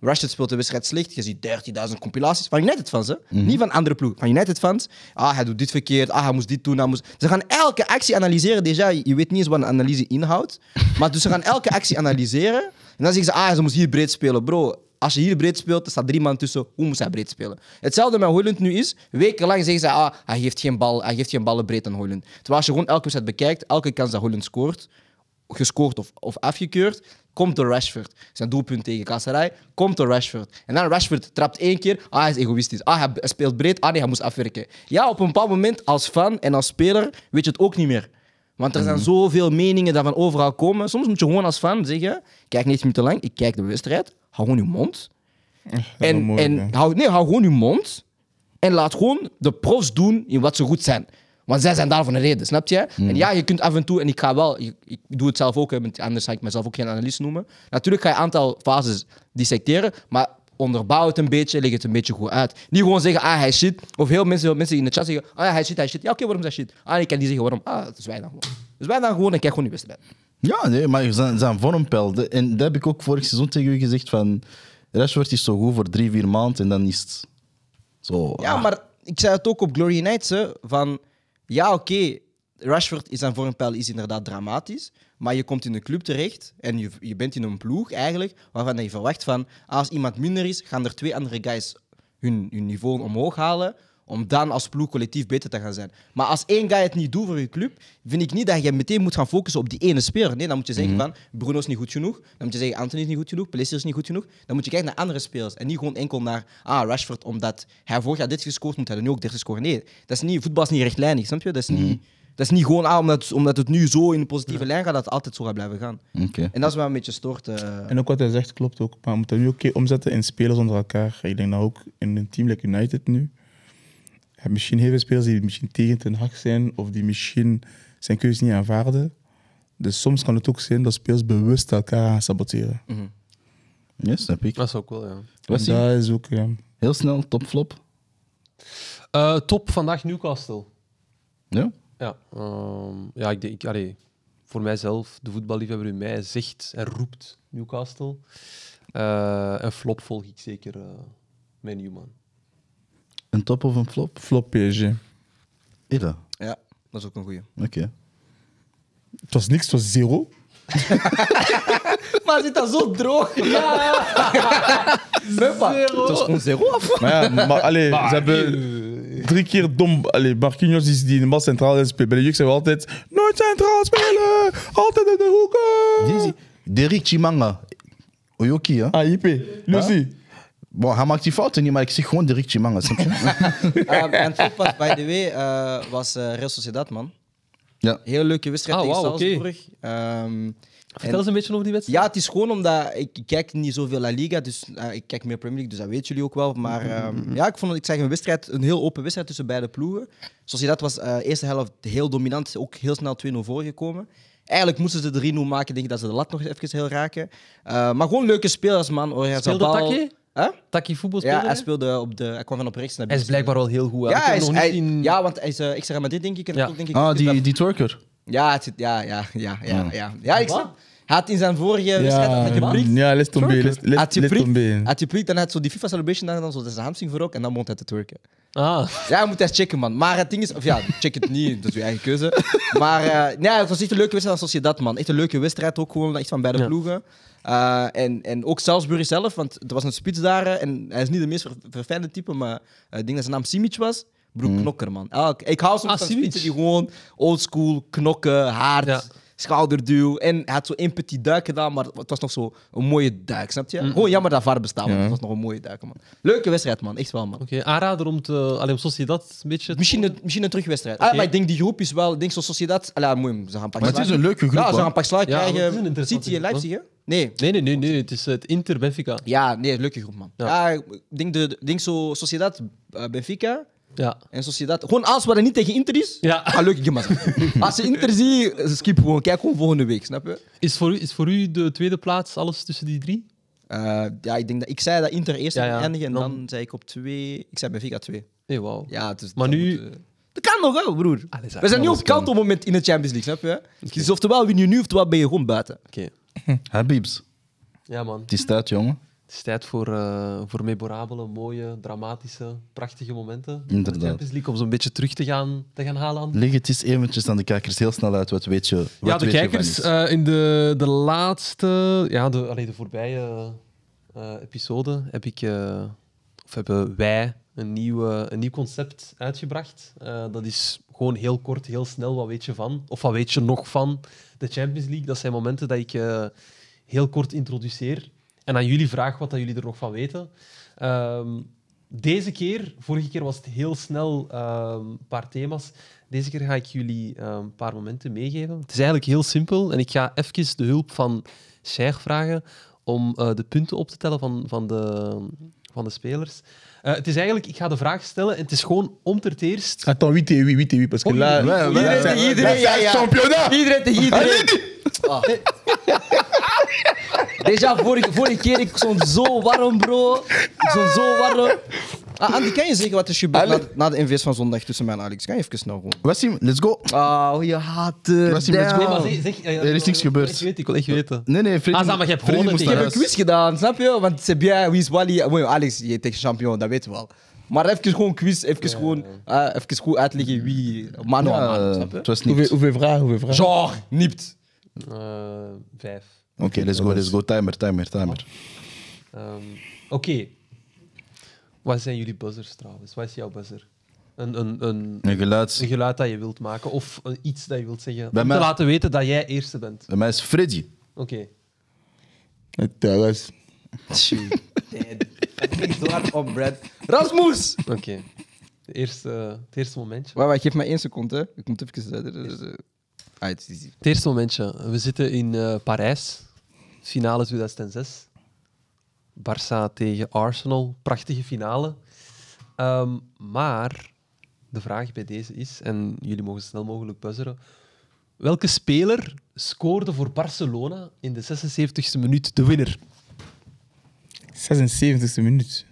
S4: Rashford speelt de wedstrijd slecht. Je ziet 13.000 compilaties van United fans, hè? niet van andere ploeg. Van United fans. Ah, hij doet dit verkeerd. Ah, hij moest dit doen. Hij moest... Ze gaan elke actie analyseren. Déjà, je je weet niet eens wat een analyse inhoudt. Maar dus ze gaan elke actie analyseren. En dan zeggen ze, ah, ze moest hier breed spelen. Bro, als je hier breed speelt, er staat drie man tussen. Hoe moest hij breed spelen? Hetzelfde met Hoyland nu is. Wekenlang zeggen ze, ah, hij geeft geen, bal, hij geeft geen ballen breed aan Hoyland. Terwijl als je gewoon elke wedstrijd bekijkt, elke kans dat Hoyland scoort, gescoord of, of afgekeurd, komt door Rashford. Zijn doelpunt tegen Kasserij komt door Rashford. En dan Rashford trapt één keer, ah, hij is egoïstisch. Ah, hij b- hij speelt breed, ah nee, hij moest afwerken. Ja, op een bepaald moment als fan en als speler weet je het ook niet meer. Want er zijn zoveel meningen die van overal komen. Soms moet je gewoon als fan zeggen: kijk niet meer te lang, ik kijk de wedstrijd, hou gewoon je mond.
S3: is
S4: En,
S3: wel mooi,
S4: en
S3: ja.
S4: hou, nee, hou gewoon je mond. En laat gewoon de profs doen in wat ze goed zijn. Want zij zijn daar van een reden, snap je? En ja, je kunt af en toe, en ik ga wel, ik, ik doe het zelf ook, hè, want anders ga ik mezelf ook geen analist noemen. Natuurlijk ga je een aantal fases dissecteren, maar onderbouw het een beetje, leg het een beetje goed uit. Niet gewoon zeggen, ah, hij is shit. Of heel mensen, veel mensen in de chat zeggen, ah, hij is shit, hij is shit. Ja, oké, waarom is hij shit? Ah, ik kan niet zeggen waarom. Ah, dat is wij dan gewoon. Dus wij dan gewoon en kijk gewoon die wedstrijd.
S1: Ja, nee, maar zijn, zijn vormpeil. de- En dat heb ik ook vorig seizoen tegen u gezegd van... Rashford is zo goed voor drie, vier maanden en dan is het zo...
S4: Ja,
S1: ah.
S4: maar ik zei het ook op Glory Nights, hè, van ja, oké, Rashford is zijn vormpeil is inderdaad dramatisch, maar je komt in een club terecht en je, je bent in een ploeg eigenlijk waarvan je verwacht van als iemand minder is, gaan er twee andere guys hun, hun niveau omhoog halen Om dan als ploeg collectief beter te gaan zijn. Maar als één guy het niet doet voor je club, vind ik niet dat je meteen moet gaan focussen op die ene speler. Nee, dan moet je zeggen van Bruno is niet goed genoeg. Dan moet je zeggen Anthony is niet goed genoeg. Pellissier is niet goed genoeg. Dan moet je kijken naar andere spelers. En niet gewoon enkel naar ah, Rashford, omdat hij vorig jaar dit gescoord moet, hij er nu ook dit gescoord. Nee, dat is niet, voetbal is niet rechtlijnig, snap je? Dat is niet, dat is niet gewoon ah, omdat, omdat het nu zo in een positieve lijn gaat, dat het altijd zo gaat blijven gaan.
S1: Oké.
S4: En dat is waar een beetje stort. eh.
S3: En ook wat hij zegt klopt ook. Maar we moeten nu ook keer omzetten in spelers onder elkaar. Ik denk nou ook in een team like United nu. Je hebt misschien heel veel spelers die misschien tegen Ten Hag zijn. Of die misschien zijn keuze niet aanvaarden. Dus soms kan het ook zijn dat spelers bewust elkaar gaan saboteren.
S1: Ja, snap ik.
S2: Dat is ook wel, ja.
S1: Was
S3: en
S1: hij
S3: dat is ook... Ja.
S1: heel snel topflop?
S2: Eh, top vandaag Newcastle.
S1: Ja.
S2: Ja, ehm, ja ik denk, ik, allee, voor mijzelf, de voetballiefhebber in mij zegt en roept Newcastle. Eh, en flop volg ik zeker eh mijn Newman.
S1: Een top of een flop?
S3: Flop PSG.
S1: Ida.
S4: ja, dat is ook een goeie.
S1: Oké.
S3: Het was niks, het was zero.
S4: Maar zit dat zo droog? Muppa. Het was gewoon zero af.
S3: Maar ja, maar, allee,
S1: Bah,
S3: ze hebben drie keer dom... Allee, Marquinhos die, die in de bal centraal speelt. Bij de jeugd zijn we altijd... Nooit centraal spelen! Altijd in euh, de hoeken!
S1: Deze- Derek Chimanga. Oyoki, hè?
S3: Ah, IP. Lucy.
S1: Bon, hij maakt die fouten niet, maar ik zeg gewoon Derek Chimanga. snap je?
S4: Ehm, en top was, by the way, eh, was eh Real Sociedad, man.
S1: ja.
S4: Heel leuke wedstrijd
S2: Ah,
S4: tegen
S2: wauw, oké.
S4: Salzburg. Ehm,
S2: Vertel eens een beetje over die wedstrijd.
S4: ja, het is gewoon omdat ik kijk niet zoveel La Liga, dus eh, ik kijk meer Premier League, dus dat weten jullie ook wel. Maar ehm, ja, ik vond het, ik zeg, een wedstrijd, een heel open wedstrijd tussen beide ploegen. Sociedad was eh eerste helft heel dominant, ook heel snel 2-0 voorgekomen. Eigenlijk moesten ze de 3-0 maken, denk ik dat ze de lat nog even heel raken. Eh, maar gewoon leuke spelers, man. Orhan
S2: Speelde
S4: Zabal.
S2: Taki?
S4: Huh?
S2: Taki voetbal
S4: Ja,
S2: speelde
S4: hij
S2: hij?
S4: speelde op de. Hij kwam van op rechts naar
S2: Hij is
S4: binnen.
S2: blijkbaar wel heel goed. hè.
S4: Ja,
S2: Ik heb
S4: hij is,
S2: hem nog
S4: hij-
S2: niet in...
S4: ja, want hij is eh, extra met dit, denk ik. En
S2: Ja.
S4: dat denk ik
S1: Ah,
S4: dat-
S1: die, Ah. die twerker.
S4: Ja, het zit- ja, ja, ja, ja,
S1: Ja.
S4: ja. Ja, ik
S2: Wat?
S4: snap. Hij had in zijn vorige wedstrijd had hij geprikt.
S3: Ja, les tombe. les- les-
S4: Had je
S3: les tombe.
S4: prikt, had je prikt, dan had zo die FIFA Celebration, dan dan zo zijn hamstring voor ook, en dan begon hij te twerken.
S2: Ah,
S4: Ja, je moet echt checken, man. Maar het ding is, of ja, check het niet, dat is je eigen keuze. Maar eh, nee, het was echt een leuke wedstrijd zoals je dat, man. Echt een leuke wedstrijd ook gewoon, echt van beide
S2: Ja.
S4: ploegen. Eh, en, en ook Salzburg zelf, want er was een spits daar eh, en hij is niet de meest ver- verfijnde type, maar eh, ik denk dat zijn naam Simic was. Broek knokker, man. Elk- ik hou soms
S2: Ah,
S4: van
S2: Simic.
S4: spitsen die gewoon oldschool knokken, hard,
S2: Ja.
S4: schouderduw. En hij had zo één petit duik gedaan, maar het was nog zo een mooie duik, snap
S2: Hmm.
S4: je? Gewoon jammer dat VAR bestaat, want
S3: Ja.
S4: het was nog een mooie duik, man. Leuke wedstrijd, man. Echt wel, man.
S2: oké. Aanrader om te... Allee, om Sociedad een beetje... te-
S4: Misschien een, misschien een terugwedstrijd.
S2: Oké.
S4: Ah, maar ik denk die groep is wel. Ik denk zoals Sociedad. Allee, moeim, ze gaan een pak
S1: Maar het
S4: slaag-
S1: is een leuke groep,
S4: Ja, ze
S1: hoor.
S4: gaan een pak
S2: Ja,
S4: slaag
S2: want het is een
S4: krijgen.
S2: interessante
S4: City en
S2: groep,
S4: Leipzig, hè? Nee.
S2: Nee, nee, nee, nee. Het is het Inter Benfica.
S4: Ja, nee, leuke groep, man.
S2: Ja.
S4: Ja, ik denk, de, ik denk zo Sociedad, eh, Benfica
S2: Ja.
S4: en Sociedad. Gewoon alles wat er niet tegen Inter is.
S2: Ja.
S4: Ah, leuke game, man. Als je Inter ziet, skip gewoon. Kijk gewoon volgende week, snap je?
S2: Is voor, u, is voor u de tweede plaats alles tussen die drie?
S4: Eh, ja, ik denk dat ik zei dat Inter eerst
S2: Ja,
S4: ging
S2: ja.
S4: eindigen en
S2: Dan-
S4: dan... zei ik op twee. Ik zei Benfica twee.
S2: Nee, wauw.
S4: Ja, dus
S2: Maar
S4: dat
S2: nu-
S4: moet, eh, Dat kan nog wel, broer.
S2: Allee, zeg,
S4: We zijn nu
S2: alles
S4: op kantelmoment in de Champions League, snap je? Dus oftewel win je nu, oftewel ben je gewoon buiten.
S2: Oké.
S1: Habibs.
S2: Ja, man.
S1: Die staat, jongen.
S2: Het is tijd voor, eh, voor memorabele, mooie, dramatische, prachtige momenten. van de
S1: Inderdaad.
S2: Champions League, om zo'n beetje terug te gaan, te gaan halen. Aan.
S1: Leg het eens eventjes aan de kijkers heel snel uit. Wat weet je? Wat
S2: ja, de
S1: weet je van
S2: kijkers
S1: iets?
S2: eh, in de, de laatste, ja, de, allee, de voorbije eh, episode heb ik, eh, of hebben wij een, nieuwe, een nieuw concept uitgebracht. Eh, dat is gewoon heel kort, heel snel, wat weet je van? Of wat weet je nog van de Champions League? Dat zijn momenten dat ik eh, heel kort introduceer en aan jullie vraag wat dat jullie er nog van weten. Ehm, deze keer, vorige keer was het heel snel ehm, een paar thema's. Deze keer ga ik jullie ehm, een paar momenten meegeven. Het is eigenlijk heel simpel en ik ga even de hulp van Sheikh vragen om eh, de punten op te tellen van, van, de, van de spelers. Eh, het is eigenlijk, ik ga de vraag stellen en het is gewoon om het eerst.
S3: Attends, 8 et 8, 8 et 8,
S4: Oh,
S3: parce que
S1: Ouais,
S3: là,
S1: ouais,
S4: Iedereen
S1: ouais.
S4: tegen iedereen, ja, ja.
S3: championnat
S4: Iedereen tegen iedereen. Ah. Déjà, vorige, vorige keer, ik stond zo warm, bro. Ik stond zo warm. Ah, Andy, kan je zeggen wat er gebeurt na, na de NVS van zondag tussen mij en Alex? Kan je even snel gewoon?
S1: Wassim, let's go.
S4: Oh, je haat het.
S1: Wassim, let's
S2: Nee,
S1: go.
S2: maar zeg, zeg, eh,
S1: Ah. Er is niks gebeurd.
S2: Ik weet, ik wil echt weten.
S1: Nee, nee, Freddy.
S2: Ah, Sam, maar je hebt
S1: Freddy
S2: gewonnen
S1: moest
S2: tegen
S1: naar
S4: Ik heb een
S1: huis.
S4: quiz gedaan, snap je? Want c'est bien, wie is Wally? Mooi, Alex, je tegen champion, dat weten we al. Maar even gewoon quiz, even, gewoon, eh, even goed uitleggen wie mano aan mano,
S1: Ja, eh,
S4: snap je?
S1: het was niks.
S3: Hoeveel
S1: Oké,
S3: hoeveel vragen, hoeveel vragen
S4: Genre, nipt.
S2: Eh, vijf.
S1: let's go, let's go. Timer, timer, timer.
S2: Ehm, Oké. Wat zijn jullie buzzers trouwens? Wat is jouw buzzer? Een, een, een,
S1: Een geluid.
S2: een geluid dat je wilt maken of een- iets dat je wilt zeggen.
S1: Bij
S2: om
S1: mij-
S2: te laten weten dat jij eerste bent.
S1: Bij mij is Freddy.
S2: Oké.
S3: Het, eh, was-
S4: Nee, dat ging zo hard op, Brad. Rasmus!
S2: Oké. De eerste, eh, het eerste momentje.
S4: Wacht, wacht, geef mij één seconde. hè. Ik moet even... eh, Ah, het is
S2: Het eerste momentje. We zitten in eh, Parijs. Finale 2006. Barça tegen Arsenal. Prachtige finale. Ehm, maar de vraag bij deze is, en jullie mogen snel mogelijk buzzeren. Welke speler scoorde voor Barcelona in de 76e minuut de winner?
S3: 76e minuut.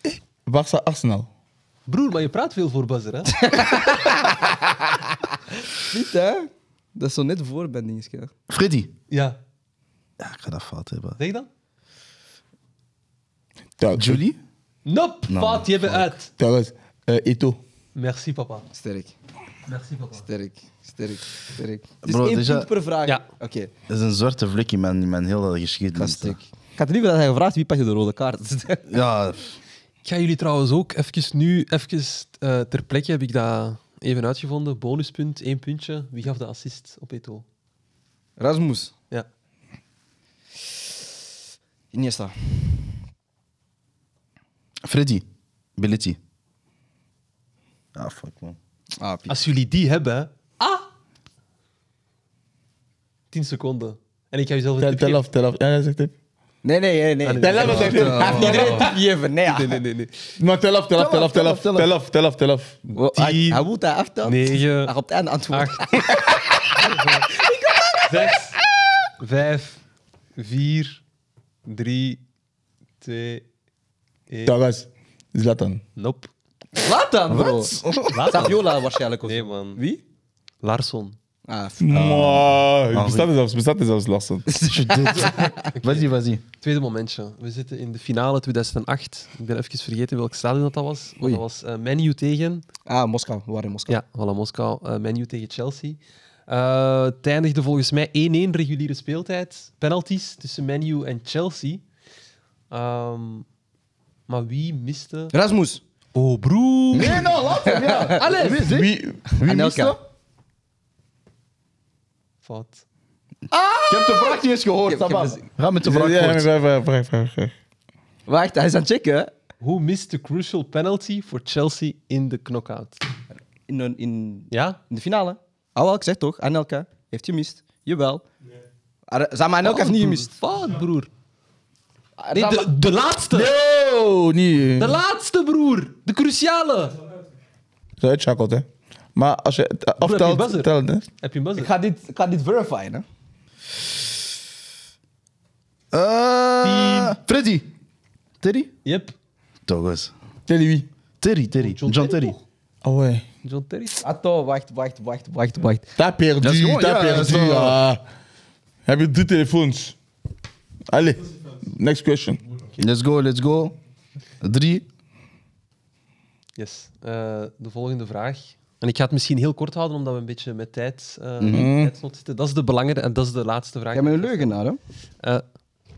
S3: Eh. Barça Arsenal.
S2: Broer, maar je praat veel voor buzzer, hè?
S4: Niet, hè? Dat is zo net voor ben dingetje.
S1: Freddy.
S2: ja.
S1: Ja, ik ga dat fout hebben.
S2: Zeg dan.
S3: Dat,
S1: Julie?
S2: Nope,
S1: Nou,
S2: Fout, je bent uit.
S3: dat was eh, Eto.
S2: Merci, papa.
S4: Sterk,
S2: Merci, papa.
S4: sterk, sterk, sterk. Dus
S1: Bro,
S4: één
S1: dus
S4: punt
S1: ja-
S4: per vraag.
S2: Ja.
S4: Oké,
S1: Dat is een zwarte vlek in mijn, in mijn hele
S4: dat is
S1: geschiedenis.
S4: sterk. Ik had liever dat hij gevraagd wie pak je de rode kaart.
S1: Ja,
S2: Ik ga jullie trouwens ook even nu, even eh, ter plekke heb ik dat even uitgevonden. Bonuspunt, één puntje. Wie gaf de assist op Eto?
S4: Rasmus.
S2: Ja.
S4: Iniesta.
S1: Freddy. Belletti. Ah, fuck man.
S4: Ah, Piet.
S2: Als jullie die hebben, hè. ah! 10 seconden. En ik ga jezelf een
S3: Tel,
S2: tip
S3: tel
S2: geven.
S3: af, tel af. Ja, dat zegt hij.
S4: Nee, nee, nee. nee.
S2: Tel
S3: af, dat is-
S4: Hij heeft iedereen een tipje geven. Nee, ja.
S2: Nee, nee, nee. nee.
S3: Maar tel af, tel af, tel af, tel af, tel af, tel af, tel af.
S4: Wow, hij,
S2: Tien.
S4: hij moet daar aftellen.
S2: Negen.
S4: Hij op het einde antwoord.
S2: 8. 6. 5. 4. 3. 2. 1.
S3: Dat was Zlatan.
S2: Nope.
S4: Laat dan, bro. Saviola waarschijnlijk. Of
S2: Nee,
S4: zo.
S2: man.
S4: Wie?
S2: Larsson.
S4: Ah, f-
S3: Mwah, het Bestaat er zelfs, bestaat er zelfs Larsen.
S1: Was die, was die?
S2: Tweede momentje. We zitten in de finale 2008. Ik ben even vergeten welk stadion dat was. Maar
S4: Oei.
S2: dat was eh Menu tegen...
S4: ah, Moskou. We waren in Moskou.
S2: Ja, voilà, Moskou. eh Menu tegen Chelsea. Eh het eindigde volgens mij 1-1 reguliere speeltijd. Penalties tussen Menu en Chelsea. Ehm, maar wie miste...
S4: Rasmus.
S2: Oh, broer! Nee, nou, laat hem, ja. Allee!
S3: Wie, wie mist
S4: Anelka.
S3: dat?
S2: Fout.
S1: Je hebt de vraag niet eens gehoord.
S4: Ik heb- ik heb
S1: Sabah. Ga met de vraag
S3: Ja,
S1: voort.
S3: ja, vraag, vraag, vraag, vraag.
S4: Wacht, hij is aan het checken. hè.
S2: Who missed the crucial penalty for Chelsea in de knockout?
S4: In, een- in,
S2: Ja?
S4: in de finale. Ah, wel, ik zeg toch. Anelka heeft gemist. Jawel. Ah, Nee. Zama Anelka heeft niet gemist.
S2: Fout, broer.
S4: Ah,
S2: Nee,
S4: Zama-
S2: de, de laatste!
S3: Yo, Oh, nee.
S2: De laatste, broer! De cruciale!
S3: Zo uitschakeld, hè. Maar als je het eh,
S2: heb je buzzer?
S3: aftelt, telt, hè.
S2: Heb je een buzzer?
S4: Ik ga dit, ik ga dit verifyen, hè.
S1: Eh, Freddy. Terry?
S2: Yep.
S1: Toch eens.
S3: Tel je wie?
S1: Terry, Terry.
S2: John
S1: John,
S2: Terry
S1: Terry.
S3: Oh, ouais.
S2: John Terry.
S4: Atto, Ah, wacht, wacht, wacht, wacht, wacht.
S3: T'as
S1: Dat is
S3: perdu,
S1: gewoon-
S3: t'as
S1: ja, dat is
S3: perdu.
S1: wel-
S3: ah. Heb je drie telefoons? Allez, next question.
S1: Let's go, let's go. Drie.
S2: Yes. Eh, de volgende vraag. En ik ga het misschien heel kort houden, omdat we een beetje met tijd, eh tijdsnood zitten. Dat is de belangrijke en dat is de laatste vraag.
S4: Jij bent een leugenaar, hè.
S2: Eh,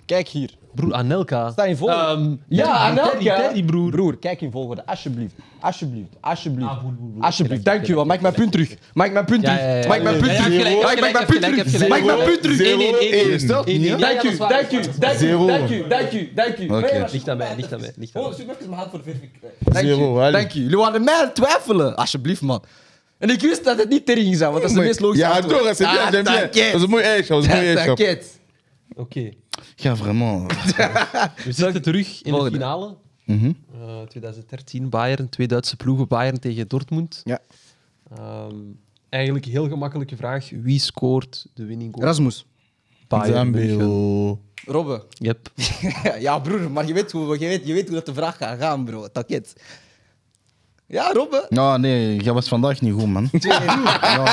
S4: Kijk hier.
S2: broer, Anelka.
S4: Sta in volgorde.
S2: Ehm,
S4: ja,
S2: Terry,
S4: Anelka.
S2: Terry, Terry, broer.
S4: kijk in volgorde. Alsjeblieft. Alsjeblieft. Alsjeblieft.
S2: Ah, boel, boel, boel.
S4: Alsjeblieft. Dankjewel. Maak mijn punt terug. Maak mijn punt
S2: Ja,
S4: terug.
S2: ja, ja, ja.
S4: Maak mijn punt
S2: Ja, ja,
S4: terug.
S2: je hebt
S4: Maak
S2: gelijk,
S4: mijn
S2: je
S4: punt
S2: hebt gelijk, je
S4: terug.
S2: hebt
S4: Maak mijn
S2: gelijk.
S4: punt terug.
S3: Zero,
S2: 1-1, 1-1.
S3: één.
S1: Stelt niet, hè?
S2: Ja, ja,
S4: Dank
S2: dat
S4: u,
S2: is waar,
S4: dank
S2: dat
S4: u,
S2: is waar,
S4: dank u,
S3: Zero.
S4: dank u, dank u, dank u.
S1: Oké.
S2: Ligt aan mij, ligt aan mij, ligt aan mij.
S4: Zoek even mijn hand voor de verificatie. Dank
S3: Zero,
S4: u,
S3: Ali.
S4: dank u. Jullie waren mij aan het twijfelen. Alsjeblieft, man. En ik wist dat het niet Terry ging zijn, want dat is de meest logische
S3: Ja,
S4: antwoord.
S3: toch, c'est bien,
S4: Ah,
S3: j'aime bien.
S4: t'inquiète.
S3: Dat is een mooie eigenschap, dat is een mooie eigenschap.
S4: T'inquiète.
S2: Oké.
S1: Ja, vraiment.
S2: We zitten terug in de
S4: Volgende.
S2: finale. Eh, 2013, Bayern. Twee Duitse ploegen. Bayern tegen Dortmund.
S4: Ja.
S2: Ehm, eigenlijk een heel gemakkelijke vraag. Wie scoort de winning goal?
S4: Rasmus.
S2: Bayern München.
S3: Zambio.
S4: Robben.
S2: Yep.
S4: ja, broer, maar je weet, hoe, je, weet, je weet hoe dat de vraag gaat gaan, bro. Taket. Ja, Robbe.
S1: Nou, nee, jij was vandaag niet goed, man. Ja, ja,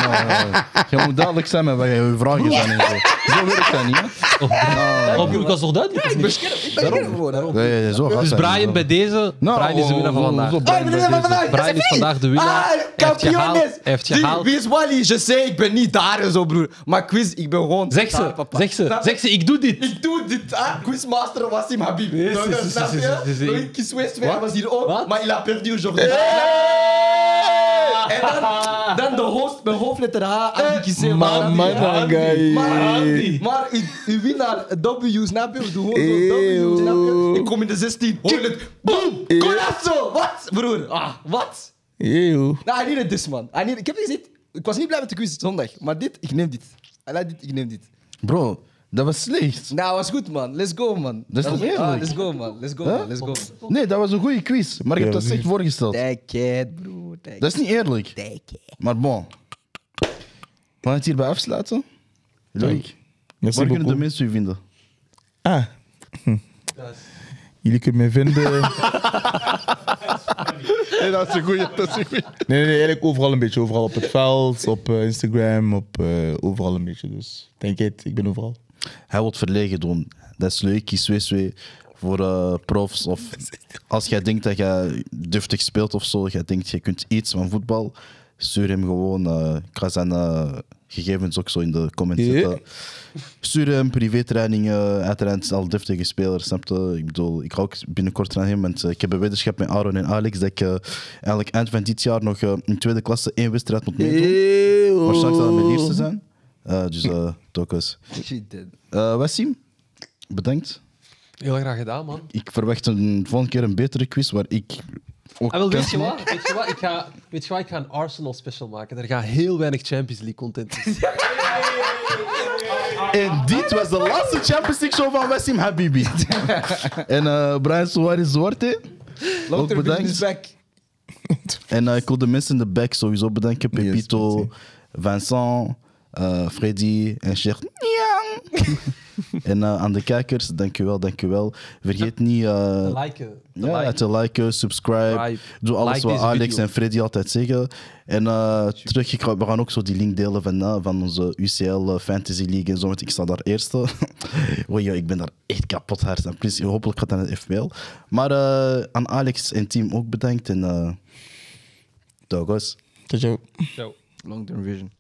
S1: ja. Jij moet duidelijk zijn met wat je je vragen zijn en zo. Zo werkt dat niet, hè?
S2: Oh, broer, ik was nog duidelijk. of niet?
S4: Ik ben er gewoon, daarom.
S1: Nee, nee, zo gaat
S2: Dus
S1: dat
S2: Brian
S1: niet,
S2: bij deze.
S1: Nou,
S2: Brian is de winnaar van
S1: oh, oh,
S2: vandaag.
S1: zo
S4: Ah, ik ben de winnaar van vandaag.
S2: Brian is
S4: SFI.
S2: vandaag de winnaar. Hij
S4: Ah,
S2: heeft
S4: kampioen
S2: gehaald.
S4: is.
S2: Hij heeft
S4: Zie,
S2: gehaald.
S4: Wie is Wally? Je zei, ik ben niet daar en zo, broer. Maar quiz, ik ben gewoon
S2: Zeg
S4: daar,
S2: ze,
S4: papa.
S2: zeg ze,
S4: Snap je?
S2: zeg ze, ik doe dit.
S4: Ik doe dit, ah. Quizmaster was in Habib.
S2: si, si,
S4: Snap
S2: si, si, si, si.
S4: je? Quiz West, hij was hier ook,
S2: Wat?
S4: maar il a perdu aujourd'hui. En dan, dan de host met hoofdletter H, Aniki Zeeman.
S3: Mamanagai.
S4: Maar, maar uw, uw winnaar, W, snap je? We doen gewoon
S3: Eeuw.
S4: zo'n W, snap je? Ik kom in de 16, hoor het, boom,
S3: Eeuw.
S4: Corazzo, wat? Broer, ah, wat?
S3: Eeuw.
S4: Nou, I needed this, man. I needed, ik heb gezegd, ik was niet blij met de quiz zondag, maar dit, ik neem dit. I like dit, ik neem dit.
S1: Bro, dat was slecht.
S4: Nou, was goed, man. Let's go, man.
S1: Dat is toch
S4: ah,
S1: eerlijk?
S4: Let's go, man. Let's go,
S1: Huh?
S4: man. Let's go.
S1: Nee, dat was een goede quiz, maar ik heb
S3: Ja,
S1: dat slecht
S3: nee.
S1: voorgesteld.
S4: Thank it, bro. Thank
S1: Dat is niet eerlijk.
S4: Thank it.
S1: Maar bon. We gaan het hierbij afsluiten. Leuk.
S3: Merci
S1: Waar kunnen
S3: beaucoup.
S1: de mensen u vinden?
S3: Ah. Hm. Jullie kunnen mij vinden.
S1: dat is een goeie. Dat is een goeie.
S3: Nee, nee, nee, eigenlijk overal een beetje. Overal op het veld, op eh, Instagram, op eh, overal een beetje. Dus denk het, ik ben overal.
S1: Hij wil het verlegen doen. Dat is leuk. Kies WSW voor eh, profs. Of als jij denkt dat jij deftig speelt of zo, jij denkt je kunt iets van voetbal, stuur hem gewoon. eh, ik ga zijn eh, gegevens ook zo in de comments
S3: Ja.
S1: zetten. Stuur hem privétrainingen. Uiteraard is al deftige speler, snap je? Ik bedoel, ik ga ook binnenkort naar hem. Want eh, ik heb een weddenschap met Aaron en Alex dat ik eh, eigenlijk eind van dit jaar nog eh, in tweede klasse één wedstrijd moet meedoen.
S3: Eeuw.
S1: Waarschijnlijk zal het mijn eerste zijn. Eh, dus eh tokens.
S4: Shit, dude.
S1: Eh Wassim, bedankt.
S2: Heel graag gedaan, man.
S1: Ik verwacht een volgende keer een betere quiz waar ik ook.
S2: Ah, wel, weet,
S1: kans-
S2: je wat? weet je wat? Ik ga, weet je wat? Ik ga een Arsenal special maken. Er gaat heel weinig Champions League content in.
S1: En dit was de laatste Champions League show van Wassim Habibi. en eh, Brian Suarez Zwarte. Ook
S4: Long-term vision is
S1: bedankt.
S4: back.
S1: En eh, ik wil de mensen in de back sowieso bedanken. Pepito,
S3: merci.
S1: Vincent, eh, Freddy en Sheikh. Nyang. en eh, aan de kijkers, dankjewel, dankjewel. Vergeet niet... eh,
S2: Liken. te
S1: ja,
S2: liken.
S1: te liken, subscribe.
S2: Subscribe.
S1: Doe alles
S2: Like
S1: wat
S2: deze
S1: Alex
S2: video.
S1: en Freddy altijd zeggen. En eh terug, ik ga- we gaan ook zo die link delen van, eh, van onze UCL eh, Fantasy League en zo, want ik sta daar eerste. Oei, joh, ik ben daar echt kapot hard. En plus, hopelijk gaat dat naar de FPL. Maar eh, aan Alex en team ook bedankt. En eh dag, guys.
S3: Tot jou.
S4: Long-term vision.